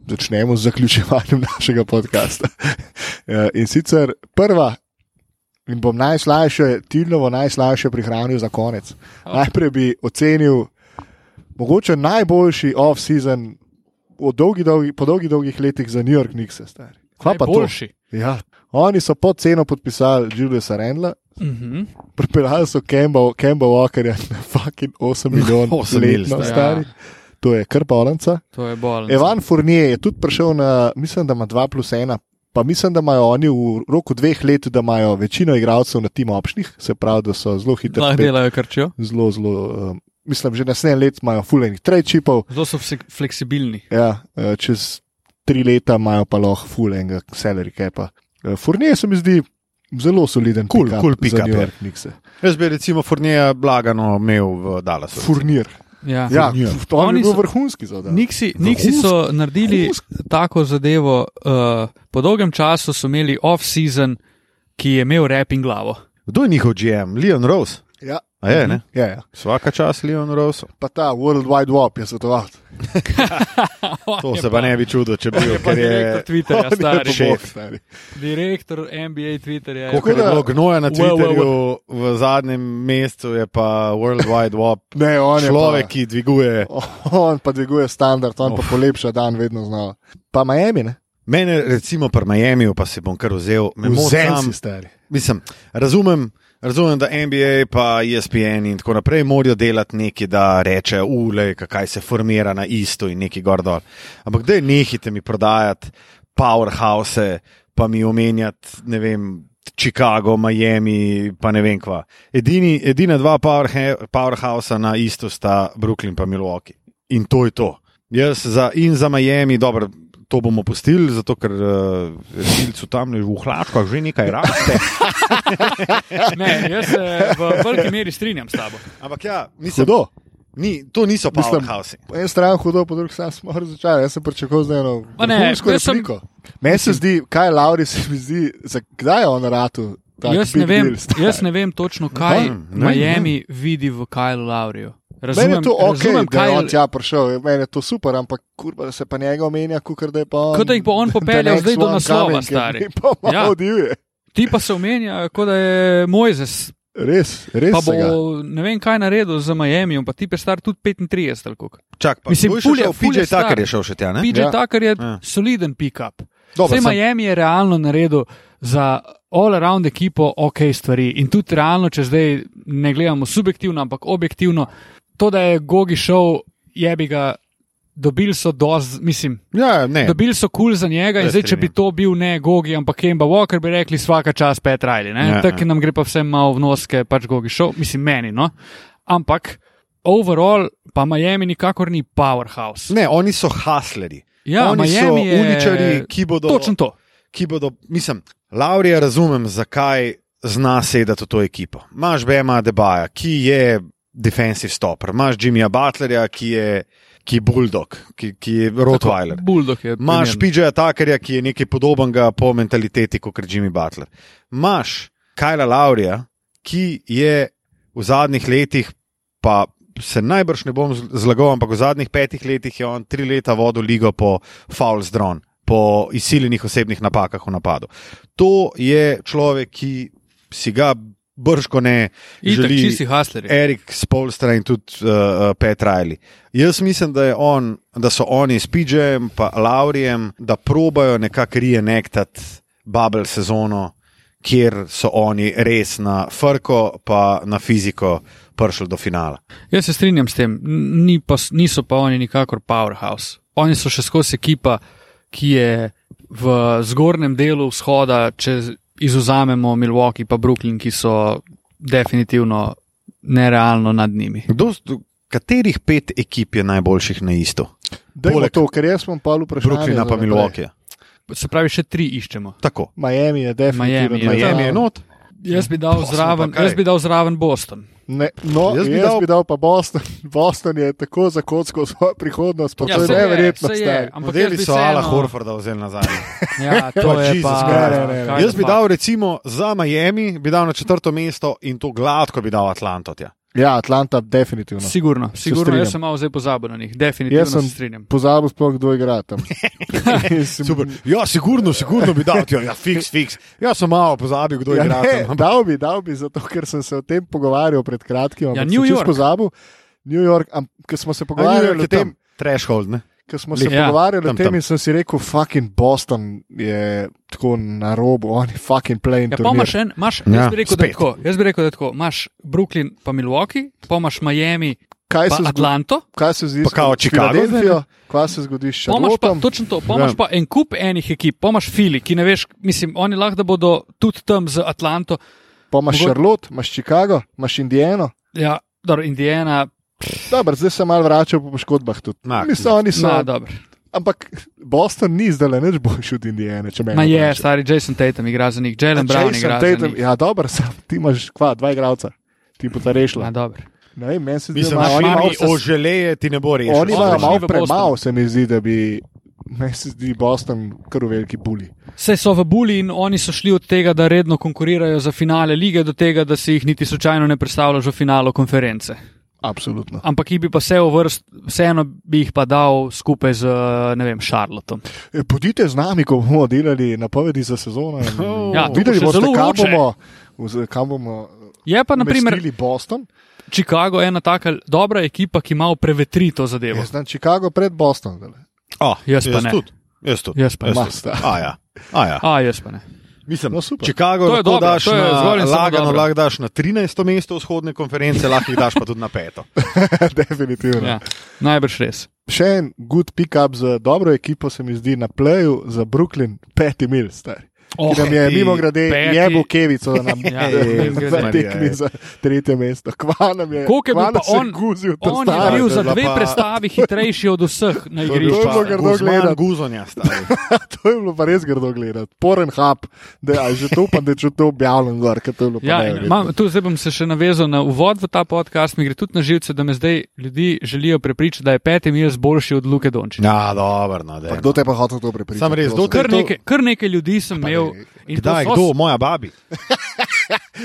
Speaker 2: začnemo z zaključevanjem našega podcasta. Eh, in sicer prva, in bom najslajše, Tilnovo najslajše prihranil za konec. Najprej bi ocenil mogoče najboljši off-season dolgi, dolgi, po dolgi, dolgih letih za New York Knicks. stari. Kva pa to?
Speaker 3: Boljši.
Speaker 2: Ja, oni so pod ceno podpisali Juliusa Rendla,
Speaker 3: Uh -huh.
Speaker 2: Pripeljali so Kemba, Kemba Walkerja na fucking 8 milijonov
Speaker 1: Osem mil
Speaker 2: letno
Speaker 1: star.
Speaker 2: stari. To je kar balanca.
Speaker 3: To je bolj.
Speaker 2: Evan Fournier je tudi prišel na, mislim, da ima 2 plus 1, pa mislim, da imajo oni v roku dveh let, da imajo večino igralcev na tim obšnih, se pravi, da so zelo hitri.
Speaker 3: Lahko delajo krčijo.
Speaker 2: Zelo, zelo, um, mislim, že naslednje leto imajo fulejnih trajčipov,
Speaker 3: Zelo so fse- fleksibilni.
Speaker 2: ja, eh, čez tri leta imajo pa lahko fulejnega salary capa. Eh, Fournier se mi zdi zelo soliden,
Speaker 1: Cool,
Speaker 2: pick-up
Speaker 1: cool
Speaker 2: za
Speaker 1: pick-up ja.
Speaker 2: New
Speaker 1: je.
Speaker 2: York Knickse.
Speaker 1: Jaz bi recimo Furnija blagano imel v Dallasu.
Speaker 2: Furnir.
Speaker 3: Ja.
Speaker 2: Ja,
Speaker 1: Furnir.
Speaker 2: to
Speaker 3: Oni
Speaker 2: je bil
Speaker 3: so-
Speaker 2: vrhunski zadaj.
Speaker 3: Niksi, Niksi so naredili tako zadevo, uh, po dolgem času so imeli off-season, ki je imel rep in glavo.
Speaker 1: Kdo je njihov GM? Leon Rose.
Speaker 2: Ja,
Speaker 1: A je, ne?
Speaker 2: ja, ja.
Speaker 1: Vsaka čas Leon Rose.
Speaker 2: Pa ta World Wide Web je svetoval.
Speaker 1: To se pa ne bi čudil, če bi bil,
Speaker 3: Pa
Speaker 1: ker je
Speaker 3: direktor Twitterja, stari.
Speaker 1: še- šef.
Speaker 2: stari.
Speaker 3: Direktor NBA Twitterja. je-
Speaker 1: Koliko je
Speaker 2: Tako da-
Speaker 1: bilo gnoja na
Speaker 3: Wow,
Speaker 1: Twitterju v zadnjem mesecu, je pa World Wide Web
Speaker 2: Ne, on je
Speaker 1: človek,
Speaker 2: pa-
Speaker 1: ki dviguje.
Speaker 2: On pa dviguje standard, on
Speaker 1: Oh.
Speaker 2: pa polepša dan vedno znova. Pa Miami, ne?
Speaker 1: Mene, recimo, pri Miamiju, pa se bom kar vzel, me moti
Speaker 2: Vzen
Speaker 1: sam.
Speaker 2: si stari.
Speaker 1: Mislim, razumem, razumem, da NBA, pa E ESPN in tako naprej morajo delati nekaj, da reče, ulej, kaj se formira na isto in neki gor dol. Ampak da nehite mi prodajati powerhouse, pa mi omenjati, ne vem. Chicago, Miami, pa ne vem kva. Edini, edina dva powerhe- powerhousea na isto sta Brooklyn in Milwaukee. In to je to. Jaz za, in za Miami, dobro, to bomo pustili, zato ker uh, silcu tam v hlačkah že nekaj raste.
Speaker 3: Ne, jaz se v veliki meri strinjam s tabo.
Speaker 1: Ampak ja, mislim,
Speaker 2: Hudo.
Speaker 1: ni, to niso
Speaker 2: Mislim-
Speaker 1: powerhouse.
Speaker 2: Po eni strani hudo, po drugi strani smo razočarani. Jaz sem pričakoval zdaj eno
Speaker 3: Ma ne,
Speaker 2: vrhunsko
Speaker 3: jaz sem-
Speaker 2: repliko. Meni se zdi, kaj je Lauri, se mi zdi, zakaj je on ratu. tak
Speaker 3: Jaz
Speaker 2: big
Speaker 3: ne, vem,
Speaker 2: deal, stari.
Speaker 3: jaz ne vem točno, kaj
Speaker 1: vem, ne vem,
Speaker 3: Miami vidi v Kajlu Lauriju.
Speaker 2: Meni je
Speaker 3: Razumem,
Speaker 2: to ok,
Speaker 3: razumem
Speaker 2: da je on
Speaker 3: kaj,
Speaker 2: tja prišel, meni je to super, ampak kurba, da se pa njega omenja, kukar da je pa on.
Speaker 3: Kot da jih bo on
Speaker 2: the
Speaker 3: popeljal
Speaker 2: next
Speaker 3: zdaj do
Speaker 2: one
Speaker 3: naslova,
Speaker 2: coming, ker
Speaker 3: stari.
Speaker 2: mi Pa
Speaker 3: Ja.
Speaker 2: ja. Odivje.
Speaker 3: ti pa se omenja, kot da je Mojzes.
Speaker 2: Res, res.
Speaker 3: Pa
Speaker 2: se ga.
Speaker 3: bo ne vem, kaj naredil za Miami, pa ti peš star tudi 35 ali kako.
Speaker 1: Čak, pa,
Speaker 3: Mislim,
Speaker 1: kdo je še
Speaker 3: ful je-
Speaker 1: šel?
Speaker 3: ful je
Speaker 1: PJ
Speaker 3: star.
Speaker 1: Tucker je šel še tja. ne?
Speaker 3: PJ ja.
Speaker 2: Ja.
Speaker 3: Tucker je ja.
Speaker 1: Ja.
Speaker 3: soliden pick-up.
Speaker 1: Dobro,
Speaker 3: Vse
Speaker 1: sem-
Speaker 3: Miami je realno naredil za all-around ekipo ok stvari in tudi realno, če zdaj ne gledamo subjektivno, ampak objektivno, to, da je Gogi šel, je bi ga. Dobili so doz, mislim,
Speaker 1: Ja, ne.
Speaker 3: dobili so kul cool za njega in
Speaker 1: Se
Speaker 3: zdaj, če bi
Speaker 1: strinjam.
Speaker 3: to bil ne Gogi, ampak Kemba Walker, bi rekli vsaka čas Pet Rajli.
Speaker 1: Ja,
Speaker 3: Ja, Tako
Speaker 1: ja.
Speaker 3: nam gre pa vsem malo v nos, ker je pač Gogi šel, mislim meni, no. Ampak overall pa Miami nikakor ni powerhouse.
Speaker 1: Ne, oni so hasleri.
Speaker 3: Ja,
Speaker 1: oni so
Speaker 3: Miami je-
Speaker 1: uličari, ki bodo,
Speaker 3: Točno to.
Speaker 1: ki bodo. Mislim, Laurija razumem, zakaj zna sedeti v to ekipo. Imáš Bema Debaja, ki je defensive stopper, imaš Jimmyja Butlerja, ki je, ki je bulldog, ki, ki je Rottweiler.
Speaker 3: Tako, Bulldog je.
Speaker 1: Imáš
Speaker 3: primerno.
Speaker 1: PJ-ja Takerja, ki je nekaj podobnega po mentaliteti kot Jimmy Butler. Imáš Kajla Laurija, ki je v zadnjih letih, pa se najbrž ne bom zl- zlagal, ampak v zadnjih petih letih je on tri leta vodil ligo po Fouls Drawn, po izsiljenih osebnih napakah v napadu. To je človek, ki si ga brško ne
Speaker 3: Itak,
Speaker 1: želi. E-
Speaker 3: čisti hasleri.
Speaker 1: Erik Spolstra in tudi uh, Pet Rajli. Jaz mislim, da, je on, da so oni s PJ-jem in Laurijem, da probajo nekako reenektati bubble sezono, kjer so oni res na frko, pa na fiziko prišli do finala.
Speaker 3: Jaz se strinjam s tem, n- ni pa, s- niso pa oni nikakor powerhouse. Oni so še skozi ekipa, ki je v zgornjem delu vzhoda, če izuzamemo Milwaukee in Brooklyn, ki so definitivno nerealno nad njimi.
Speaker 1: Kdo, s- katerih pet ekip je najboljših na isto?
Speaker 2: Dajmo
Speaker 1: Poleg
Speaker 2: to, ker jaz sem pa vprašal.
Speaker 1: Brooklyna pa Milwaukee.
Speaker 3: Se pravi, še tri iščemo.
Speaker 1: Tako.
Speaker 2: Miami je definitivno.
Speaker 3: Miami je- ja.
Speaker 1: Miami
Speaker 2: no,
Speaker 1: je not.
Speaker 3: Jaz bi dal
Speaker 1: Pa smo
Speaker 3: zraven,
Speaker 1: pa kaj?
Speaker 3: jaz bi dal zraven Boston.
Speaker 2: Ne, no, jaz, bi, jaz dal... bi dal pa Boston. Boston je tako zakotsko svojo prihodnost, pa ja, to je
Speaker 3: saj je,
Speaker 2: neverjetno.
Speaker 3: saj je,
Speaker 2: stari.
Speaker 3: ampak jaz
Speaker 1: Modeli
Speaker 3: bi
Speaker 1: so Ala
Speaker 3: vseeno-
Speaker 1: Horforda vzeli nazaj.
Speaker 3: Ja, to
Speaker 1: Pa,
Speaker 3: je
Speaker 1: Jesus
Speaker 3: pa,
Speaker 2: Christ. Ne, ne, ne.
Speaker 3: kaj
Speaker 1: Jaz bi
Speaker 3: pa.
Speaker 1: dal recimo za Miami, bi dal na četrto mesto in to gladko bi dal Atlanto. Tja.
Speaker 2: Ja, Atlanta definitivno.
Speaker 3: Sigurno, sigurno jaz
Speaker 2: strinjam.
Speaker 3: sem malo zdaj pozabil na njih, definitivno
Speaker 2: Jaz sem-
Speaker 3: se strinjam.
Speaker 2: Pozabil sploh, kdo igra tam. Mislim,
Speaker 1: Super. Ja, sigurno, sigurno bi dal, tja, ja, fiks, fiks. Jaz sem malo pozabil, kdo
Speaker 2: Ja,
Speaker 1: je igra
Speaker 2: ne,
Speaker 1: tam. ampak-
Speaker 2: dal bi, dal bi, zato ker sem se o tem pogovarjal pred kratkim.
Speaker 3: Ja,
Speaker 2: ampak
Speaker 3: New
Speaker 2: sem čisto
Speaker 3: York.
Speaker 2: Pozabil, New York, am- ker smo se
Speaker 1: A New York
Speaker 2: pogovarjali
Speaker 1: je
Speaker 2: o tem,
Speaker 1: tam Threshold, ne?
Speaker 2: ker smo se
Speaker 3: Ja,
Speaker 2: ja, pogovarjali o
Speaker 1: tam,
Speaker 2: tem
Speaker 1: tam.
Speaker 2: in sem si rekel, fucking Boston je tako na robu, on je fucking plain.
Speaker 3: Ja, pa
Speaker 2: turnir.
Speaker 3: imaš en, imaš,
Speaker 1: Ja,
Speaker 3: jaz, bi rekel, da je
Speaker 1: spet.
Speaker 3: tako, jaz bi rekel, da je tako. Imaš Brooklyn, pa Milwaukee, pa imaš Miami,
Speaker 2: kaj
Speaker 3: pa
Speaker 2: se zgodi?
Speaker 3: Atlanto,
Speaker 2: Kaj se zgodi?
Speaker 1: Pa kao
Speaker 2: s
Speaker 1: Chicago zdaj, ne?
Speaker 2: Filadelfijo? Kaj se zdi s
Speaker 3: pa imaš pa,
Speaker 2: Charlottom?
Speaker 3: točno to, pa imaš
Speaker 1: Ja.
Speaker 3: pa en kup enih ekip, pa imaš Fili, ki ne veš, mislim, oni lahko da bodo tudi tam z Atlanto.
Speaker 2: Pa imaš
Speaker 3: mogo-
Speaker 2: Charlotte, imaš Chicago, imaš Indijano.
Speaker 3: Ja, dobro, Indiana,
Speaker 2: Dobro, zdaj se malo vračajo po poškodbah tudi.
Speaker 1: Ma,
Speaker 2: Mislim, oni so
Speaker 3: no, dobro.
Speaker 2: Ampak Boston ni zdaj le nič boljši od Indijane, če me
Speaker 3: Ma je, stari Jason Tatum igra za njih, Jalen Brown igra za njih.
Speaker 2: Ja, dobro, sam, ti imaš kva, dva igralca, ti bo ta rešila.
Speaker 3: Ma, dobro.
Speaker 2: Ne vem, meni se zdi, da
Speaker 1: Mislim,
Speaker 2: imajo
Speaker 1: da
Speaker 2: oni
Speaker 3: Miami
Speaker 2: malo,
Speaker 1: oni
Speaker 3: se-
Speaker 1: oželeje ti ne bo rešil.
Speaker 2: oni imajo
Speaker 3: šli
Speaker 2: malo
Speaker 3: v Boston.
Speaker 2: premalo, se mi zdi, da bi. Meni se zdi Boston kar v veliki buli.
Speaker 3: Vse so v Buli in oni so šli od tega, da redno konkurirajo za finale lige, do tega, da si jih niti slučajno ne predstavljaš v finalu konference.
Speaker 2: Absolutno.
Speaker 3: Ampak jih bi pa vse uvrst, vseeno bi jih pa dal skupaj z, ne vem, Šarlotom.
Speaker 2: E, Pojdite z nami, ko bomo delali napovedi za sezono. in
Speaker 1: Ja, to bo
Speaker 3: Oh,
Speaker 2: videli
Speaker 3: še
Speaker 2: boste,
Speaker 3: zelo
Speaker 2: kam
Speaker 3: vroče.
Speaker 2: bomo, vz- kam bomo
Speaker 3: Je pa, na primer,
Speaker 2: umestili Boston.
Speaker 3: Chicago ena taka dobra ekipa, ki malo prevetri to zadevo.
Speaker 2: Jaz znam Chicago pred Boston. zdajle.
Speaker 1: Oh,
Speaker 3: Jaz pa ne.
Speaker 1: Tudi. Jaz tudi.
Speaker 3: Jaz pa
Speaker 2: ne.
Speaker 1: tudi. A ja. A ja.
Speaker 3: A, jaz pa ne.
Speaker 1: Mislim,
Speaker 2: No, super.
Speaker 1: Chicago
Speaker 3: To je
Speaker 1: lahko
Speaker 3: dobro,
Speaker 1: daš
Speaker 3: to je zgolj
Speaker 1: na,
Speaker 3: in samo
Speaker 1: lagano,
Speaker 3: dobro.
Speaker 1: lahko daš na 13. mesto vzhodne konference, lahko jih daš pa tudi na peto.
Speaker 2: Definitivno.
Speaker 3: Ja, najbrž res.
Speaker 2: Še en good pick-up za dobro ekipo, se mi zdi na pleju za Brooklyn, peti mil star. Oh, ki nam je
Speaker 1: peti,
Speaker 2: mimo grede
Speaker 3: peti.
Speaker 2: jebo Kevico, da nam
Speaker 3: Ja,
Speaker 2: je
Speaker 1: mimo grede.
Speaker 2: ja, zatekli za tretje mesto. Kva nam je,
Speaker 3: Koliko je bil
Speaker 2: kva
Speaker 3: pa
Speaker 2: nas je
Speaker 3: on-
Speaker 2: guzil, ta
Speaker 3: On je
Speaker 2: stari.
Speaker 3: bil
Speaker 1: to je
Speaker 3: za
Speaker 1: bila
Speaker 3: dve
Speaker 1: pa-
Speaker 3: predstavi hitrejši od vseh na igrišču.
Speaker 2: bilo grdo gledati.
Speaker 1: guzonja stari.
Speaker 2: To je bilo pa res grdo gledati. Poren hub, da a že to upam, da je že to objavljen gor, ker to je bilo pa
Speaker 3: Ja, in
Speaker 2: neverjetno.
Speaker 3: imam, tu zdaj bom se še navezal na uvod v ta podcast, mi gre tudi na živce, da me zdaj ljudi želijo prepričati, da je peti Mills boljši od Luke Dončića.
Speaker 1: Ja, dobro, no,
Speaker 2: Pa
Speaker 1: dejno.
Speaker 2: Kdo te je pa hotel to prepričati?
Speaker 1: Samo res,
Speaker 2: prosim?
Speaker 1: dokler-
Speaker 3: Kar,
Speaker 1: No, to-
Speaker 3: nekaj- kar nekaj ljudi sem imel in to
Speaker 1: Kdaj,
Speaker 3: so
Speaker 1: kdo, moja babi?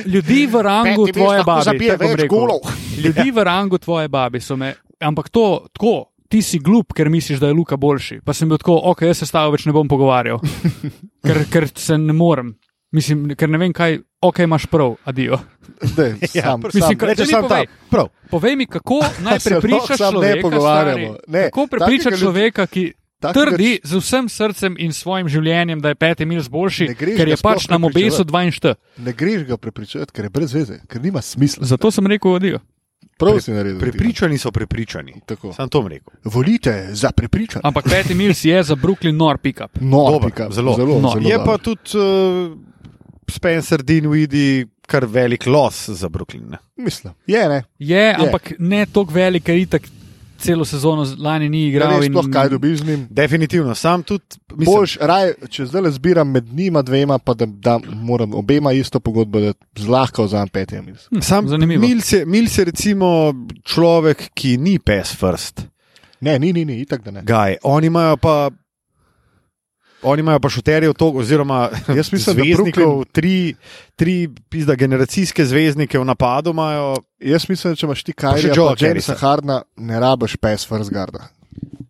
Speaker 3: Ljudi v rangu
Speaker 2: Peti Mills
Speaker 3: tvoje
Speaker 2: lahko
Speaker 3: babi.
Speaker 2: zabije
Speaker 3: tako bom
Speaker 2: več
Speaker 3: rekel.
Speaker 2: golov.
Speaker 3: Ljudi v rangu tvoje babi so me, ampak to tako. Ti si glup, ker misliš, da je Luka boljši. Pa sem bil tako, ok, jaz se s tabo več ne bom pogovarjal, ker, ker se ne morem. Mislim, ker ne vem, kaj, ok, imaš prav, adijo.
Speaker 2: Daj,
Speaker 1: Ja,
Speaker 2: sam,
Speaker 1: pr-
Speaker 3: mislim,
Speaker 2: sam,
Speaker 3: kar-
Speaker 1: Reče
Speaker 3: Zdaj mi
Speaker 1: sam ta.
Speaker 3: povej.
Speaker 1: Prav.
Speaker 3: Povej mi, kako naj
Speaker 2: Se lahko
Speaker 3: prepričaš
Speaker 2: samo ne
Speaker 3: človeka,
Speaker 2: pogovarjamo.
Speaker 3: stari?
Speaker 2: Ne,
Speaker 3: kako prepričaš
Speaker 2: takega ljudi-
Speaker 3: človeka, ki
Speaker 2: takega
Speaker 3: trdi z vsem srcem in svojim življenjem, da je peti mil boljši,
Speaker 2: Ne greš
Speaker 3: ker
Speaker 2: ga
Speaker 3: je pač
Speaker 2: sploh
Speaker 3: na mobesu
Speaker 2: prepričevati.
Speaker 3: 42.
Speaker 2: ne greš ga prepričati, ker je brez veze, ker nima smisla.
Speaker 3: Zato sem rekel, odijo.
Speaker 2: Prav si naredil.
Speaker 1: Prepričani so prepričani.
Speaker 2: Tako.
Speaker 1: Sam to bom rekel.
Speaker 2: Volite za prepričanje.
Speaker 3: Ampak peti mil je za Brooklyn nor pickup.
Speaker 2: No,
Speaker 1: Dober,
Speaker 2: pika,
Speaker 1: zelo.
Speaker 2: zelo,
Speaker 3: No,
Speaker 2: zelo
Speaker 1: Je
Speaker 2: dobro.
Speaker 1: pa tudi uh, Spencer Dinwiddie kar velik los za Brooklyn. ne?
Speaker 2: Mislim, je ne.
Speaker 3: Je, ampak ne tako velik, ker itak celo sezono z- lani ni
Speaker 2: Ne
Speaker 3: igral.
Speaker 2: veš
Speaker 3: in-
Speaker 2: sploh, kaj dobiš z njim.
Speaker 1: Definitivno, sam tudi. mislim,
Speaker 2: Boljš, raj, če zdaj le zbiram med njima dvema, pa da, da moram obema isto pogodbo, da zlahka vzamem petjem. mislim.
Speaker 3: Hm,
Speaker 1: Sam
Speaker 3: Zanimivo.
Speaker 1: Mills je, Mills je recimo človek, ki ni pes first.
Speaker 2: Ne, ni, ni, ni, itak da ne.
Speaker 1: Gaj, oni imajo pa. Oni imajo pa šuterje v to, oziroma
Speaker 2: Jaz mislim, da
Speaker 1: zvezdnikov, tri, tri pizda, generacijske zvezdnike v napadu imajo.
Speaker 2: Jaz mislim, da če imaš ti
Speaker 1: Pa
Speaker 2: kaj,
Speaker 1: še
Speaker 2: že
Speaker 1: Joe
Speaker 2: Jamesa
Speaker 1: Harrisa.
Speaker 2: Hardna, ne rabiš pes Farsgarda.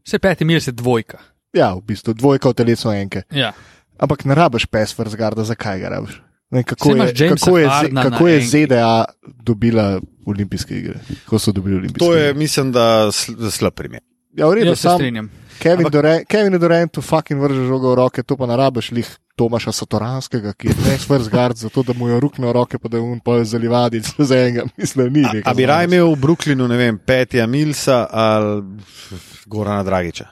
Speaker 3: Vse peti mil je dvojka.
Speaker 2: Ja, v bistvu dvojka v telesu enke.
Speaker 3: Ja.
Speaker 2: Ampak ne rabiš pes Farsgarda, zakaj ga rabiš? Ne, kako,
Speaker 3: Saj imaš
Speaker 2: je,
Speaker 3: Jamesa
Speaker 2: kako, je, Z-
Speaker 3: Hardna na
Speaker 2: kako je
Speaker 3: enki.
Speaker 2: ZDA dobila olimpijske igre? Ko so dobili olimpijske
Speaker 1: To je,
Speaker 2: igre?
Speaker 1: mislim, da sl- slab primer.
Speaker 2: Ja, v redu,
Speaker 3: Jaz se
Speaker 2: sam,
Speaker 3: strinjam.
Speaker 2: Kevin, Durant, Kevin Durant tu fucking vrže žogo v roke, to pa narabiš lih Tomaša Satoranskega, ki je pes vrzgard, zato da mu jo rukne v roke, pa da mu pa zalivadi za enega. Mislim, ni nekaj.
Speaker 1: A bi raje imel v Brooklynu, ne vem, Petja Milsa ali Gorana Dragiča.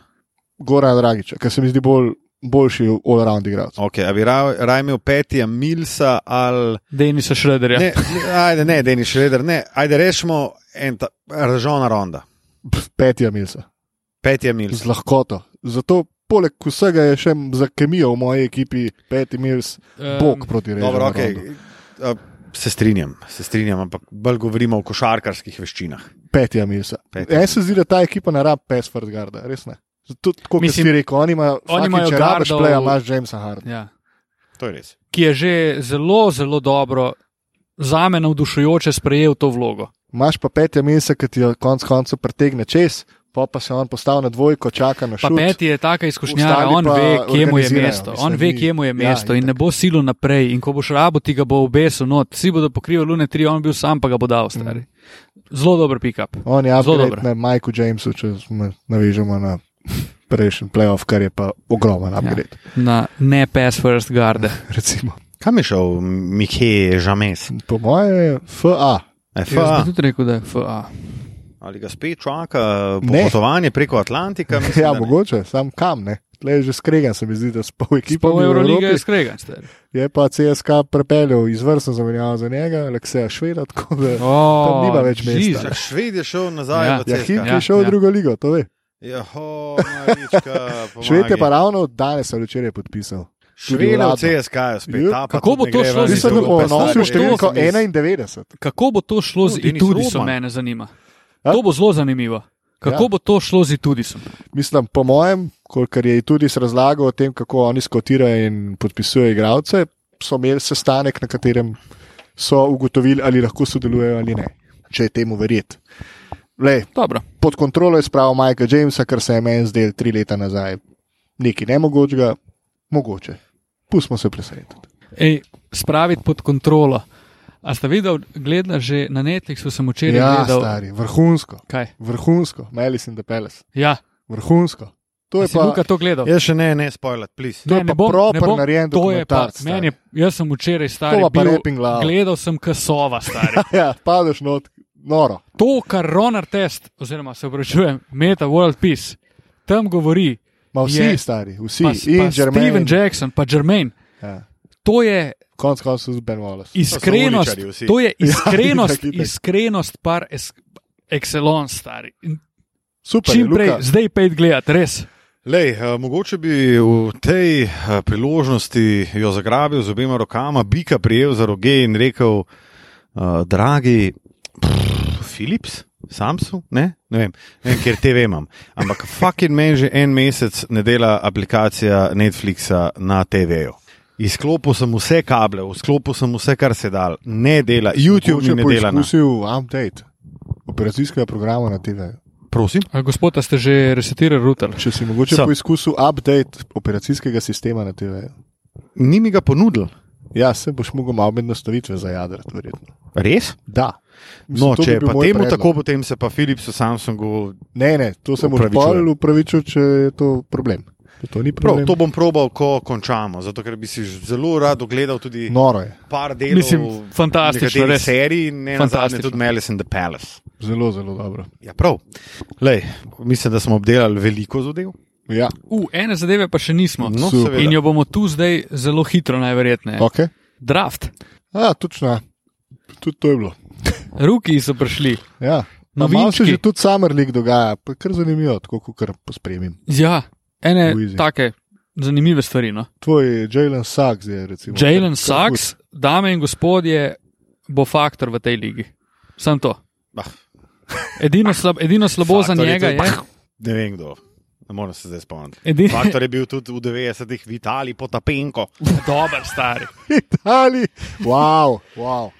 Speaker 2: Goran Dragič, ker se mi zdi bolj, boljši all-round igralec.
Speaker 1: Okay, a bi ra- raje imel Petja Milsa ali.
Speaker 3: Denisa Šrederja.
Speaker 1: Ne, ne, ajde, ne, Denis Šreder, ne, ajde rešimo en ta ražona ronda.
Speaker 2: Petja Milsa.
Speaker 1: Petja Milsa.
Speaker 2: Z lahkoto. Zato poleg vsega je še za kemijo v moji ekipi Peti Mils,
Speaker 3: Em,
Speaker 2: bog proti reži.
Speaker 1: Dobro, okay. A, Se strinjam, se strinjam, ampak bolj govorimo o košarkarskih veščinah.
Speaker 2: Petja Milsa.
Speaker 1: Petja.
Speaker 2: Meni se zdi, da ta ekipa ne rabi pes vrzgarda, res ne. Zato, tako kot si
Speaker 3: Mislim,
Speaker 2: rekel, oni imajo, fucking,
Speaker 3: imajo
Speaker 2: če rabiš
Speaker 3: gardov-
Speaker 2: pleja, imaš Jamesa Harda.
Speaker 3: Ja.
Speaker 1: To je res.
Speaker 3: Ki je že zelo, zelo dobro, za me navdušujoče sprejel to vlogo.
Speaker 2: Imaš pa pet mesecev, ki ti jo konec koncev pretegne čez, pa, pa se on postavi na dvojko, čaka na
Speaker 3: Pa
Speaker 2: šut.
Speaker 3: peti je taka izkušnjava,
Speaker 2: Ostali
Speaker 3: on
Speaker 2: pa
Speaker 3: ve, kje mu je
Speaker 2: organizirajo,
Speaker 3: mesto.
Speaker 2: mislim,
Speaker 3: On ve,
Speaker 2: ni-
Speaker 3: kje mu je
Speaker 2: ja,
Speaker 3: mesto in ne
Speaker 2: itak.
Speaker 3: bo silo naprej. In ko boš rabo, ti ga bo obesil, no, vsi bodo pokrivali lune tri, on bil sam, pa ga bo dal
Speaker 2: Mm.
Speaker 3: stari. Zelo dober pick-up.
Speaker 2: On je upgrade
Speaker 3: dobro.
Speaker 2: na Michael Jamesu, če me navežemo na prejšnji playoff, kar je pa ogromen upgrade. Ja.
Speaker 3: Na ne pass first garde.
Speaker 2: Recimo.
Speaker 1: Kam je šel Mihej Žames?
Speaker 2: Po mojem je FA.
Speaker 3: Jaz
Speaker 1: E, FA,
Speaker 3: bi tudi rekel, da je FA.
Speaker 1: ali ga spet čaka
Speaker 2: Ne.
Speaker 1: potovanje preko Atlantika? Mislim,
Speaker 2: Ja,
Speaker 1: da ne.
Speaker 2: mogoče, sam kam ne. Tle je že skregan, se mi zdi, da s pol ekipa
Speaker 3: Po
Speaker 2: v
Speaker 3: Euroligi je
Speaker 2: Evropi.
Speaker 3: skregan. stari.
Speaker 2: Je pa CSK prepeljal izvrstno zamenjavo za njega, Alekseja Šveda, tako da
Speaker 3: O,
Speaker 2: nima več mesta.
Speaker 3: Jesus.
Speaker 1: Za Šved je šel nazaj
Speaker 3: Ja.
Speaker 1: v
Speaker 2: ja, Hink
Speaker 1: CSKA.
Speaker 2: je šel v
Speaker 3: ja.
Speaker 2: drugo ligo, to ve.
Speaker 1: Jeho, Marička,
Speaker 2: Šved je
Speaker 1: pomagaj.
Speaker 2: pa ravno danes ali včeraj podpisal.
Speaker 1: Švede v
Speaker 2: uradno.
Speaker 1: CSK, -ju spet.
Speaker 2: Ja.
Speaker 1: ta pa
Speaker 3: Kako
Speaker 1: tudi
Speaker 3: bo
Speaker 1: ne
Speaker 3: to
Speaker 1: gre
Speaker 3: šlo
Speaker 1: ven iz
Speaker 3: z
Speaker 2: Mislim, da
Speaker 1: Evrope.
Speaker 2: bo
Speaker 3: Pa stari,
Speaker 2: nosil
Speaker 3: to
Speaker 2: številko
Speaker 1: sem jaz-
Speaker 2: 91.
Speaker 3: Kako bo to šlo z
Speaker 1: No, Denis
Speaker 3: Itudisom,
Speaker 1: Roman.
Speaker 3: mene zanima.
Speaker 2: Ja.
Speaker 3: To bo zelo zanimivo. Kako
Speaker 2: Ja.
Speaker 3: bo to šlo z Itudisom?
Speaker 2: Mislim, po mojem, kolikor je tudi razlagal o tem, kako oni skotirajo in podpisujejo igralce, so imeli sestanek, na katerem so ugotovili, ali lahko sodelujejo ali ne, če je temu verjeti. Lej,
Speaker 3: Dobro.
Speaker 2: pod kontrolo je spravil Majka Jamesa, kar se je meni zdel tri leta nazaj. Nekaj nemogočega, mogoče. Pustimo se presenetiti.
Speaker 3: Ej, spraviti pod kontrolo. A ste videl, gledal že na Netflixu sem včeraj
Speaker 2: Ja,
Speaker 3: gledal.
Speaker 2: stari, vrhunsko,
Speaker 3: Kaj?
Speaker 2: vrhunsko, Melis in the Palace,
Speaker 3: Ja,
Speaker 2: vrhunsko. To
Speaker 3: to
Speaker 2: je
Speaker 3: je si
Speaker 2: pa,
Speaker 3: Luka to gledal.
Speaker 1: Jaz Ja, še ne, ne spoilat, plis.
Speaker 2: to je pa proper narejen
Speaker 3: to je pa,
Speaker 2: dokumentarc,
Speaker 3: meni je, jaz sem včeraj star,
Speaker 2: to pa pa reping glava.
Speaker 3: gledal sem kasova star.
Speaker 2: Ja, padeš not, noro.
Speaker 3: to, kar Ronald Test, oziroma se upravičujem, Meta World Peace, tam govori,
Speaker 2: Ma vsi
Speaker 3: Je.
Speaker 2: je. stari, vsi.
Speaker 3: pa,
Speaker 2: in
Speaker 3: pa Steven
Speaker 2: Jermaine.
Speaker 3: Jackson, pa Jermaine,
Speaker 2: Ja.
Speaker 3: to je
Speaker 2: Konec koncev z Ben Wallace.
Speaker 3: iskrenost,
Speaker 1: uličarji vsi.
Speaker 3: to je iskrenost,
Speaker 2: Ja, itak, itak.
Speaker 3: iskrenost par es, excellence stari. In
Speaker 2: Super, je,
Speaker 3: Čim prej,
Speaker 2: Luka.
Speaker 3: zdaj pa je gledati, res.
Speaker 1: Lej, eh, mogoče bi v tej eh, priložnosti jo zagrabil z obema rokama, bika prijel za roge in rekel: eh, Dragi, pff, Philips, Samsung, ne, ne vem, ne vem ker TV imam. Ampak fucking meni že en mesec ne dela aplikacija Netflixa na TV-ju. Izklopil sem vse kable, izklopil sem vse, kar se da, ne dela, YouTube mi
Speaker 2: Mogoče
Speaker 1: ne
Speaker 2: bo
Speaker 1: dela. na-
Speaker 2: izkusil update operacijskega programa na TV.
Speaker 1: Prosim.
Speaker 3: Gospod, ste že resetirali router.
Speaker 2: Če si mogoče
Speaker 1: So.
Speaker 2: so. poizkusil update operacijskega sistema na TV.
Speaker 1: Ni mi ga ponudil.
Speaker 2: Ja, se boš mogel malo med nastavitve zajadrati, verjetno.
Speaker 1: Res?
Speaker 2: Da. Mislim,
Speaker 1: No,
Speaker 2: to bi
Speaker 1: če je
Speaker 2: bil
Speaker 1: pa
Speaker 2: moj
Speaker 1: temu
Speaker 2: predlog.
Speaker 1: tako, potem se pa Philipsu, Samsungu
Speaker 2: Ne, ne, to sem
Speaker 1: Opravičujem.
Speaker 2: upravičil, upravičil, če je to problem. Če To ni
Speaker 1: Prav,
Speaker 2: problem.
Speaker 1: to bom probal, ko končamo, zato ker bi si ž- zelo rad ogledal tudi no.
Speaker 2: Noro je,
Speaker 1: par delov
Speaker 3: Mislim, fantastično,
Speaker 1: nekaterih
Speaker 3: res.
Speaker 1: serij in ne nazadnje
Speaker 3: Fantastično.
Speaker 1: tudi Malice in the Palace.
Speaker 2: zelo, zelo dobro.
Speaker 1: Ja, prav. Lej, mislim, da smo obdelali veliko zadev.
Speaker 2: Ja,
Speaker 3: U, ene zadeve pa še nismo.
Speaker 1: No,
Speaker 2: Super.
Speaker 1: seveda.
Speaker 3: In jo bomo tu zdaj zelo hitro, najverjetneje.
Speaker 2: ok.
Speaker 3: Draft,
Speaker 2: Ja, točno. ja. Tudi to je bilo.
Speaker 3: ruki so prišli.
Speaker 2: Ja.
Speaker 3: No,
Speaker 2: Malo se
Speaker 3: vinčki.
Speaker 2: že tudi summer league dogaja, pa je kar zanimivo, tako kot kar pospremim.
Speaker 3: Ja, ene
Speaker 2: Easy.
Speaker 3: take zanimive stvari. No.
Speaker 2: Tvoj Jalen Sachs je recimo.
Speaker 3: Jalen
Speaker 2: kar- kar hud.
Speaker 3: Sachs, dame in gospodje, bo faktor v tej ligi. Sam to.
Speaker 1: Bah,
Speaker 3: Edino, slab, edino slabo za
Speaker 1: Faktor je
Speaker 3: njega
Speaker 1: tudi-
Speaker 3: je.
Speaker 1: ne vem kdo. Ne moram se zdaj spomniti.
Speaker 3: Edini,
Speaker 1: Faktor je bil tudi v 90-ih v Italiji, potapenko.
Speaker 3: dober, stari.
Speaker 2: Italij. Wow, wow.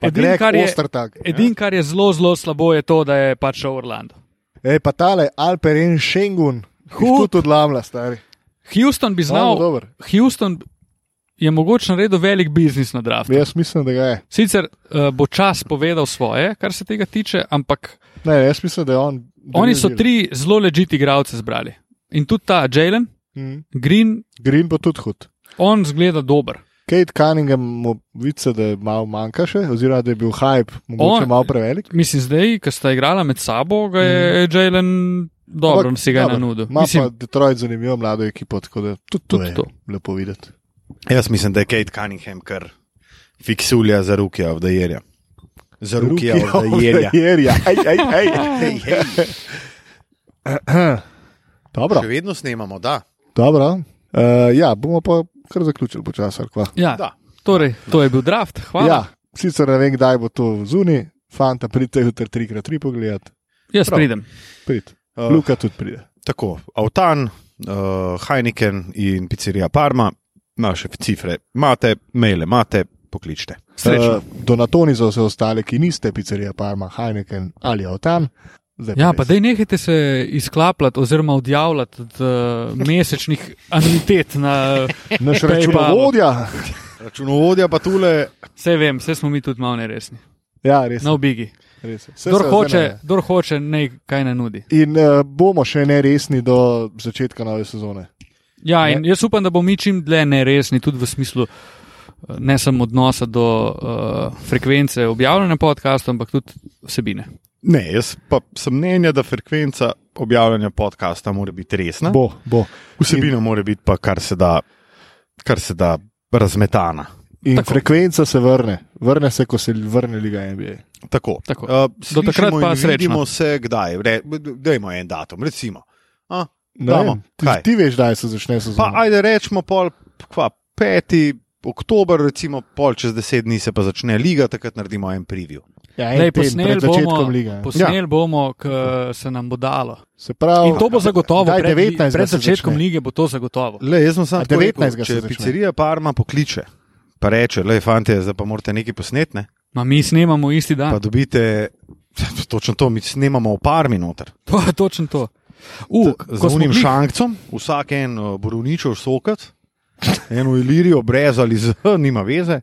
Speaker 2: Pa
Speaker 3: Edino,
Speaker 2: Greg
Speaker 3: kar je-
Speaker 2: Ostertag.
Speaker 3: Edino, kar je zelo, zelo slabo, je to, da je pač šel v Orlando.
Speaker 2: Ej, pa tale Alperen Schengen.
Speaker 3: Hud.
Speaker 2: Hud odlamla, stari.
Speaker 3: Houston bi
Speaker 2: Znal,
Speaker 3: znal,
Speaker 2: dober.
Speaker 3: Houston je mogoče naredil velik biznis na draftu.
Speaker 2: Jaz mislim, da ga je.
Speaker 3: Sicer uh, bo čas povedal svoje, kar se tega tiče, ampak
Speaker 2: Ne, jaz mislim, da je on. da
Speaker 3: oni
Speaker 2: je
Speaker 3: so
Speaker 2: bil.
Speaker 3: tri zelo ležiti igralce zbrali. In tudi ta Jalen,
Speaker 2: Mhm.
Speaker 3: Green,
Speaker 2: Green bo tudi hud.
Speaker 3: on zgleda dober.
Speaker 2: Kate Cunningham, mu vice, da je malo manjka še, oziroma da je bil hype, mogoče
Speaker 3: On-
Speaker 2: on, malo prevelik.
Speaker 3: Mislim, zdaj, ko sta igrala med sabo, ga je Jalen dobro,
Speaker 2: Mhm. Ampak
Speaker 3: si ga je
Speaker 2: dobro.
Speaker 3: nanudil.
Speaker 2: Ima
Speaker 3: Mislim,
Speaker 2: pa Detroit zanimivo mlado ekipo, tako da tudi,
Speaker 3: Tudi
Speaker 2: tudi
Speaker 3: to.
Speaker 2: to je lepo videti.
Speaker 1: Jaz mislim, da je Kate Cunningham kar fiksulja za rukija v dajerja. Za rukija v dajerja.
Speaker 2: Jerja. Aj, aj, aj. Dobro,
Speaker 1: Še vedno snemamo, da.
Speaker 2: dobro. Uh, ja, bomo pa kar zaključili počasi. ali kva.
Speaker 3: ja,
Speaker 1: Da.
Speaker 3: torej, to je bil draft. Hvala.
Speaker 2: Ja, sicer ne vem, kdaj bo to zunaj, fanta pridite jutri 3x3 pogledat,
Speaker 3: Jaz
Speaker 1: prav.
Speaker 3: pridem.
Speaker 2: prid.
Speaker 1: Uh,
Speaker 3: Eh,
Speaker 2: Uh. Luka tudi pride.
Speaker 1: Tako, Avtan, uh, Heineken in pizzerija Parma, naše cifre imate, maile imate, pokličite.
Speaker 3: Srečno.
Speaker 1: Eh,
Speaker 2: Uh, Donatoni za vse ostale, ki niste pizzerija Parma, Heineken ali Avtan. Zdaj pa
Speaker 3: Ja,
Speaker 2: res.
Speaker 3: pa dej nehajte se izklapljati oziroma odjavljati od uh, mesečnih anuitet na
Speaker 2: Naš
Speaker 3: PayPalu.
Speaker 2: računovodja.
Speaker 1: Računovodja pa tule.
Speaker 3: vse vem, vse smo mi tudi malo neresni.
Speaker 2: Ja, res.
Speaker 3: Na
Speaker 2: No.
Speaker 3: obigi.
Speaker 2: res. je. Saj
Speaker 3: Kdor
Speaker 2: se zdaj
Speaker 3: hoče,
Speaker 2: ne-
Speaker 3: kdor hoče, naj kaj ne nudi.
Speaker 2: In uh, bomo še neresni do začetka nove sezone.
Speaker 3: Ja,
Speaker 2: Ne.
Speaker 3: in jaz upam, da bomo mi čim dlje neresni, tudi v smislu eh, ne samo odnosa do uh, frekvence objavljanja podcastov, ampak tudi vsebine.
Speaker 1: Ne, jaz pa sem mnenja, da frekvenca objavljanja podcasta mora biti resna.
Speaker 2: Bo, bo.
Speaker 1: Vsebina mora biti pa kar se da, kar se da razmetana.
Speaker 2: In
Speaker 3: Tako.
Speaker 2: Tako. frekvenca se vrne, vrne se, ko se vrne Liga NBA.
Speaker 1: Tako.
Speaker 3: Tako.
Speaker 1: Uh,
Speaker 3: Do takrat pa
Speaker 1: vidimo
Speaker 3: srečno.
Speaker 1: se kdaj. Re- Dajmo en datum, recimo A,
Speaker 2: Ne
Speaker 1: Damo.
Speaker 2: vem, Ti,
Speaker 1: Kaj?
Speaker 2: ti veš, da se začne sezona.
Speaker 1: pa ajde rečemo pol, kva, peti. Oktober, recimo, pol čez deset dni se pa začne liga, takrat naredimo en preview.
Speaker 2: ja, en
Speaker 3: Lej,
Speaker 2: teden
Speaker 3: posneli
Speaker 2: pred začetkom
Speaker 3: bomo,
Speaker 2: lige. Ja.
Speaker 3: posneli bomo ko se nam bo dalo.
Speaker 2: Se pravi,
Speaker 3: In to bo zagotovo,
Speaker 2: Kdaj,
Speaker 3: pred,
Speaker 2: 19.
Speaker 3: pred
Speaker 2: se
Speaker 3: začetkom
Speaker 2: začne?
Speaker 3: lige bo to zagotovo.
Speaker 1: Le, jaz sem
Speaker 2: A
Speaker 1: samo tako
Speaker 2: 19.
Speaker 1: rekel,
Speaker 2: se
Speaker 1: če
Speaker 2: začne.
Speaker 1: pizzerija Parma pokliče, pa reče, le, fante, zdaj pa morate nekaj posnetne,
Speaker 3: Ma mi snemamo isti
Speaker 1: pa
Speaker 3: dan.
Speaker 1: dobite, točno to, mi snemamo v Parmi noter.
Speaker 3: To je točno to. U,
Speaker 1: Z
Speaker 3: ko smo
Speaker 1: unim
Speaker 3: bili-
Speaker 1: šankcem, vsak en eh, borovničev sokat, eno ilirijo brez ali z, nima veze,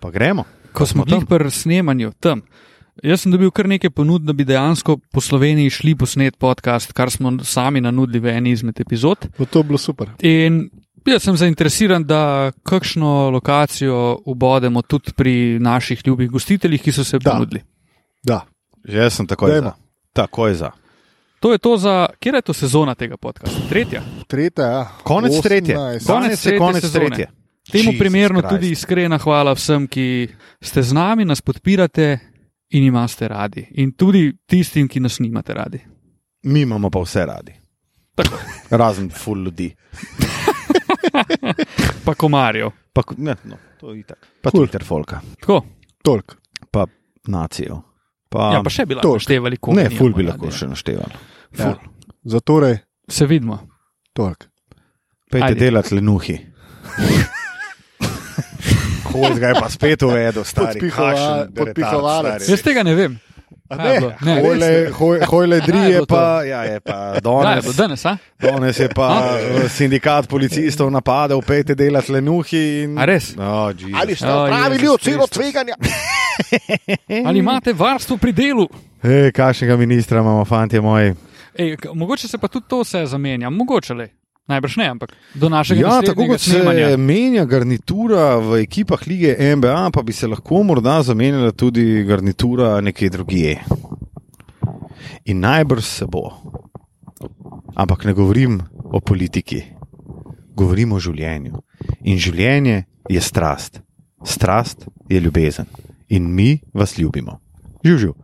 Speaker 1: pa gremo.
Speaker 3: Ko smo bili pri snemanju tam, jaz sem dobil kar nekaj ponud, da bi dejansko po Sloveniji šli posnet podcast, kar smo sami nanudili v eni izmed epizod.
Speaker 2: Bo to bilo super.
Speaker 3: In jaz sem zainteresiran, da kakšno lokacijo ubodemo tudi pri naših ljubih gostiteljih, ki so se
Speaker 2: Da.
Speaker 3: ponudili.
Speaker 2: Da.
Speaker 1: Jaz sem takoj
Speaker 2: Dajmo.
Speaker 1: za. Takoj za.
Speaker 3: To je to za, kje je to sezona tega podcasta? Tretja.
Speaker 2: Tretja, ja.
Speaker 1: Konec
Speaker 2: 18.
Speaker 1: tretje. Danes je
Speaker 3: tretje
Speaker 1: konec
Speaker 3: sezone.
Speaker 1: tretje.
Speaker 3: Temu
Speaker 1: Jesus
Speaker 3: primerno
Speaker 1: Christ.
Speaker 3: tudi iskrena hvala vsem, ki ste z nami, nas podpirate in imate radi. In tudi tistim, ki nas nimate radi.
Speaker 1: Mi imamo pa vse radi.
Speaker 3: Tako.
Speaker 1: Razen full ljudi.
Speaker 3: Pa komarjev.
Speaker 1: Pa, k- ne, no, to je itak. Pa
Speaker 2: Cool.
Speaker 1: cool. Twitter folka,
Speaker 3: Tako.
Speaker 2: Tolk.
Speaker 1: pa nacijo. Pa,
Speaker 3: Ja, pa še bi
Speaker 2: to-
Speaker 3: lahko naštevali, koliko
Speaker 1: ne, full bi lahko še našteval.
Speaker 2: Ja. Zatorej,
Speaker 3: Se vidimo.
Speaker 2: tolk.
Speaker 1: Pejte
Speaker 3: Ajde.
Speaker 1: delati lenuhi. Hoj, ga je pa spet uvedel, stari
Speaker 2: Podpihova-
Speaker 1: kakšen retard,
Speaker 2: podpihovalec.
Speaker 1: stari.
Speaker 3: Jaz tega ne vem.
Speaker 2: A
Speaker 3: Kaj
Speaker 2: ne?
Speaker 3: je bilo? Ne.
Speaker 2: Hojle- hoj- Hojle
Speaker 1: Tri
Speaker 2: dri
Speaker 1: je
Speaker 2: je pa.
Speaker 1: pa, ja, je pa
Speaker 3: Kdaj je bilo
Speaker 1: danes.
Speaker 3: danes? A?
Speaker 1: Danes je
Speaker 3: No.
Speaker 1: pa eh, sindikat policistov napadel, pejte delati lenuhi. In...
Speaker 3: A res?
Speaker 1: Oh, Jesus.
Speaker 4: Ali ste
Speaker 3: Ja,
Speaker 4: odpravili
Speaker 3: Jezus
Speaker 4: oceno
Speaker 3: Kristus.
Speaker 4: tveganja?
Speaker 3: Ali imate varstvo pri delu?
Speaker 1: Ej, Eh. kakšnega ministra imamo, fanti moji.
Speaker 3: Ej, k- mogoče se pa tudi to vse zamenja, mogoče le. Najbrž ne, ampak do našega
Speaker 1: Ja,
Speaker 3: naslednjega
Speaker 1: tako kot se
Speaker 3: snemanja.
Speaker 1: menja garnitura v ekipah lige NBA, pa bi se lahko morda zamenjala tudi garnitura nekje drugje. In najbrž se bo. Ampak ne govorim o politiki, govorim o življenju. In življenje je strast, strast je ljubezen. In mi vas ljubimo. Živijo.